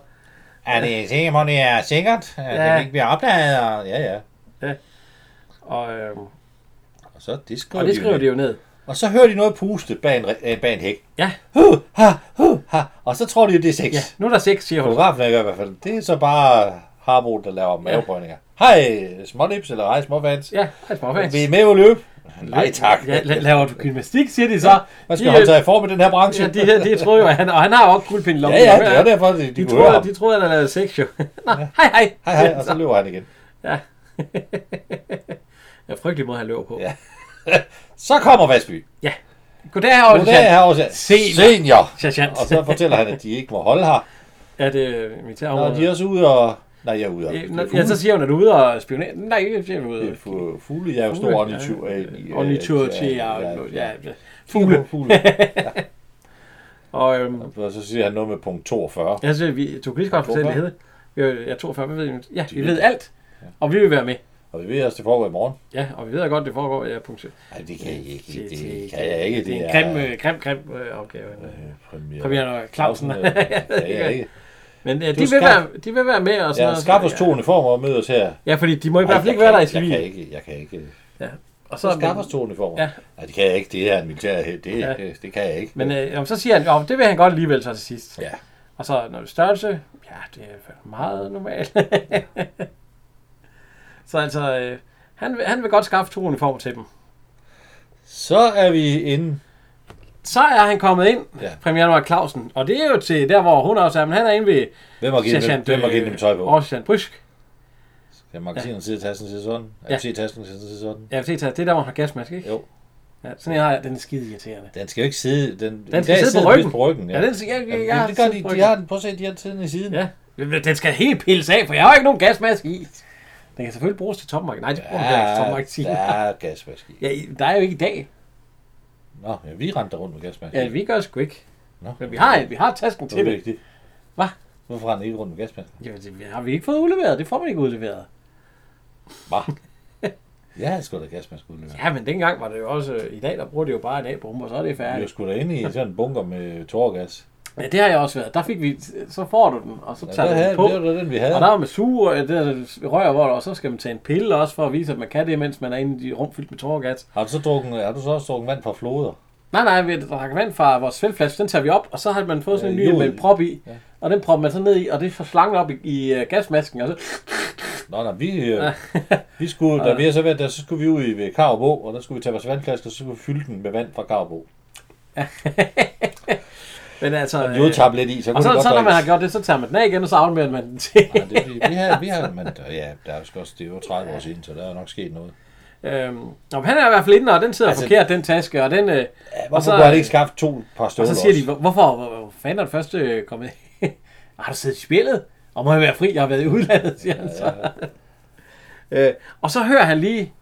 Speaker 2: Er det sikkert, at det er sikkert? Ja. Det
Speaker 1: Ja.
Speaker 2: kan ikke blive opdaget. Og, ja, ja.
Speaker 1: Og, øh,
Speaker 2: Og så det skriver,
Speaker 1: og det skriver
Speaker 2: ned.
Speaker 1: de jo ned.
Speaker 2: Og så hører de noget puste bag en, re- øh, bag en hæk.
Speaker 1: Ja.
Speaker 2: Huh, ha, huh, ha. Og så tror de jo, det er sex.
Speaker 1: Ja, nu er der seks, siger hun.
Speaker 2: Fotografen er i hvert fald. Det er så bare Harbo, der laver mavebrøndinger. Hej, smålips, eller hej, småfans.
Speaker 1: Ja, hej småfans.
Speaker 2: Vil I med ud at løbe? Nej, tak.
Speaker 1: Ja, la- laver du gymnastik, siger de så.
Speaker 2: Man skal
Speaker 1: de,
Speaker 2: holde
Speaker 1: øh,
Speaker 2: sig i form i den her branche.
Speaker 1: Ja, de, her, de troede jo, at han, og han har jo også guldpind i
Speaker 2: Ja,
Speaker 1: lommen.
Speaker 2: ja,
Speaker 1: Hør
Speaker 2: det
Speaker 1: her.
Speaker 2: er derfor, de, de,
Speaker 1: De
Speaker 2: kunne høre.
Speaker 1: troede, de troede, at han havde sex, jo. Nå, hej, hej.
Speaker 2: Hej, hej, og så løber han igen.
Speaker 1: Ja. [laughs] ja, frygtelig måde, han løber på.
Speaker 2: Ja. Så kommer Vasby.
Speaker 1: Goddag,
Speaker 2: Nu
Speaker 1: Aarhus.
Speaker 2: er her også
Speaker 1: Senior.
Speaker 2: senior.
Speaker 1: Sergeant.
Speaker 2: Og så fortæller han, at de ikke må holde her.
Speaker 1: Ja, det er militærområdet.
Speaker 2: Når de er også ude og... Nej, jeg er ude og...
Speaker 1: Øh, nå, Ja, så siger hun, at du er ude og spionere. Nej, jeg siger, at du er ude og
Speaker 2: Fugle, fugle, jeg er jo stor ornitur. øh,
Speaker 1: Ornitur
Speaker 2: øh,
Speaker 1: til, ja, ja, ja. Fugle.
Speaker 2: Fugle. fugle.
Speaker 1: Og øhm,
Speaker 2: Og så siger han noget med punkt 42.
Speaker 1: jeg synes, vi, du kan lige så godt fortælle, hvad det hedder. Jeg er 42, vi ved, ja, vi ved alt. Og vi vil være med.
Speaker 2: Og vi ved også, det foregår i morgen.
Speaker 1: Ja, og vi ved godt, det foregår. Ja, punkt.
Speaker 2: Nej, det kan jeg ikke.
Speaker 1: Det,
Speaker 2: Det kan jeg ikke.
Speaker 1: Det er en grim, øh, grim, grim øh, opgave. Øh,
Speaker 2: premiere.
Speaker 1: Premiere Clausen.
Speaker 2: øh, kan
Speaker 1: [laughs]
Speaker 2: jeg ikke.
Speaker 1: Men øh, de, vil
Speaker 2: skal-
Speaker 1: være, de vil være med og sådan
Speaker 2: Ja,
Speaker 1: noget.
Speaker 2: skab os to uniformer og mød os her.
Speaker 1: Ja, fordi de må i hvert fald
Speaker 2: jeg
Speaker 1: ikke være der i
Speaker 2: kan- Jeg kan
Speaker 1: civil.
Speaker 2: ikke, jeg kan ikke.
Speaker 1: Ja. Og
Speaker 2: Så
Speaker 1: så,
Speaker 2: skab os to uniformer.
Speaker 1: Ja.
Speaker 2: Nej, det kan jeg ikke. Det er en militær det,
Speaker 1: Ja.
Speaker 2: det, det kan jeg ikke.
Speaker 1: men øh, jamen, så siger han, jo, det vil han godt alligevel så til sidst.
Speaker 2: Ja.
Speaker 1: Og så når det er størrelse, ja, det er fandme meget normalt. [laughs] så altså, øh, han, vil, han vil godt skaffe to uniformer til dem.
Speaker 2: Så er vi inde.
Speaker 1: Så er han kommet ind,
Speaker 2: Ja.
Speaker 1: ja. premierminister Clausen, og det er jo til der, hvor hun også er, men han er inde ved øh,
Speaker 2: Hvem har givet dem, hvem har givet dem tøj på?
Speaker 1: Sergeant Brysk.
Speaker 2: Skal magasinerne sidde i tasten til sådan? Er
Speaker 1: Ja.
Speaker 2: ja. tasten til sådan?
Speaker 1: Ja, se, det er der, hvor han har gasmaske, ikke?
Speaker 2: Jo.
Speaker 1: Ja, sådan en har jeg, den er skide irriterende.
Speaker 2: Den skal jo ikke sidde... Den,
Speaker 1: Den skal sidde på ryggen.
Speaker 2: På ryggen
Speaker 1: Ja, den skal jeg, jeg,
Speaker 2: Jamen,
Speaker 1: jeg,
Speaker 2: det, det gør
Speaker 1: siddet
Speaker 2: de.
Speaker 1: på
Speaker 2: De
Speaker 1: ryggen.
Speaker 2: har den, prøv at se, de har tiden i siden.
Speaker 1: Ja. Men Den skal helt pilles af, for jeg har jo ikke nogen gasmaske i. Den kan selvfølgelig bruges til topmarked. Nej, det bruger ja, ikke til topmarked.
Speaker 2: der er gasmaskine.
Speaker 1: Ja, I- der er jo ikke i dag.
Speaker 2: Nå, ja, vi rendte rundt med gasmaskine.
Speaker 1: Ja, vi gør sgu ikke.
Speaker 2: Nå.
Speaker 1: Men vi har, vi har tasken til
Speaker 2: Det er
Speaker 1: det.
Speaker 2: vigtigt.
Speaker 1: Hva?
Speaker 2: Hvorfor rendte I ikke rundt med gasmaskine?
Speaker 1: Jamen, det har vi ikke fået udleveret. Det får man ikke udleveret. [laughs]
Speaker 2: Hva? Jeg havde sgu da gasmaskine udleveret.
Speaker 1: Ja, men dengang var det jo også... I dag, der bruger de jo bare en A-bombe, og så er det
Speaker 2: Vi var
Speaker 1: færdigt.
Speaker 2: sgu da inde i sådan en bunker med tårgas.
Speaker 1: Ja, det har jeg også været. Der fik vi, så får du den, og så
Speaker 2: Ja,
Speaker 1: tager
Speaker 2: der
Speaker 1: du
Speaker 2: havde,
Speaker 1: den på.
Speaker 2: det var da den, vi havde.
Speaker 1: Og der er med suge, det der rør, hvor der, og så skal man tage en pille også, for at vise, at man kan det, mens man er inde i et rum fyldt med tårgas.
Speaker 2: Har du så, drukket, har du så også drukket vand fra floder?
Speaker 1: Nej, nej, vi drak vand fra vores fældflaske, den tager vi op, og så har man fået sådan en
Speaker 2: Øh,
Speaker 1: ny med
Speaker 2: jod.
Speaker 1: en prop i, og den propper man så ned i, og det får slangen op i, i øh, gasmasken, og så...
Speaker 2: Nå, nej, vi, øh, [laughs] vi skulle, da vi havde så været der, så skulle vi ud i ved Karabo, og der skulle vi tage vores vandflaske, og så skulle vi fylde den med vand fra Karabo.
Speaker 1: Men altså... øh,
Speaker 2: Vi udtabte lidt i, så kunne
Speaker 1: og så,
Speaker 2: det godt
Speaker 1: så, når man har
Speaker 2: drikkes.
Speaker 1: gjort det, så tager man den af igen, og så afleverer man den til.
Speaker 2: Ja, det, er fordi, vi har, vi har, men der, ja, der er jo sgu også, det er jo 30 år siden, så der er nok sket noget.
Speaker 1: Øhm, og han er i hvert fald inde, og den sidder altså,
Speaker 2: Altså-
Speaker 1: forkert, den taske, og den... Øh,
Speaker 2: Ja,
Speaker 1: og
Speaker 2: hvorfor
Speaker 1: så,
Speaker 2: kunne han ikke skaffe to par
Speaker 1: og
Speaker 2: støvler
Speaker 1: så siger de,
Speaker 2: også?
Speaker 1: "Hvor- hvorfor hvor, hvor fanden er det første øh, kommet? [laughs] har du siddet i spillet? Og må jeg være fri? Jeg har været i udlandet, siger han så. [laughs] øh, og så hører han lige...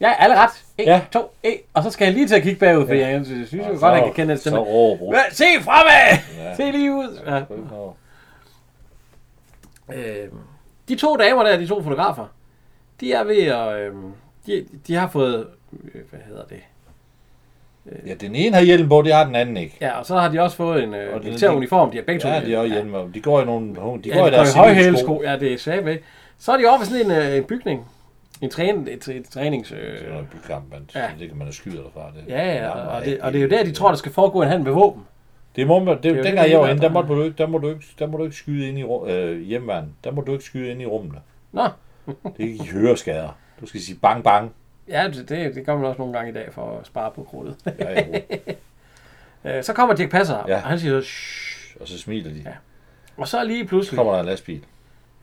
Speaker 1: Ja, alle ret. En, ja.
Speaker 2: Ja.
Speaker 1: to, en. Og så skal han lige til at kigge bagud, for jeg synes jo godt, han kan kende den stemme.
Speaker 2: Så råber Bruce.
Speaker 1: "Hvad? Se fremad! Ja.
Speaker 2: Ja.
Speaker 1: [laughs] Se lige ud! Ja.
Speaker 2: Nå.
Speaker 1: Øh, de to damer der, de to fotografer, de er ved at... Øh, de, de har fået... Øh, hvad hedder det?
Speaker 2: Ja, den ene har hjelm på, det har den anden ikke.
Speaker 1: Ja, og så har de også fået en øh,
Speaker 2: Og det-
Speaker 1: militær uniform. De har begge to.
Speaker 2: Ja, de har også hjelm på. De går i nogle, de
Speaker 1: Ja,
Speaker 2: går i deres
Speaker 1: højhælsko. Ja, det er svært med. Så er de over ved sådan en, øh, en bygning. En træn, et, et trænings...
Speaker 2: Det
Speaker 1: Øh,
Speaker 2: er noget bykamp, man,
Speaker 1: Ja.
Speaker 2: ja. det kan man jo skyde derfra. Det,
Speaker 1: ja, ja,
Speaker 2: larmer
Speaker 1: og
Speaker 2: af.
Speaker 1: det, og det er jo der, de tror, der skal foregå en handel med våben.
Speaker 2: Det må man, det,
Speaker 1: jo
Speaker 2: det
Speaker 1: det,
Speaker 2: dengang
Speaker 1: det
Speaker 2: jeg var
Speaker 1: er,
Speaker 2: inde,
Speaker 1: der
Speaker 2: der, måtte du, ikke- der, må du ikke, der må du ikke skyde ind i ru- øh, hjemmeværn. Der må du ikke skyde ind i rummene.
Speaker 1: Nå,
Speaker 2: Det kan give høreskader. Du skal sige bang, bang.
Speaker 1: ja, det, det, det gør man også nogle gange i dag for at spare på krudtet.
Speaker 2: [laughs] Ja, ja,
Speaker 1: [laughs] Øh, så kommer Dirk Passer, ja.
Speaker 2: Ja.
Speaker 1: og han siger så, "Shh."
Speaker 2: og så smiler de.
Speaker 1: Ja. og så lige
Speaker 2: Så
Speaker 1: pludselig...
Speaker 2: kommer der en lastbil.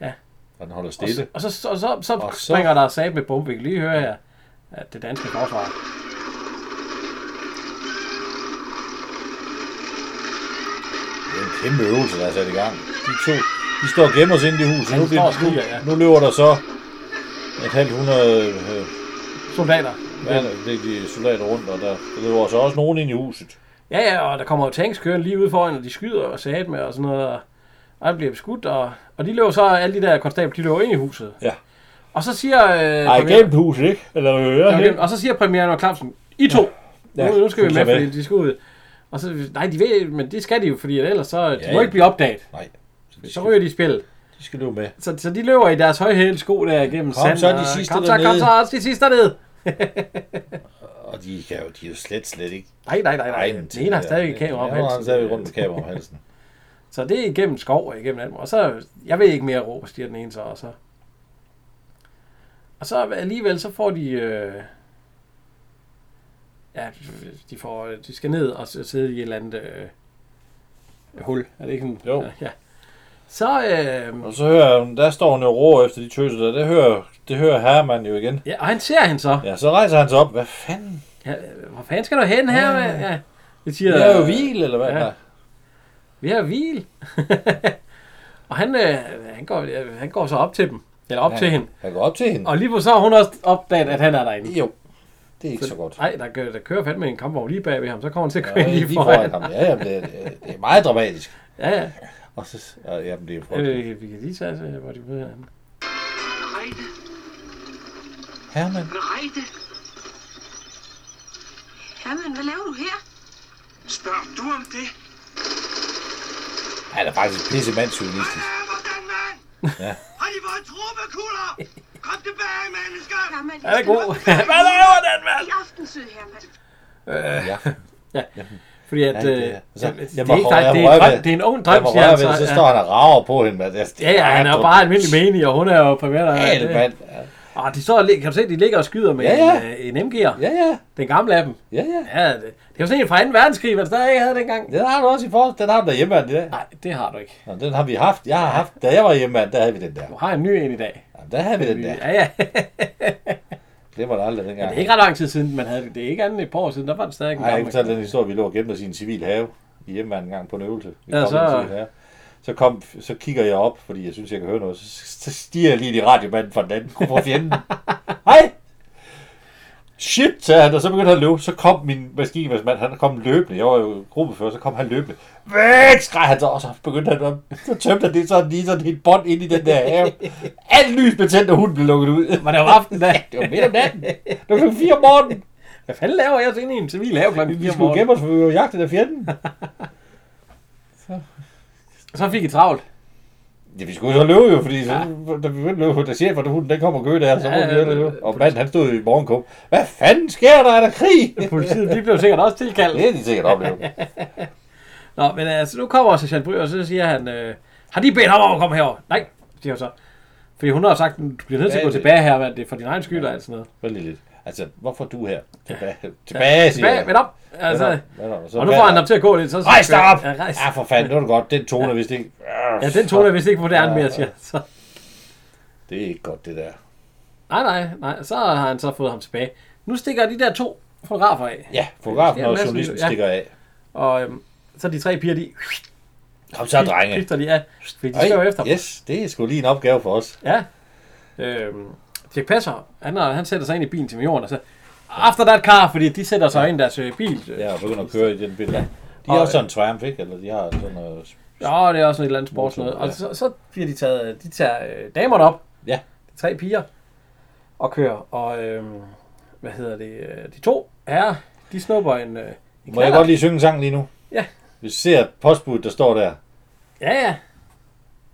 Speaker 1: Ja.
Speaker 2: Og den holder
Speaker 1: Og så,
Speaker 2: stille.
Speaker 1: og så, så, så, så,
Speaker 2: Og
Speaker 1: så
Speaker 2: så-
Speaker 1: springer der sat med bombe. Vi kan lige høre her, at det danske forsvar.
Speaker 2: Det er en kæmpe øvelse, der er sat i gang. De to, de står og gemmer sig inde i huset.
Speaker 1: Ja, de
Speaker 2: Nu,
Speaker 1: står og
Speaker 2: bliver- nu,
Speaker 1: smiler, ja.
Speaker 2: nu løber der så et halvt hundrede øh,
Speaker 1: Soldater.
Speaker 2: hvad er det, det er de soldater rundt, og der der løber så også nogen ind i huset.
Speaker 1: Ja, ja, og der kommer jo tanks kørende lige ud foran, og de skyder og sat med og sådan noget. Og, og han bliver beskudt, og, og de løber så, alle de der konstabler, de løber ind i huset.
Speaker 2: Ja.
Speaker 1: Og så siger... Øh,
Speaker 2: Ej,
Speaker 1: premieren-
Speaker 2: kæmpe huset, ikke? Eller
Speaker 1: Ja,
Speaker 2: øh,
Speaker 1: okay. Og så siger premieren og Clausen, I to! Ja,
Speaker 2: Ja,
Speaker 1: nu, nu skal vi med,
Speaker 2: fuldt med.
Speaker 1: fordi de skal ud. Og så, nej, de ved, men det skal de jo, fordi ellers så, de
Speaker 2: Ja,
Speaker 1: må
Speaker 2: ja.
Speaker 1: ikke blive opdaget.
Speaker 2: Nej, så de
Speaker 1: Så
Speaker 2: skal,
Speaker 1: ryger de i spil.
Speaker 2: de skal løbe med.
Speaker 1: Så, så de løber i deres højhælde sko der igennem
Speaker 2: Kom, så er de
Speaker 1: og-
Speaker 2: sidste
Speaker 1: kom, så, kom
Speaker 2: dernede.
Speaker 1: så, også de sidste dernede.
Speaker 2: Og de, kan jo, de er jo slet, slet ikke
Speaker 1: Nej, nej, nej, nej.
Speaker 2: egnet
Speaker 1: Den ene har
Speaker 2: det.
Speaker 1: stadig et kamera om
Speaker 2: Ja, han har stadig rundt
Speaker 1: halsen.
Speaker 2: med kamera om halsen.
Speaker 1: Så det er igennem skov og igennem alt. muligt. Og så, jeg ved ikke mere ro, siger den ene så. Og så, og så alligevel, så får de... Øh, ja, de, får, de skal ned og s- sidde i et eller andet øh, hul. Er det ikke sådan?
Speaker 2: Jo.
Speaker 1: Ja. Så, øh,
Speaker 2: [laughs] Og så hører hun, der står hun jo og råber efter de tøser der. Det hører, det hører Herman jo igen.
Speaker 1: ja, og han ser hende så.
Speaker 2: Ja, så rejser han sig op. Hvad fanden?
Speaker 1: Ja, hvor fanden skal du hen her? mand? Ja. Det siger,
Speaker 2: Det er jo hvil, eller hvad?
Speaker 1: Ja.
Speaker 2: Ja.
Speaker 1: Vi har hvil. [laughs] og han, øh, han, går, øh, han går så op til dem. Eller op ja. til hende.
Speaker 2: Han går op til hende.
Speaker 1: Og lige på så har hun også opdaget, at han er derinde.
Speaker 2: Jo, det er ikke så
Speaker 1: [laughs]
Speaker 2: godt.
Speaker 1: Nej, der, kører- der kører fandme en kampvogn lige bag ved ham. Så kommer han til at køre
Speaker 2: Ja,
Speaker 1: ja, lige
Speaker 2: foran
Speaker 1: foran.
Speaker 2: ham. Ja, jamen, det, er, det er meget dramatisk.
Speaker 1: Ja, ja.
Speaker 2: Og så, ja, jamen, det er frygteligt.
Speaker 1: Øh, vi kan lige tage, så, hvor de møder hinanden.
Speaker 5: Reite,
Speaker 2: Herman,
Speaker 5: Reite,
Speaker 4: Herman, hvad laver du her?
Speaker 5: spørg du om det?
Speaker 2: han er faktisk pisse mandsjournalistisk.
Speaker 5: Ja, hvordan, mand?
Speaker 2: Ja.
Speaker 5: Har de fået truppekugler? Kom tilbage, mennesker!
Speaker 4: Herman,
Speaker 1: Er det god? Hvad laver den, mand?
Speaker 4: I aften, søde Herman.
Speaker 2: [laughs] Ja.
Speaker 1: Fordi at,
Speaker 2: Ja,
Speaker 1: øh,
Speaker 2: det er-
Speaker 1: ja,
Speaker 2: altså,
Speaker 1: det, det,
Speaker 2: jeg
Speaker 1: er
Speaker 2: må
Speaker 1: ikke
Speaker 2: røre-
Speaker 1: faktisk, det,
Speaker 2: jeg
Speaker 1: er
Speaker 2: må
Speaker 1: en
Speaker 2: røre
Speaker 1: drøm,
Speaker 2: ved-
Speaker 1: det er en ung
Speaker 2: Han
Speaker 1: drøm,
Speaker 2: var
Speaker 1: siger han
Speaker 2: rørt
Speaker 1: så.
Speaker 2: ved det, så
Speaker 1: Ja.
Speaker 2: står han og rager på hende. mand. Altså, det
Speaker 1: Ja, ja, han er jo bare almindelig menig, og hun er jo primært...
Speaker 2: Gal, mand.
Speaker 1: Og de står, og lig- kan du se, de ligger og skyder med
Speaker 2: Ja, ja.
Speaker 1: En, øh, en MG'er.
Speaker 2: Ja, ja.
Speaker 1: Den gamle af dem.
Speaker 2: Ja, ja.
Speaker 1: Ja, det, det var sådan en fra 2. verdenskrig, man stadig havde dengang.
Speaker 2: Den har du også i forhold. Den har du derhjemme, den der.
Speaker 1: Nej, det har du ikke.
Speaker 2: Nå, den har vi haft. Jeg har haft, da jeg var hjemme, der havde vi den der.
Speaker 1: Du har en ny en i dag.
Speaker 2: Jamen, der havde vi den der.
Speaker 1: Ja, ja. [laughs]
Speaker 2: Glemmer det aldrig dengang.
Speaker 1: Det er ikke ret lang tid siden, man havde det. Det er ikke andet end et par år siden. Der var det stadig en
Speaker 2: Nej, jeg
Speaker 1: gammel.
Speaker 2: fortalte den historie, vi lå og gemte os i en civil have i hjemmeværende en gang på en øvelse. Vi
Speaker 1: Ja,
Speaker 2: kom
Speaker 1: så-
Speaker 2: i en civil have. så, kom, så kigger jeg op, fordi jeg synes, jeg kan høre noget. Så, så stiger jeg lige ind i radiomanden fra den anden gruppe fra
Speaker 1: [laughs]
Speaker 2: fjenden. Hej! Shit, sagde han, og så begyndte han at løbe. Så kom min maskinvaskmand, han kom løbende. Jeg var jo gruppefører, så kom han løbende. Væk, skreg han så, og så begyndte han at... Så tømte han det sådan lige sådan et bånd ind i den der have. Alt lys blev tændt, og hunden blev lukket
Speaker 1: [laughs]
Speaker 2: ud.
Speaker 1: Var det om aftenen da?
Speaker 2: [laughs] Det var midt om natten. Det var klokken fire om morgenen.
Speaker 1: Hvad fanden laver jeg så inde i en civil have klokken
Speaker 2: Vi, vi
Speaker 1: 4 om
Speaker 2: skulle
Speaker 1: morgenen?
Speaker 2: gemme os, for vi var jagtet af fjenden.
Speaker 1: Så fik I travlt.
Speaker 2: Ja, vi skulle jo så løbe jo, fordi ja. så, da vi begyndte at løbe, da chefen og hunden, den kom og gø der, så
Speaker 1: Ja,
Speaker 2: ja, måtte vi
Speaker 1: ja,
Speaker 2: hellere
Speaker 1: ja.
Speaker 2: løbe. Og manden, han stod i morgenkåb. Hvad fanden sker der? Er der
Speaker 1: [laughs]
Speaker 2: krig?
Speaker 1: Politiet, de blev sikkert også tilkaldt.
Speaker 2: Det er de sikkert oplevet.
Speaker 1: Nå, men altså, nu kommer Sergeant Bry, og så siger han, øh, har de bedt ham om at komme herover? Nej, siger hun så. Fordi hun har sagt, du bliver nødt til at gå
Speaker 2: Tilbage.
Speaker 1: tilbage her, mand. Det er for din egen skyld og alt sådan noget.
Speaker 2: Vældig lidt. Altså, hvorfor er du her? Tilbage, tilbage, siger
Speaker 1: Tilbage,
Speaker 2: jeg.
Speaker 1: vend op. Altså,
Speaker 2: Vend op, og så
Speaker 1: og nu
Speaker 2: vend
Speaker 1: får han
Speaker 2: op.
Speaker 1: ham til at gå lidt. Så,
Speaker 2: Rejs dig op!
Speaker 1: Ja, rejs.
Speaker 2: Ja, for fanden, det var godt. Den tone er vist ikke...
Speaker 1: Ja, den tog jeg vist ikke moderne mere, siger han så.
Speaker 2: Det er ikke godt, det der.
Speaker 1: Nej, nej, nej. Så har han så fået ham tilbage. Nu stikker de der to fotografer af.
Speaker 2: Ja, fotografen
Speaker 1: Ja,
Speaker 2: og
Speaker 1: Madsen,
Speaker 2: journalisten
Speaker 1: ja.
Speaker 2: stikker af.
Speaker 1: Og øhm, så de tre piger, de...
Speaker 2: Kom så, drenge.
Speaker 1: Skifter de af. Fordi de
Speaker 2: Ej,
Speaker 1: skal jo efter dem.
Speaker 2: yes, det er sgu lige en opgave for os.
Speaker 1: Ja. Øhm, Dirk Passer, han, har- han sætter sig ind i bilen til Mjorden, og så... After that car, fordi de sætter sig ind i deres øh, bil.
Speaker 2: Ja, og begynder at køre i den bil. Ja. De
Speaker 1: Og,
Speaker 2: har også sådan en Triumph, ikke? Eller de har sådan noget...
Speaker 1: Ja, det er også et eller andet sports noget. Og
Speaker 2: Ja.
Speaker 1: så, så bliver de taget, de tager øh, damerne op,
Speaker 2: Ja,
Speaker 1: de tre piger, og kører. Og øhm, hvad hedder det, øh, de to herrer, de snupper en, øh, en
Speaker 2: må jeg
Speaker 1: knallert.
Speaker 2: godt lige synge en sang lige nu?
Speaker 1: Ja.
Speaker 2: Hvis du ser postbuddet, der står der.
Speaker 1: Ja, ja.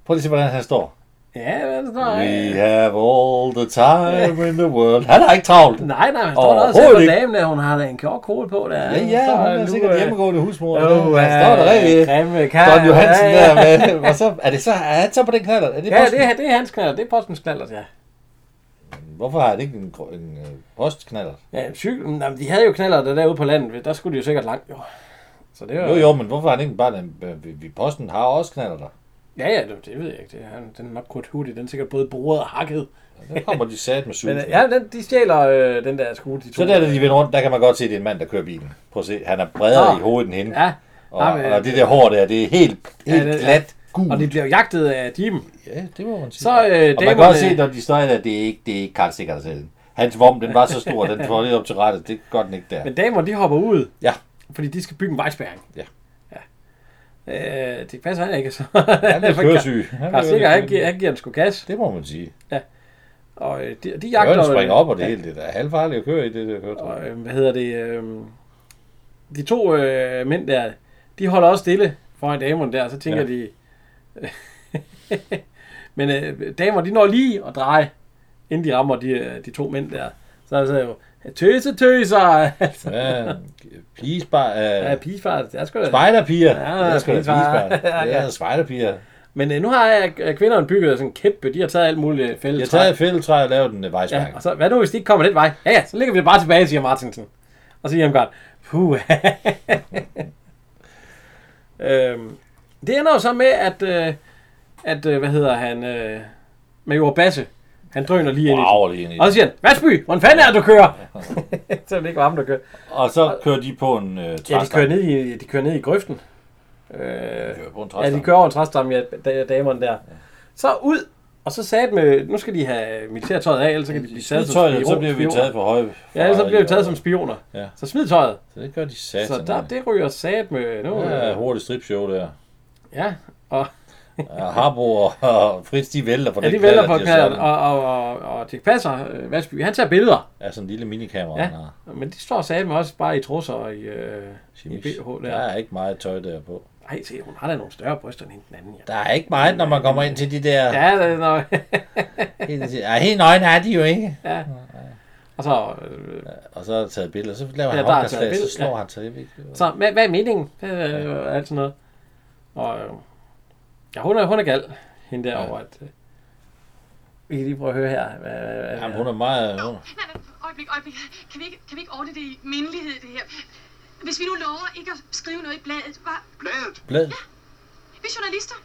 Speaker 2: Prøv lige at se, hvordan han står.
Speaker 1: Ja, hvad står der?
Speaker 2: We have all the time in the world. Han har ikke travlt.
Speaker 1: Nej, nej, han står der også
Speaker 2: Overhovedet
Speaker 1: på
Speaker 2: ikke.
Speaker 1: damen der, hun har da en kjork kjole på der.
Speaker 2: Ja, ja, hun er sikkert hjemmegående husmor.
Speaker 1: Oh,
Speaker 2: han står der rigtig.
Speaker 1: øh, Grimme kar.
Speaker 2: Don Johansen
Speaker 1: ja, ja.
Speaker 2: der med. [laughs] Og så, er, det så, er han så på den knaller? Er det
Speaker 1: Ja,
Speaker 2: posten?
Speaker 1: det, er- det er hans knaller, det er postens knaller, ja.
Speaker 2: Hvorfor har det ikke en, gr- en øh, postknaller?
Speaker 1: Ja, cyklen, jamen, de havde jo knaller der derude på landet, der skulle de jo sikkert langt, jo. Så det var,
Speaker 2: Jo, jo, men hvorfor har det ikke bare en... øh, vi- vi- Posten har også knaller der.
Speaker 1: Ja, ja, det, det ved jeg ikke. Det, han, den er nok Kurt Hudi, den er sikkert både boret og hakket.
Speaker 2: Der kommer de sat
Speaker 1: [laughs]
Speaker 2: med
Speaker 1: Men
Speaker 2: susen.
Speaker 1: øh, ja, den, de stjæler øh, den der skue, de to.
Speaker 2: Så der, da de vender rundt, der kan man godt se, at det er en mand, der kører bilen. Prøv at se, han er bredere
Speaker 1: Nå.
Speaker 2: i hovedet end hende.
Speaker 1: Ja,
Speaker 2: Og,
Speaker 1: Jamen, øh,
Speaker 2: og det der hår der, det er helt, helt
Speaker 1: det-
Speaker 2: glat gul.
Speaker 1: og de bliver jo jagtet af Jim.
Speaker 2: Ja, det må man sige.
Speaker 1: Så, øh,
Speaker 2: og man kan
Speaker 1: damerne-
Speaker 2: også se, når de står der, det er ikke, det er ikke Karl Stikker, der selv. Hans vom, den var så stor, den får lidt op til rettet. Det gør den ikke der.
Speaker 1: Men damerne, de hopper ud,
Speaker 2: Ja,
Speaker 1: fordi de skal bygge en vejspæring.
Speaker 2: Ja.
Speaker 1: ja. Øh, det passer [laughs] han ikke, så.
Speaker 2: han er køresyg.
Speaker 1: Han, er sikkert, han, giver, han giver en sgu gas,
Speaker 2: Det må man sige.
Speaker 1: og øh, de, de
Speaker 2: Jagter,
Speaker 1: jagter...
Speaker 2: springer op, og det hele det der er halvfarligt at køre i det der
Speaker 1: [laughs]
Speaker 2: køretøj.
Speaker 1: Og, øh, hvad hedder det? Øh, de to øh, mænd der, de holder også stille foran damerne der, og så tænker ja.
Speaker 2: Ja.
Speaker 1: de... [laughs] Men øh, damer, de når lige at dreje, inden de rammer de, øh, de to mænd der. Så er det jo, tøse, tøser! [laughs] altså,
Speaker 2: Ja, please bare...
Speaker 1: ja,
Speaker 2: Uh,
Speaker 1: pigefar, det er sgu da.
Speaker 2: Spejderpiger.
Speaker 1: Ja,
Speaker 2: Ja, det er sgu da
Speaker 1: pigefar.
Speaker 2: pigefar.
Speaker 1: [laughs]
Speaker 2: Det er spejderpiger.
Speaker 1: Men øh, nu har jeg, øh, kvinderne bygget sådan en kæmpe, de har taget alt muligt fælles.
Speaker 2: Jeg tager et fælletræ og laver den øh,
Speaker 1: Ja,
Speaker 2: vejspark.
Speaker 1: og så, hvad nu, hvis de ikke kommer den vej? Ja, ja, så ligger vi det bare tilbage, siger Martinsen. Og så siger han godt, puh. [laughs] øhm, det ender jo så med, at, øh, at øh, hvad hedder han, øh, Major Basse, han drøner lige ind i
Speaker 2: Brager lige ind i
Speaker 1: den. Og så
Speaker 2: det.
Speaker 1: siger han, Vatsby, hvordan fanden er det, du
Speaker 2: [laughs]
Speaker 1: kører? så er det ikke var ham, der kører.
Speaker 2: Og så kører de på en uh,
Speaker 1: Ja, de kører ned i, de kører ned i grøften. Øh,
Speaker 2: kører på en
Speaker 1: Ja, de kører over en træstamme, ja, da- damerne der. Så ud, og så sagde med, nu skal de have militærtøjet af, ellers så kan de blive taget som
Speaker 2: Tøjet, så
Speaker 1: spion-
Speaker 2: bliver vi
Speaker 1: spioner.
Speaker 2: taget for høje.
Speaker 1: Ja, ellers så bliver vi taget som spioner.
Speaker 2: Ja.
Speaker 1: Så smid tøjet.
Speaker 2: Så det gør de satan.
Speaker 1: Så der, det ryger sat med nu.
Speaker 2: Ja,
Speaker 1: Ja,
Speaker 2: hurtigt stripshow der.
Speaker 1: ja. og
Speaker 2: Ja, Harbo og- og [laughs] Fritz, de vælter på
Speaker 1: ja,
Speaker 2: den
Speaker 1: de vælger
Speaker 2: knaller,
Speaker 1: på
Speaker 2: har
Speaker 1: knallen,
Speaker 2: sådan-
Speaker 1: og, og, og, og Dirk Passer, øh, Vasby, han tager billeder.
Speaker 2: Ja, sådan en lille minikamera,
Speaker 1: Ja.
Speaker 2: han har.
Speaker 1: Men de står sat med også bare i trusser og i, øh, i
Speaker 2: Chimis.
Speaker 1: BH
Speaker 2: Der
Speaker 1: der.
Speaker 2: er ikke meget tøj der på.
Speaker 1: Ej, se, hun har da nogle større bryster end hende den anden, ja.
Speaker 2: Der er ikke meget, når man kommer ind til de der...
Speaker 1: Ja, det er nok.
Speaker 2: Helt, ja, helt nøgne er de jo ikke.
Speaker 1: [laughs] og så, øh,
Speaker 2: Og så er der taget billeder, så laver
Speaker 1: Ja,
Speaker 2: ja, han
Speaker 1: der er
Speaker 2: håndkastlag,
Speaker 1: taget
Speaker 2: så
Speaker 1: billeder,
Speaker 2: slår
Speaker 1: ja.
Speaker 2: ja. han sig. Jeg ved ikke.
Speaker 1: så hvad, hvad er meningen? Hvad, øh, og alt sådan noget. Og øh, ja, hun er, hun er gal, hende derovre. Ja. At, øh, vi kan lige prøve at høre her. Hvad, hvad, hvad,
Speaker 2: Jamen, hun er meget... Hun,
Speaker 4: Nej, nej, øjeblik, øjeblik. Kan vi, ikke, kan vi ikke ordne det i mindelighed, det her? Hvis vi nu lover ikke at skrive noget i bladet, var
Speaker 5: Bladet.
Speaker 2: blad.
Speaker 4: vi journalister?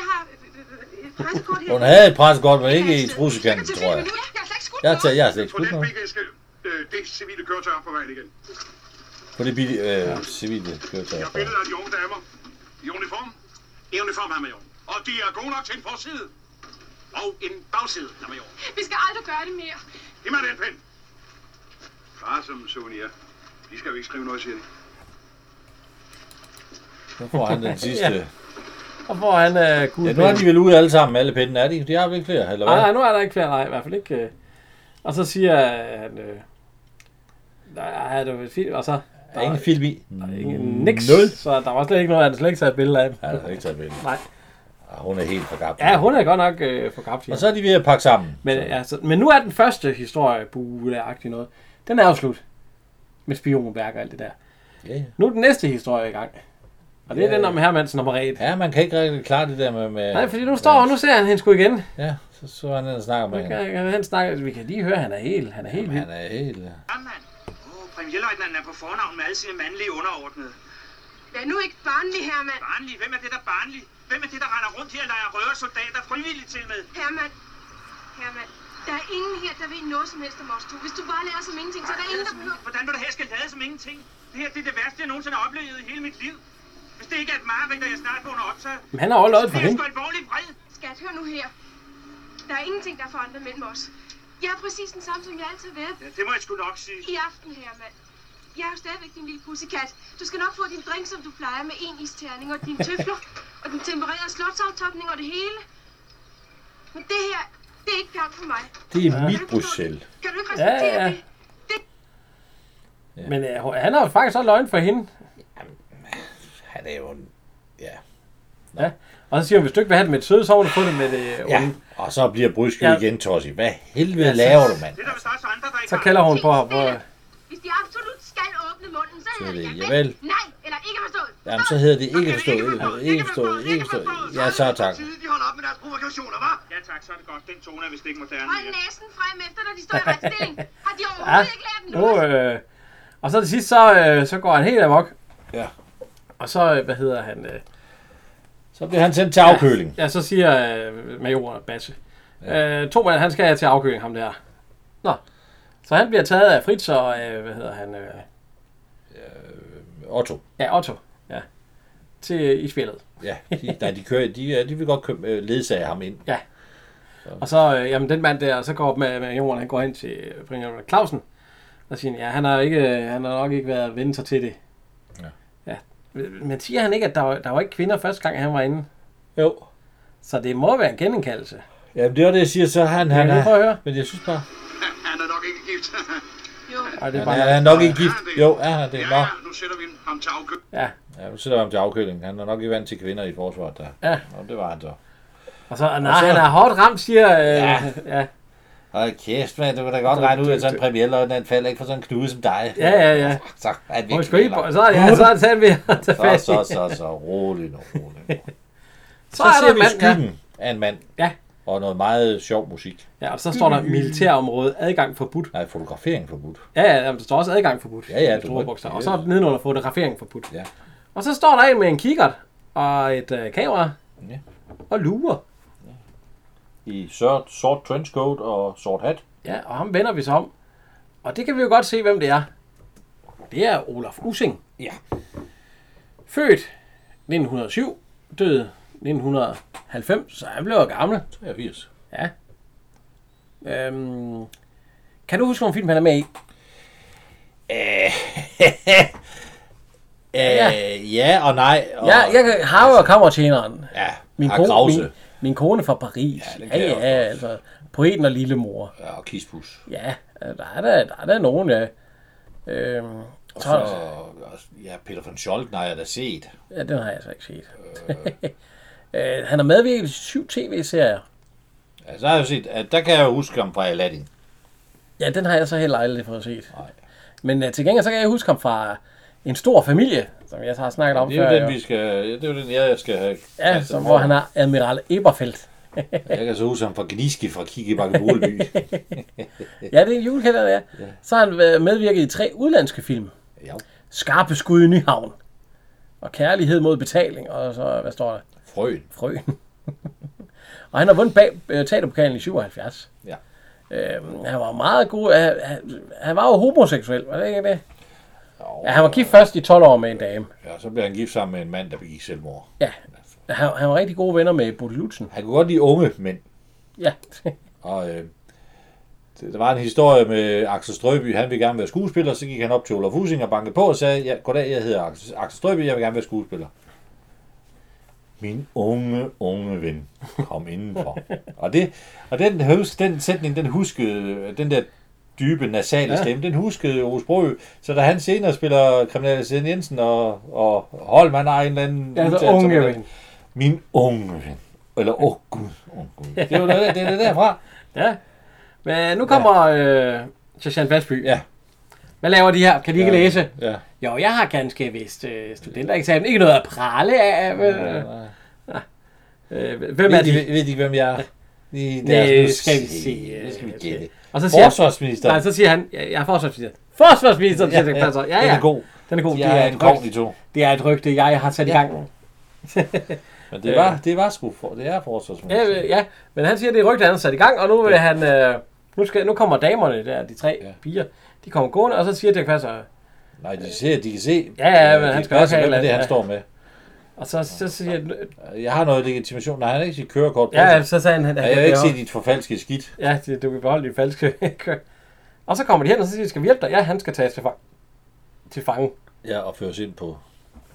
Speaker 4: Jeg har øh, øh, øh, pressekort her.
Speaker 2: hun havde et pressekort, men ikke i trusekanten, tror jeg.
Speaker 4: Jeg har slet ikke skudt
Speaker 2: Jeg har, taget,
Speaker 4: noget.
Speaker 2: jeg har slet ikke
Speaker 5: På
Speaker 2: skudt
Speaker 5: den
Speaker 2: noget.
Speaker 5: bil skal øh, det civile køretøj er på vej igen.
Speaker 2: På det bil, øh, civile køretøj.
Speaker 5: Jeg billeder af de unge damer. I uniform. I uniform, herr major. Og de er gode nok til en forside. Og en bagside, herr major.
Speaker 4: Vi skal aldrig gøre det mere.
Speaker 5: Giv mig den pind. Far som en souvenir. De skal jo ikke skrive noget, siger de.
Speaker 2: Nu får
Speaker 1: [laughs]
Speaker 2: han den sidste.
Speaker 1: Og får han øh, gul
Speaker 2: Ja, nu er de vel ude alle sammen, alle pinden. Er de? De har vel ikke flere, eller
Speaker 1: Nej, nej,
Speaker 2: hvad?
Speaker 1: nu er der ikke flere. Nej, i hvert fald ikke. øh. Og så siger han... Øh, nej, det var fint. Og så...
Speaker 2: Der er ingen film i. Mm.
Speaker 1: Der er ikke niks.
Speaker 7: Nul. Så der var slet ikke noget, han slet ikke taget billeder af.
Speaker 2: Ja, der er ikke taget med.
Speaker 1: Nej.
Speaker 2: Ja, hun er helt for gammel.
Speaker 1: Ja, hun er godt nok øh, for gabt.
Speaker 2: Og så er de ved at pakke sammen.
Speaker 1: Men,
Speaker 2: så.
Speaker 1: altså, men nu er den første historie, bule noget, den er jo slut. Med spionværk og alt det der.
Speaker 2: Ja, ja.
Speaker 1: Nu er den næste historie i gang. Og det er
Speaker 2: Ja,
Speaker 1: den
Speaker 2: ja.
Speaker 1: om Hermansen og Marit.
Speaker 2: ja, man kan ikke rigtig klare det der med... med
Speaker 1: Nej, fordi nu står og nu ser han hende sgu igen.
Speaker 2: Ja, så, så er han nede og snakker med
Speaker 1: Nu
Speaker 2: hende.
Speaker 1: kan, han snakke, vi kan lige høre, han er helt, han er helt
Speaker 2: Jamen,
Speaker 1: vild.
Speaker 2: han er helt...
Speaker 3: Brandmand. Oh, premierløjtnanten er på fornavn med alle sine mandlige underordnede.
Speaker 4: Vær nu ikke barnlig, Herman.
Speaker 3: Barnlig, hvem er det der barnlig? Hvem er det, der render rundt her og leger røver soldater frivilligt til med?
Speaker 4: Herman. Herman. Der er ingen her, der ved noget som helst om os to. Hvis du bare lader som ingenting, så er der ingen, der behøver...
Speaker 3: Hvordan vil du have, jeg skal lade som ingenting? Det her det er det værste, jeg nogensinde har oplevet i hele mit liv. Hvis det ikke er et mareridt, der jeg snart vågner op til,
Speaker 1: Men han er også løjet for
Speaker 3: det er
Speaker 1: hende.
Speaker 3: sgu alvorligt vred.
Speaker 4: Skat, hør nu her. Der er ingenting, der er forandret mellem os. Jeg er præcis den samme, som jeg altid har været
Speaker 3: Ja, det må jeg sgu nok sige.
Speaker 4: i aften, Herman. Jeg er jo stadigvæk din lille pussekat. Du skal nok få din drink, som du plejer, med en isterning og dine tøfler og den tempererede slotsaftopning og det hele. Men det her, det er ikke gavn for mig.
Speaker 2: Det er mit Bruxelles.
Speaker 4: Kan du ikke respektere
Speaker 1: Ja, ja.
Speaker 4: det?
Speaker 1: Men øh, han er jo faktisk også løgn for hende.
Speaker 2: Han er jo en... Ja.
Speaker 1: Ja. Og så siger hun, hvis du ikke vil have det med et søde, så må du få det med det øh,
Speaker 2: ja.
Speaker 1: onde.
Speaker 2: Og så bliver Bryske
Speaker 1: Ja.
Speaker 2: ja. igen tosset. Hvad helvede laver du, mand?
Speaker 3: Det er der vist også andre, der ikke
Speaker 1: Så
Speaker 3: har.
Speaker 1: kalder hun på ham. hvor-
Speaker 4: Hvis de absolut skal åbne munden, så hedder det
Speaker 2: det
Speaker 4: javel,
Speaker 2: javel.
Speaker 4: nej eller ikke forstået.
Speaker 2: Jamen, så hedder det ikke forstået, ikke forstået, ikke forstået, ikke forstået. Ja, så tak.
Speaker 3: De holder op med deres provokationer, hva'? Ja tak, så er det godt. Den tone er vist ikke moderne.
Speaker 4: Hold
Speaker 3: mere.
Speaker 4: næsen frem efter, når de står i retstilling. Har de
Speaker 1: Ja,
Speaker 4: overhovedet ikke lært
Speaker 1: nu,
Speaker 4: den nu?
Speaker 1: øh, og så til sidst, så, øh, så går han helt amok.
Speaker 2: Ja.
Speaker 1: Og så, øh, hvad hedder han? Øh,
Speaker 2: Så bliver han sendt til afkøling.
Speaker 1: Ja, så siger øh, majoren Basse. Ja. Øh, to mand, han skal til afkøling, ham der. Nå. Så han bliver taget af Fritz og, øh, hvad hedder han? Øh,
Speaker 2: Otto.
Speaker 1: ja, Otto. Ja. Til, I spillet.
Speaker 2: Ja, de, nej, de, kører, de, øh, de vil godt købe, øh, ledsage ham ind.
Speaker 1: Ja. Og så, øh, jamen den mand der, så går op med, med jorden, han går hen til øh, Bringer Clausen, og siger, ja, han har, ikke, øh, han har nok ikke været vendt sig til det.
Speaker 2: Ja.
Speaker 1: ja. Men siger han ikke, at der, var- der var ikke kvinder første gang, han var inde?
Speaker 2: Jo.
Speaker 1: Så det må være en genindkaldelse.
Speaker 2: Jamen, det var det, jeg siger, så han, han
Speaker 1: Kan jeg
Speaker 2: er...
Speaker 1: lige prøve at høre?
Speaker 2: Men jeg synes bare,
Speaker 3: Han er nok ikke gift.
Speaker 4: Jo,
Speaker 1: Og det er
Speaker 2: han
Speaker 1: bare,
Speaker 2: er, han er nok ikke gift. Jo, er han det? Nå.
Speaker 3: nu sætter vi ham til afkøb.
Speaker 1: ja.
Speaker 2: Ja, nu sætter jeg ham til afkøling. Han er nok ikke vant til kvinder i forsvaret der.
Speaker 1: Ja.
Speaker 2: Nå, det var han så.
Speaker 1: Og så, nej, han er hårdt ramt, siger... Øh, ja.
Speaker 2: Ja.
Speaker 1: ja.
Speaker 2: Hold kæft, mand, det var da godt
Speaker 1: Så-
Speaker 2: regnet ud,
Speaker 1: det-
Speaker 2: at sådan en premierløjtnant falder ikke for sådan en knude som dig.
Speaker 1: Ja, ja, ja.
Speaker 2: [laughs] Så er han
Speaker 1: Må vi
Speaker 2: virkelig
Speaker 1: sgu ikke...
Speaker 2: nedlagt.
Speaker 1: Så, ja, så er det sandt ved at tage
Speaker 2: så,
Speaker 1: fat i.
Speaker 2: så, så, så, rolig nu, rolig nu.
Speaker 1: Så
Speaker 2: [laughs] Så,
Speaker 1: er der
Speaker 2: ser vi
Speaker 1: mand, ja.
Speaker 2: skyggen af en mand.
Speaker 1: Ja.
Speaker 2: Og noget meget sjov musik.
Speaker 1: ja, og så står der militærområde, adgang forbudt.
Speaker 2: Nej, fotografering forbudt.
Speaker 1: Ja, ja, jamen, der står også adgang forbudt.
Speaker 2: Ja, ja,
Speaker 1: med
Speaker 2: du
Speaker 1: Store
Speaker 2: må-
Speaker 1: bogstaver.
Speaker 2: ja,
Speaker 1: Og så
Speaker 2: ja.
Speaker 1: nedenunder fotografering forbudt.
Speaker 2: Ja.
Speaker 1: Og så står der en med en kikkert og et øh, kamera.
Speaker 2: Ja.
Speaker 1: Og lurer.
Speaker 2: I sort, sort trenchcoat og sort hat.
Speaker 1: Ja, og ham vender vi så om. Og det kan vi jo godt se, hvem det er. Det er Olaf Using.
Speaker 2: Ja.
Speaker 1: Født 1907, død 1990, så han blev jo gammel.
Speaker 2: 83.
Speaker 1: Ja. Øhm, kan du huske nogle film, han er med i?
Speaker 2: Øh, ja. ja og nej. Og,
Speaker 7: Ja, jeg kan, Harve og kammertjeneren.
Speaker 2: ja.
Speaker 7: Min,
Speaker 2: Har
Speaker 7: kone,
Speaker 2: Krause.
Speaker 7: min, min kone fra Paris.
Speaker 2: Ja, den
Speaker 7: Ja,
Speaker 2: kan jeg
Speaker 7: ja,
Speaker 2: også
Speaker 7: ja altså. Poeten og lillemor.
Speaker 2: Ja, og Kispus.
Speaker 7: Ja, øh, der er der, der, er der nogen, ja. Øhm, så,
Speaker 2: Og, Altså, og, ja, Peter von Scholten har jeg da set.
Speaker 7: ja, den har jeg altså ikke set. [laughs] Øh. han har medvirket i syv tv-serier.
Speaker 2: Ja, så har Altså, jeg jo set, at der kan jeg jo huske ham fra Aladdin.
Speaker 7: Ja, den har jeg så heller aldrig fået set.
Speaker 2: Nej.
Speaker 7: Men uh, til gengæld, så kan jeg huske ham fra en stor familie, som jeg så har snakket om
Speaker 2: Det er
Speaker 7: før.
Speaker 2: jo den,
Speaker 7: jo.
Speaker 2: vi Altså, skal, det er jo den, jeg skal have.
Speaker 7: Ja, som, hvor han er Admiral Eberfeldt.
Speaker 2: Jeg kan så huske ham fra Gniske fra
Speaker 7: [laughs]
Speaker 2: Kikkebakke Boleby.
Speaker 7: Ja, det er en julekalender, ja. Så har han været medvirket i tre udlandske film.
Speaker 2: ja.
Speaker 7: Skarpe skud i Nyhavn. Og kærlighed mod betaling. Og så, hvad står der?
Speaker 2: Frøen.
Speaker 7: Frøen. [laughs] og han har vundet bag øh, teaterpokalen i 77.
Speaker 2: Ja.
Speaker 7: Øhm, han var meget god. Han, han, han var jo homoseksuel, var det ikke det?
Speaker 2: Jo.
Speaker 7: Ja, han var gift først i 12 år med en dame.
Speaker 2: Ja, så blev han gift sammen med en mand, der begik selvmord.
Speaker 7: Ja. Han, han var rigtig gode venner med Bodil Lutzen.
Speaker 2: Han kunne godt lide unge mænd.
Speaker 7: Ja.
Speaker 2: Og øh, det- der var en historie med Axel Strøby. Han ville gerne være skuespiller, så gik han op til Olaf Husing og bankede på og sagde, ja, goddag, jeg hedder Axel, Axel Strøby, jeg vil gerne være skuespiller. Min unge, unge ven, kom indenfor. og, det, og den, hus- den sætning, den huskede, den der dybe, nasale ja. stemme, den huskede Rus Brø. Så da han senere spiller Kriminalisering Jensen og, og Holman har en eller anden...
Speaker 1: Ja, altså
Speaker 2: udtalelse om
Speaker 1: unge
Speaker 2: det.
Speaker 1: ven.
Speaker 2: Min unge ven. Eller, åh oh, gud, åh oh, gud. Det er jo det, det, er det derfra.
Speaker 1: Ja. Men nu kommer ja. øh, Christian Fastby.
Speaker 2: Ja.
Speaker 1: Hvad laver de her? Kan de ikke
Speaker 2: Ja.
Speaker 1: læse?
Speaker 2: Ja.
Speaker 1: Jo, jeg har ganske vist øh, studentereksamen. Ikke noget at prale af. Men,
Speaker 2: Nej,
Speaker 1: øh,
Speaker 2: nej.
Speaker 1: øh, hvem er
Speaker 2: Ved de,
Speaker 1: de?
Speaker 2: ved de, hvem jeg er? I
Speaker 1: Nej,
Speaker 2: nu
Speaker 1: skal vi se.
Speaker 2: Nu skal vi gætte.
Speaker 1: Og så siger han,
Speaker 2: Forsvarsminister.
Speaker 1: nej, så siger han, ja, jeg er forsvarsminister. Forsvarsminister, siger ja, ja, ja, ja.
Speaker 2: Den er god.
Speaker 1: Den er god.
Speaker 2: De
Speaker 1: det,
Speaker 2: er
Speaker 1: er
Speaker 2: en
Speaker 1: et
Speaker 2: god, de
Speaker 1: rygte,
Speaker 2: to.
Speaker 1: det er et rygte, jeg har sat i
Speaker 2: Ja.
Speaker 1: gang.
Speaker 2: Men det var, det var sgu for, det er forsvarsminister.
Speaker 1: Ja, øh, ja, men han siger, det er rygte, han har sat i gang, og nu vil han... Øh, nu, skal, nu kommer damerne der, de tre
Speaker 2: Ja.
Speaker 1: ja. piger. De kommer gående, og så siger Dirk Passer,
Speaker 2: Nej, de, ser, de kan se.
Speaker 1: Ja, ja,
Speaker 2: øh,
Speaker 1: men
Speaker 2: de
Speaker 1: han skal
Speaker 2: passer
Speaker 1: også have
Speaker 2: med
Speaker 1: et
Speaker 2: det, han
Speaker 1: eller
Speaker 2: står med.
Speaker 1: og så, så siger
Speaker 2: Jeg har noget legitimation. Nej, han har ikke sit kørekort. på
Speaker 1: ja, altså,
Speaker 2: sig.
Speaker 1: så sagde han, han
Speaker 2: Ja, jeg vil ikke se dit forfalskede skidt.
Speaker 1: Ja, det, du kan beholde dit falske kø. Og så kommer de hen, og så siger de, skal vi hjælpe dig? Ja, han skal tages til fange. Til fange.
Speaker 2: Ja, og føres ind på.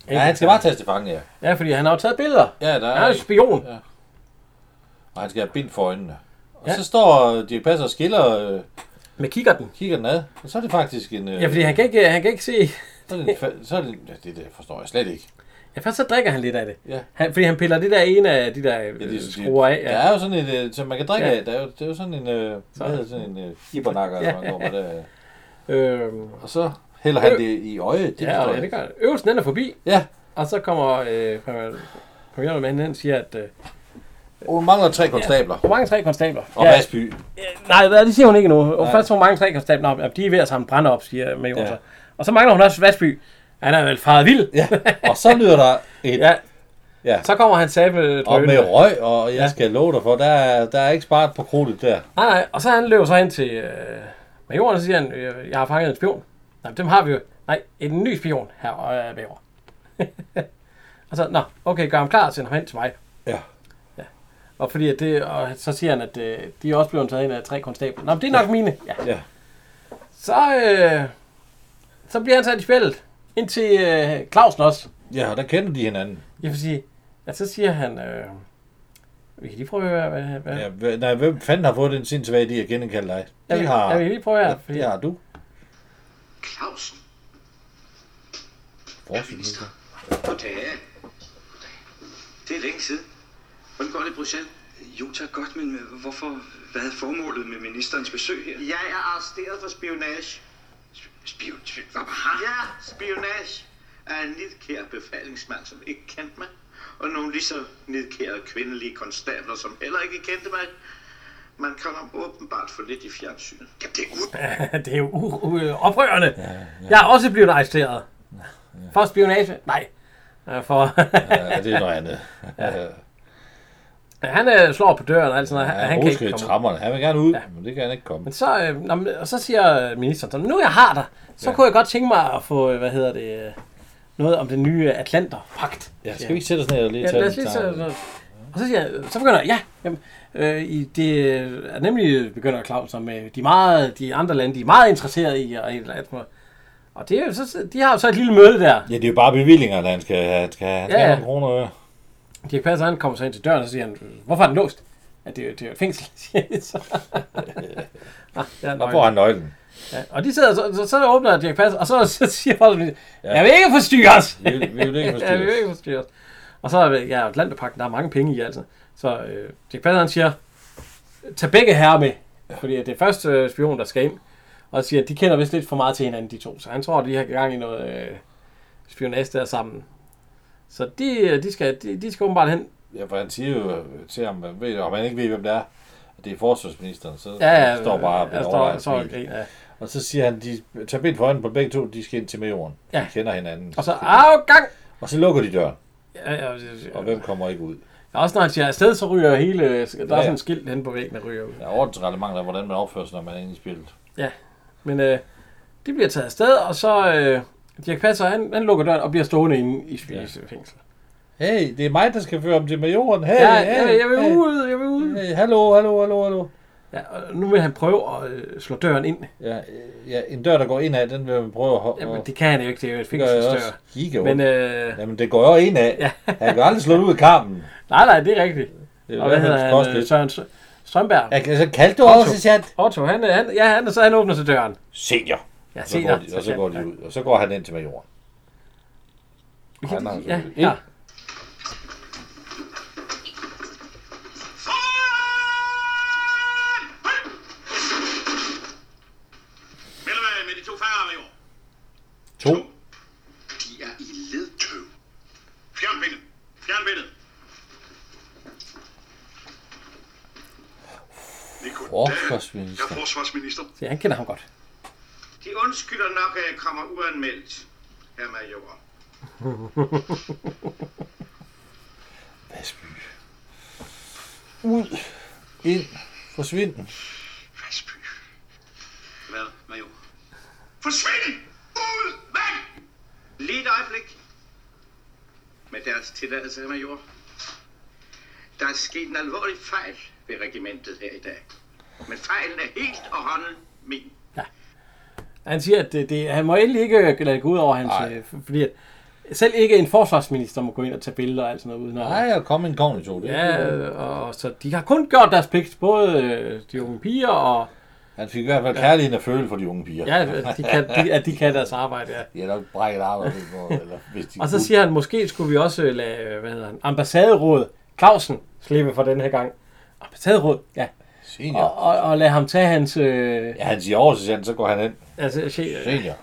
Speaker 2: Ja, han skal bare tages til fange, ja.
Speaker 1: Ja, fordi han har jo taget billeder.
Speaker 2: Ja, der
Speaker 1: Han er
Speaker 2: er
Speaker 1: en spion.
Speaker 2: Ja. Og han skal have bind for øjnene. Og
Speaker 1: Ja.
Speaker 2: så står øh, Dirk Passer og skiller, øh,
Speaker 1: Med kikkerten.
Speaker 2: kigger den ad, og så er det faktisk en... øh,
Speaker 1: Ja, fordi han kan ikke, han kan ikke se...
Speaker 2: Så er det en... fa- Så er det, en- ja, det, det forstår jeg slet ikke.
Speaker 1: Ja, først så drikker han lidt af det.
Speaker 2: Ja.
Speaker 1: Han, fordi han piller det der ene af de der
Speaker 2: Ja,
Speaker 1: øh,
Speaker 2: det er-
Speaker 1: skruer af.
Speaker 2: Der
Speaker 1: Ja.
Speaker 2: er jo sådan et, øh, som man kan drikke
Speaker 1: Ja.
Speaker 2: af. Der er jo, det er jo sådan en, øh, hvad hedder sådan en øh, ibernakker,
Speaker 1: Ja.
Speaker 2: ja. man går med der.
Speaker 1: Øhm,
Speaker 2: Og så hælder han det i øjet.
Speaker 1: Øh.
Speaker 2: Det
Speaker 1: ja,
Speaker 2: forstår
Speaker 1: og-
Speaker 2: jeg
Speaker 1: ja, det
Speaker 2: ikke.
Speaker 1: gør han. Øvelsen den er forbi,
Speaker 2: Ja,
Speaker 1: og så kommer øh, premieren- premiermanden hen og siger, at øh,
Speaker 2: og hun mangler tre konstabler.
Speaker 1: hvor mange tre konstabler?
Speaker 2: Og
Speaker 1: ja,
Speaker 2: Vasby.
Speaker 1: nej, hvad- det siger hun ikke nu. Og
Speaker 2: Nej.
Speaker 1: først hvor mange tre konstabler, Nå, de er ved at samle brænde op, siger Major.
Speaker 2: Ja.
Speaker 1: Ja. Og så mangler hun også Vasby. Han er vel faret vild.
Speaker 2: Ja, og så lyder der et...
Speaker 1: Ja.
Speaker 2: Ja.
Speaker 1: Så kommer han sabel
Speaker 2: Og med røg, og jeg skal love dig for, der er, der er ikke sparet på krudtet der.
Speaker 1: Nej, nej, og så han løber så hen til øh, majoren, og så siger han, øh, jeg har fanget en spion. Nej, dem har vi jo. Nej, en ny spion, her øh, major. [laughs] og så, nå, okay, gør ham klar, send ham hen til mig.
Speaker 2: Ja.
Speaker 1: Og, fordi at det, og så siger han, at øh, de er også blevet taget ind af tre konstabler. Nå, men det er nok mine. Ja.
Speaker 2: Ja.
Speaker 1: Så, øh, så bliver han sat i spillet, indtil øh, Clausen også.
Speaker 2: Ja, og der kender de hinanden.
Speaker 1: Jeg vil sige, at så siger han, øh, vi kan lige prøve at høre, hvad, hvad,
Speaker 2: Ja, hv- nej, hvem fanden har fået den sindsvage idé at genkalde dig?
Speaker 1: jeg,
Speaker 2: Det
Speaker 1: vil-
Speaker 2: har,
Speaker 1: jeg vil lige prøve her, fordi
Speaker 2: det har du.
Speaker 3: Clausen.
Speaker 2: Forsvarsminister.
Speaker 3: Goddag. Det er længe siden. Hvordan går det i Bruxelles?
Speaker 8: Jo, tak godt, men øh, hvorfor? Hvad er formålet med ministerens besøg her?
Speaker 3: Jeg er arresteret for spionage.
Speaker 8: Spion, hvad har
Speaker 3: Ja, spionage af en nidkær befalingsmand, som ikke kendte mig. Og nogle lige så nidkære kvindelige konstabler, som heller ikke kendte mig. Man kommer åbenbart for lidt i fjernsynet.
Speaker 8: ja, det er ud.
Speaker 1: [laughs] det er jo u- u- oprørende. Ja, ja. Jeg er også blevet arresteret. For spionage? Nej. Øh, For, [laughs]
Speaker 2: Ja, det er noget andet. Ja.
Speaker 1: han øh, slår på døren og alt sådan noget. Han,
Speaker 2: Ja,
Speaker 1: han
Speaker 2: han
Speaker 1: kan
Speaker 2: rusker
Speaker 1: ikke
Speaker 2: i
Speaker 1: komme. ud.
Speaker 2: trammerne. Han vil gerne ud, ja. men det kan han ikke komme.
Speaker 1: Men så, øh, nå, men- og så siger øh, ministeren, sådan, nu jeg har dig, så ja. kunne jeg godt tænke mig at få, øh, hvad hedder det, øh, noget om den nye Atlanterpagt.
Speaker 2: Ja, skal vi ikke sætte os ned og lige
Speaker 1: Ja,
Speaker 2: tage
Speaker 1: lad
Speaker 2: ja,
Speaker 1: os lige
Speaker 2: tage
Speaker 1: så, så, og så, siger, jeg- så begynder jeg, ja, jamen, øh, i det er nemlig begynder Claus med de, meget, de andre lande, de er meget interesserede i, og, et eller andet. og det er jo så, de har jo så et lille møde der.
Speaker 2: Ja, det er jo bare bevillingerne, han skal have. Han skal, han skal
Speaker 1: Ja,
Speaker 2: ja,
Speaker 1: ja.
Speaker 2: have nogle kroner. og øre.
Speaker 1: Dirk Passer, han kommer så ind til døren, og så siger han, hvorfor er den låst? Ja, det er jo, det er jo et fængsel, [laughs] siger de så. Nå, ja,
Speaker 2: Og får han nøglen.
Speaker 1: ja. Og de sidder, så, så, så åbner Dirk Passer, og så, [laughs] så siger Passer, ja. jeg vil ikke forstyrre os.
Speaker 2: Vi vil, vi vil ikke
Speaker 1: [laughs] Ja, vi vil
Speaker 2: forstyrre
Speaker 1: ikke forstyrre os. Og så er ja, Atlanterpakten, der er mange penge i, altså. Så øh, Dirk Passer, han siger, tag begge herrer med, fordi det er første øh, spion, der skal ind. Og siger, at de kender vist lidt for meget til hinanden, de to. Så han tror, de har gang i noget øh, spionage der sammen. Så de, øh, de, skal, de, de skal åbenbart hen
Speaker 2: Ja, for han siger jo øh, til ham, hvad ved, du, om han ikke ved, hvem det er. At det er forsvarsministeren, så
Speaker 1: Ja, ja.
Speaker 2: står bare og
Speaker 1: jeg
Speaker 2: bliver
Speaker 1: står,
Speaker 2: overrasket.
Speaker 1: står og griner. ja.
Speaker 2: Og så siger han, de tager bind for øjnene på begge to, de skal ind til majoren.
Speaker 1: Ja.
Speaker 2: De kender hinanden.
Speaker 1: Og så, afgang!
Speaker 2: og så lukker de døren,
Speaker 1: Ja, ja,
Speaker 2: og
Speaker 1: ja.
Speaker 2: hvem kommer ikke ud?
Speaker 1: Ja, Også når han siger afsted, så ryger hele... øh, Der er sådan
Speaker 2: ja.
Speaker 1: en skilt hen på væggen, der ryger ud.
Speaker 2: Der er ordensreglementer af, hvordan man opfører sig, når man er inde i spillet.
Speaker 1: Men øh, de bliver taget afsted, og så... Øh, Dirk Passer, han, han lukker døren og bliver stående inde i spisefængsel.
Speaker 2: Hey, det er mig, der skal føre dem til majoren. Hey,
Speaker 1: Ja, ja,
Speaker 2: hey,
Speaker 1: jeg, jeg vil
Speaker 2: hey,
Speaker 1: ud, jeg vil ud.
Speaker 2: Hey, hallo, hallo, hallo, hallo.
Speaker 1: Ja, og nu vil han prøve at øh, slå døren ind.
Speaker 2: Ja, øh, ja, en dør, der går indad, den vil man prøve at... ho-
Speaker 1: Jamen,
Speaker 2: at-
Speaker 1: det kan han jo ikke, det er jo et
Speaker 2: det gør jeg også.
Speaker 1: fængselsdør.
Speaker 2: Giga
Speaker 1: Men
Speaker 2: Men, øh...
Speaker 1: øh,
Speaker 2: Jamen, det går jo indad. Ja. Han kan aldrig slå det ud af kampen.
Speaker 1: nej, nej, det er rigtigt.
Speaker 2: Det er
Speaker 1: Og hvad hedder han? øh,
Speaker 2: Kostligt.
Speaker 1: Søren, Sø- Strømberg.
Speaker 2: Jeg, så kaldte du over, så siger han,
Speaker 1: Otto, han, øh, han, ja, han, så han åbner så døren.
Speaker 2: senior.
Speaker 1: Ja,
Speaker 2: Og så,
Speaker 1: se
Speaker 2: går
Speaker 1: der.
Speaker 2: de, og så går de ud, og så går han ind til majoren.
Speaker 1: Vi kan-
Speaker 2: Han har-
Speaker 1: Ja, ja.
Speaker 9: Foran! Hold! Vil du være med de to fanger, major?
Speaker 2: To.
Speaker 3: De er i ledtøv.
Speaker 9: Fjern bindet. Fjern bindet.
Speaker 2: Forsvarsminister.
Speaker 3: forsvarsminister.
Speaker 1: Se, han kender ham godt.
Speaker 3: De undskylder nok, at jeg kommer uanmeldt, herr major.
Speaker 2: Vasby. Ud. Ind. Forsvind.
Speaker 3: Vasby. Hvad, major? Forsvind! Ud! Væk! Lige et øjeblik. Med deres tilladelse, herr major. Der er sket en alvorlig fejl ved regimentet her i dag. Men fejlen er helt og hånden min.
Speaker 1: Han siger, at det, det, han må endelig ikke øh, lade det gå ud over hans...
Speaker 2: Nej.
Speaker 1: Øh, f- fordi at selv ikke en forsvarsminister må gå ind og tage billeder og alt sådan noget uden at...
Speaker 2: Nej, jeg kom en kogn i to.
Speaker 1: Ja, øh, og så de har kun gjort deres pligt, både øh, de unge piger og...
Speaker 2: Han fik i hvert fald kærligheden at føle for de unge piger.
Speaker 1: Ja, at de kan, de, at de kan deres arbejde, ja.
Speaker 2: De har nok brækket arbejde. Eller, hvis de
Speaker 1: Og så siger han, måske skulle vi også øh, lade, øh, hvad hedder han, ambassaderåd Clausen slippe for den her gang. Ambassaderåd, ja.
Speaker 2: Senior.
Speaker 1: Og, og, og lade ham tage hans... Øh,
Speaker 2: Ja, han siger over til Sand, så går han ind.
Speaker 1: altså, se, øh,
Speaker 2: Senior.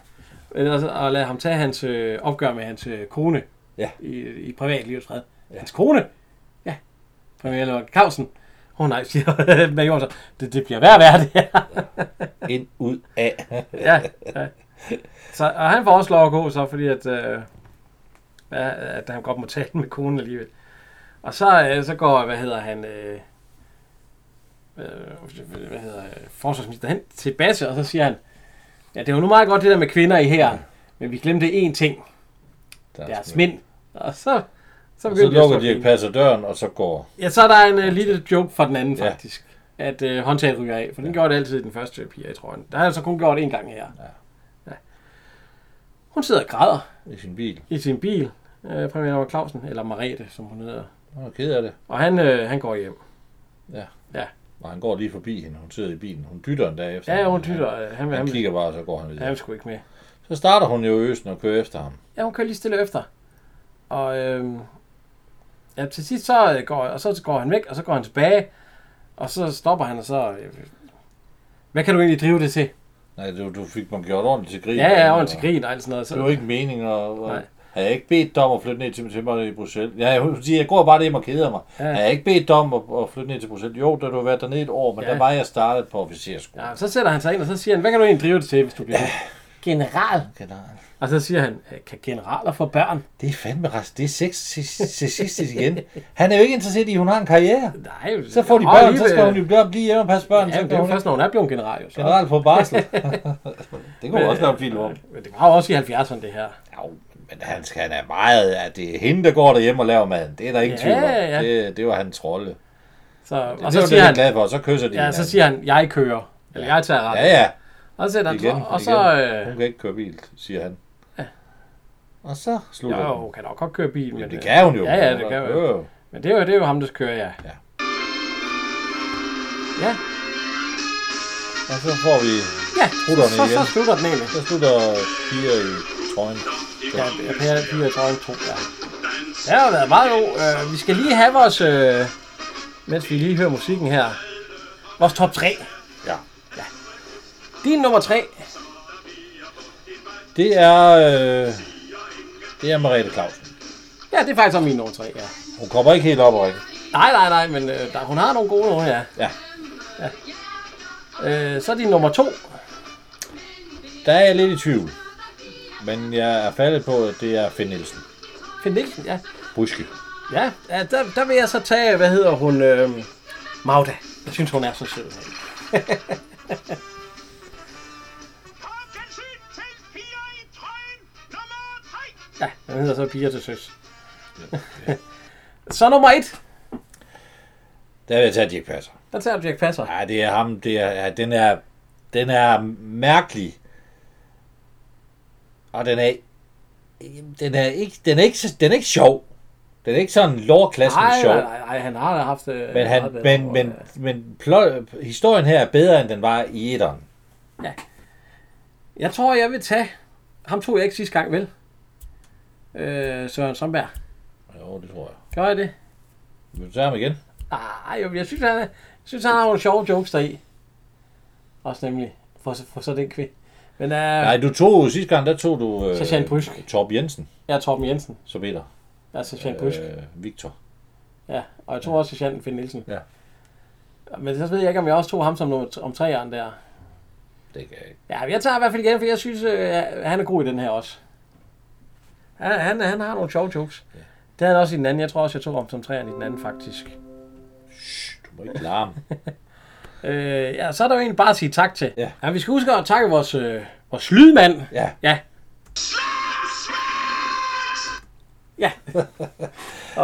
Speaker 1: Ellers at lade ham tage hans øh, opgør med hans øh, kone
Speaker 2: Ja.
Speaker 1: i, i privatlivets fred. Ja. Hans kone? Ja. Premierlord Clausen. Åh oh, nej, siger [laughs] major så. Det, det bliver værd at være det her.
Speaker 2: Ind, ud, af.
Speaker 1: ja, ja. Så, og han får også lov at gå så, fordi at, øh, ja, at han godt må tale med konen alligevel. Og så, øh, så går, hvad hedder han, øh, øh, hvad hedder øh, forsvarsminister hen til Basse, og så siger han, ja, det var nu meget godt det der med kvinder i her, men vi glemte én ting.
Speaker 2: Der er
Speaker 1: deres
Speaker 2: smidt.
Speaker 1: mænd. Og så, så
Speaker 2: Så
Speaker 1: begynder de at
Speaker 2: lukker
Speaker 1: slå
Speaker 2: Dirk
Speaker 1: fint.
Speaker 2: Passer døren, og så går...
Speaker 1: Ja, så er der en uh, lille joke fra den anden,
Speaker 2: Ja.
Speaker 1: faktisk. At uh, håndtaget ryger af, for den gjorde det altid i den første pige, tror jeg. Der har jeg så kun gjort det en gang her. Ja. ja. Hun sidder og græder
Speaker 2: i sin bil.
Speaker 1: i sin bil, uh, premierlov Clausen, eller Marete, som hun hedder.
Speaker 2: Hun er ked af det.
Speaker 1: Og han, uh, han går hjem.
Speaker 2: Og han går lige forbi hende. Hun sidder i bilen. Hun dytter en dag efter.
Speaker 1: Ja,
Speaker 2: ham.
Speaker 1: hun tyder. Uh, han,
Speaker 2: Han,
Speaker 1: han,
Speaker 2: han
Speaker 1: han,
Speaker 2: kigger bare, og så går han videre.
Speaker 1: han, vil sgu ikke med.
Speaker 2: Så starter hun jo øsen og kører efter ham.
Speaker 1: Ja, hun kører lige stille efter. Og øhm, ja, til sidst så øh, går, og så går han væk, og så går han tilbage, og så stopper han, og så... Øh, hvad kan du egentlig drive det til?
Speaker 2: Nej, du, du fik mig gjort ordentligt til grin.
Speaker 1: Ja, ja, og til grin og alt sådan noget. Så,
Speaker 2: Det var ikke meningen, og, og
Speaker 1: Nej.
Speaker 2: havde jeg ikke bedt dig om at flytte ned til, til mig i Bruxelles? Ja, jeg, vil sige, jeg går bare hjem og keder mig.
Speaker 1: Ja.
Speaker 2: Ja. Havde jeg ikke bedt dig om at, at flytte ned til Bruxelles? Jo, da du har været dernede et år, men
Speaker 1: Ja.
Speaker 2: ja. der var jeg startet på officerskolen.
Speaker 1: ja, så sætter han sig ind, og så siger han, hvad kan du egentlig drive det til, hvis du bliver ved?" General.
Speaker 2: [laughs] General.
Speaker 1: Og så siger han, "Øh, kan generaler få børn?
Speaker 2: Det er fandme rest. Det er sex til sidst igen. Han er jo ikke interesseret i, at hun har en karriere.
Speaker 1: Nej,
Speaker 2: Så får de
Speaker 1: åh,
Speaker 2: børn,
Speaker 1: lige
Speaker 2: så
Speaker 1: ved-
Speaker 2: skal hun jo blive, blive hjemme og passe børn.
Speaker 1: Ja,
Speaker 2: så
Speaker 1: men det er
Speaker 2: kan
Speaker 1: jo
Speaker 2: hun
Speaker 1: først, når hun er blevet general, jo så.
Speaker 2: generelt på [laughs] barsel. det kunne også lave en film om.
Speaker 1: Men det var jo også i 70'erne, det her.
Speaker 2: øh, Jo, men han skal han er meget, at det er hende, der går derhjemme og laver maden. Det er der ikke
Speaker 1: Ja,
Speaker 2: ja, tvivl om.
Speaker 1: ja.
Speaker 2: Det, det var hans rolle.
Speaker 1: Så,
Speaker 2: Og
Speaker 1: og
Speaker 2: det er
Speaker 1: så
Speaker 2: jo det,
Speaker 1: siger
Speaker 2: han er
Speaker 1: han,
Speaker 2: glad for, og så kysser de
Speaker 1: ja,
Speaker 2: hinanden.
Speaker 1: så siger han, jeg kører. Eller jeg tager ret.
Speaker 2: Ja, ja,
Speaker 1: Og så sætter han,
Speaker 2: igen,
Speaker 1: sig- og så...
Speaker 2: igen.
Speaker 1: øh,
Speaker 2: Hun kan ikke køre bil, siger han. Ja. Og så slutter
Speaker 1: Jo,
Speaker 2: jo,
Speaker 1: hun kan nok godt køre bil, men,
Speaker 2: det
Speaker 1: øh,
Speaker 2: kan hun jo.
Speaker 1: Ja, ja, det kan hun.
Speaker 2: jo.
Speaker 1: men det, er jo, det er jo ham, der kører, ja.
Speaker 2: Ja.
Speaker 1: Ja,
Speaker 2: Og så får vi,
Speaker 1: ja. Så,
Speaker 2: Rullerne
Speaker 1: så, så
Speaker 2: igen.
Speaker 1: slutter den egentlig.
Speaker 2: så slutter piger i trøjen.
Speaker 1: Ja, Per Piger Trøjen 2, ja. Det har været meget god. Øh, vi skal lige have vores, øh, mens vi lige hører musikken her, vores top 3.
Speaker 2: Ja.
Speaker 1: Din nummer 3,
Speaker 2: Det er, øh, det er Mariette Clausen.
Speaker 1: ja, det er faktisk om min nummer 3, ja.
Speaker 2: Hun kommer ikke helt op og ringe.
Speaker 1: Nej, nej, nej, men øh, der, hun har nogle gode nogle, ja.
Speaker 2: Ja.
Speaker 1: ja. Øh, så er din nummer 2.
Speaker 2: Der er jeg lidt i tvivl. Men jeg er faldet på, at det er Finn Nielsen.
Speaker 1: Finn Nielsen, ja.
Speaker 2: Buske.
Speaker 1: Ja, ja der, der vil jeg så tage, hvad hedder hun, øh, Magda. Jeg synes, hun er så sød.
Speaker 9: Kom gensyn til piger i trøjen nummer 3.
Speaker 1: Ja, den hedder så Piger til Søs. [laughs] så nummer 1,
Speaker 2: Der vil jeg tage Dirk Passer.
Speaker 1: der tager du Jack Passer.
Speaker 2: Ja, det er ham. Det er, ja, den er, den er mærkelig. Og den er, den er ikke, den er ikke, så- den er ikke sjov. Den er ikke sådan lore-klassen
Speaker 1: Nej,
Speaker 2: sjov.
Speaker 1: nej, nej, nej, han har da haft... øh,
Speaker 2: Men, han,
Speaker 1: meget bedre
Speaker 2: men,
Speaker 1: år,
Speaker 2: men,
Speaker 1: øh.
Speaker 2: men plot, historien her er bedre, end den var i etteren.
Speaker 1: Jeg tror, jeg vil tage... Ham tog jeg ikke sidste gang, vel? Øh, Søren Somberg.
Speaker 2: Jo, det tror jeg.
Speaker 1: Gør jeg det?
Speaker 2: Vil du tage ham igen?
Speaker 1: Nej, jeg, jeg synes, han, er- jeg synes, han har nogle sjove jokes deri. Også nemlig for, for så den kvind. Men øh,
Speaker 2: Nej, du tog sidste gang, der tog du... Øh,
Speaker 1: Sergeant Prysk.
Speaker 2: Torb Jensen,
Speaker 1: jeg er Torben Jensen.
Speaker 2: som hedder.
Speaker 1: Jeg er Sergeant Prysk. Øh.
Speaker 2: Øh, Victor.
Speaker 1: Ja, og jeg tror også Sergeant Finn Nielsen.
Speaker 2: Ja.
Speaker 1: Men så ved jeg ikke, om jeg også tog ham som nummer t- om treeren der.
Speaker 2: Det kan jeg ikke.
Speaker 1: Ja, men jeg tager i hvert fald igen, for jeg synes, øh, han er god i den her også. Han, han, han har nogle sjove jokes. Ja. Det havde han også i den anden. Jeg tror også, jeg tog ham som treeren i den anden, faktisk.
Speaker 2: Du må ikke larme.
Speaker 1: Øh, ja, så er der jo egentlig bare at sige tak til.
Speaker 2: Ja.
Speaker 1: ja vi skal huske at takke vores, øh, vores lydmand.
Speaker 2: ja.
Speaker 1: [laughs] Ja. Ja. [laughs]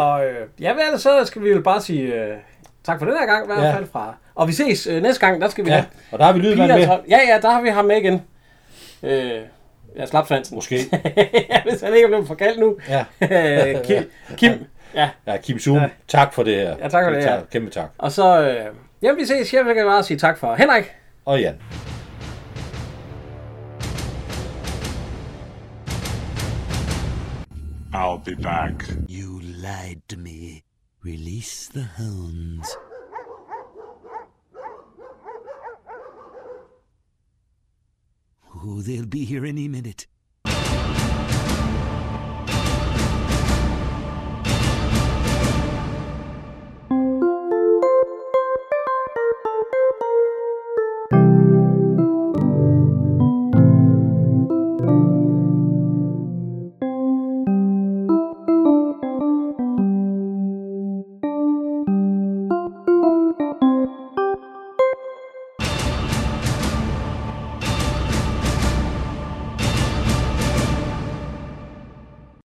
Speaker 1: og øh, ja, hvad er det så? Skal vi jo bare sige øh, tak for den her gang, i hvert
Speaker 2: Ja.
Speaker 1: fald fra. Og vi ses øh, næste gang, der skal vi
Speaker 2: ja.
Speaker 1: have
Speaker 2: Og der har vi lydmand
Speaker 1: piger,
Speaker 2: med.
Speaker 1: og- Ja, ja, der har vi ham med igen. Øh, jeg slap svansen.
Speaker 2: Måske.
Speaker 1: [laughs] ja, hvis han ikke er blevet forkalt nu.
Speaker 2: Ja.
Speaker 1: [laughs] Øh,
Speaker 2: [laughs]
Speaker 1: Kim, Kim, ja.
Speaker 2: Ja, Kim Zoom, ja. tak for det her.
Speaker 1: Ja, tak for det her.
Speaker 2: Kæmpe tak.
Speaker 1: Og så, øh, jamen vi ses. Jeg vil bare sige tak for Henrik.
Speaker 2: Og Jan.
Speaker 10: I'll be back.
Speaker 11: You lied to me. Release the hounds. Oh, they'll be here any minute.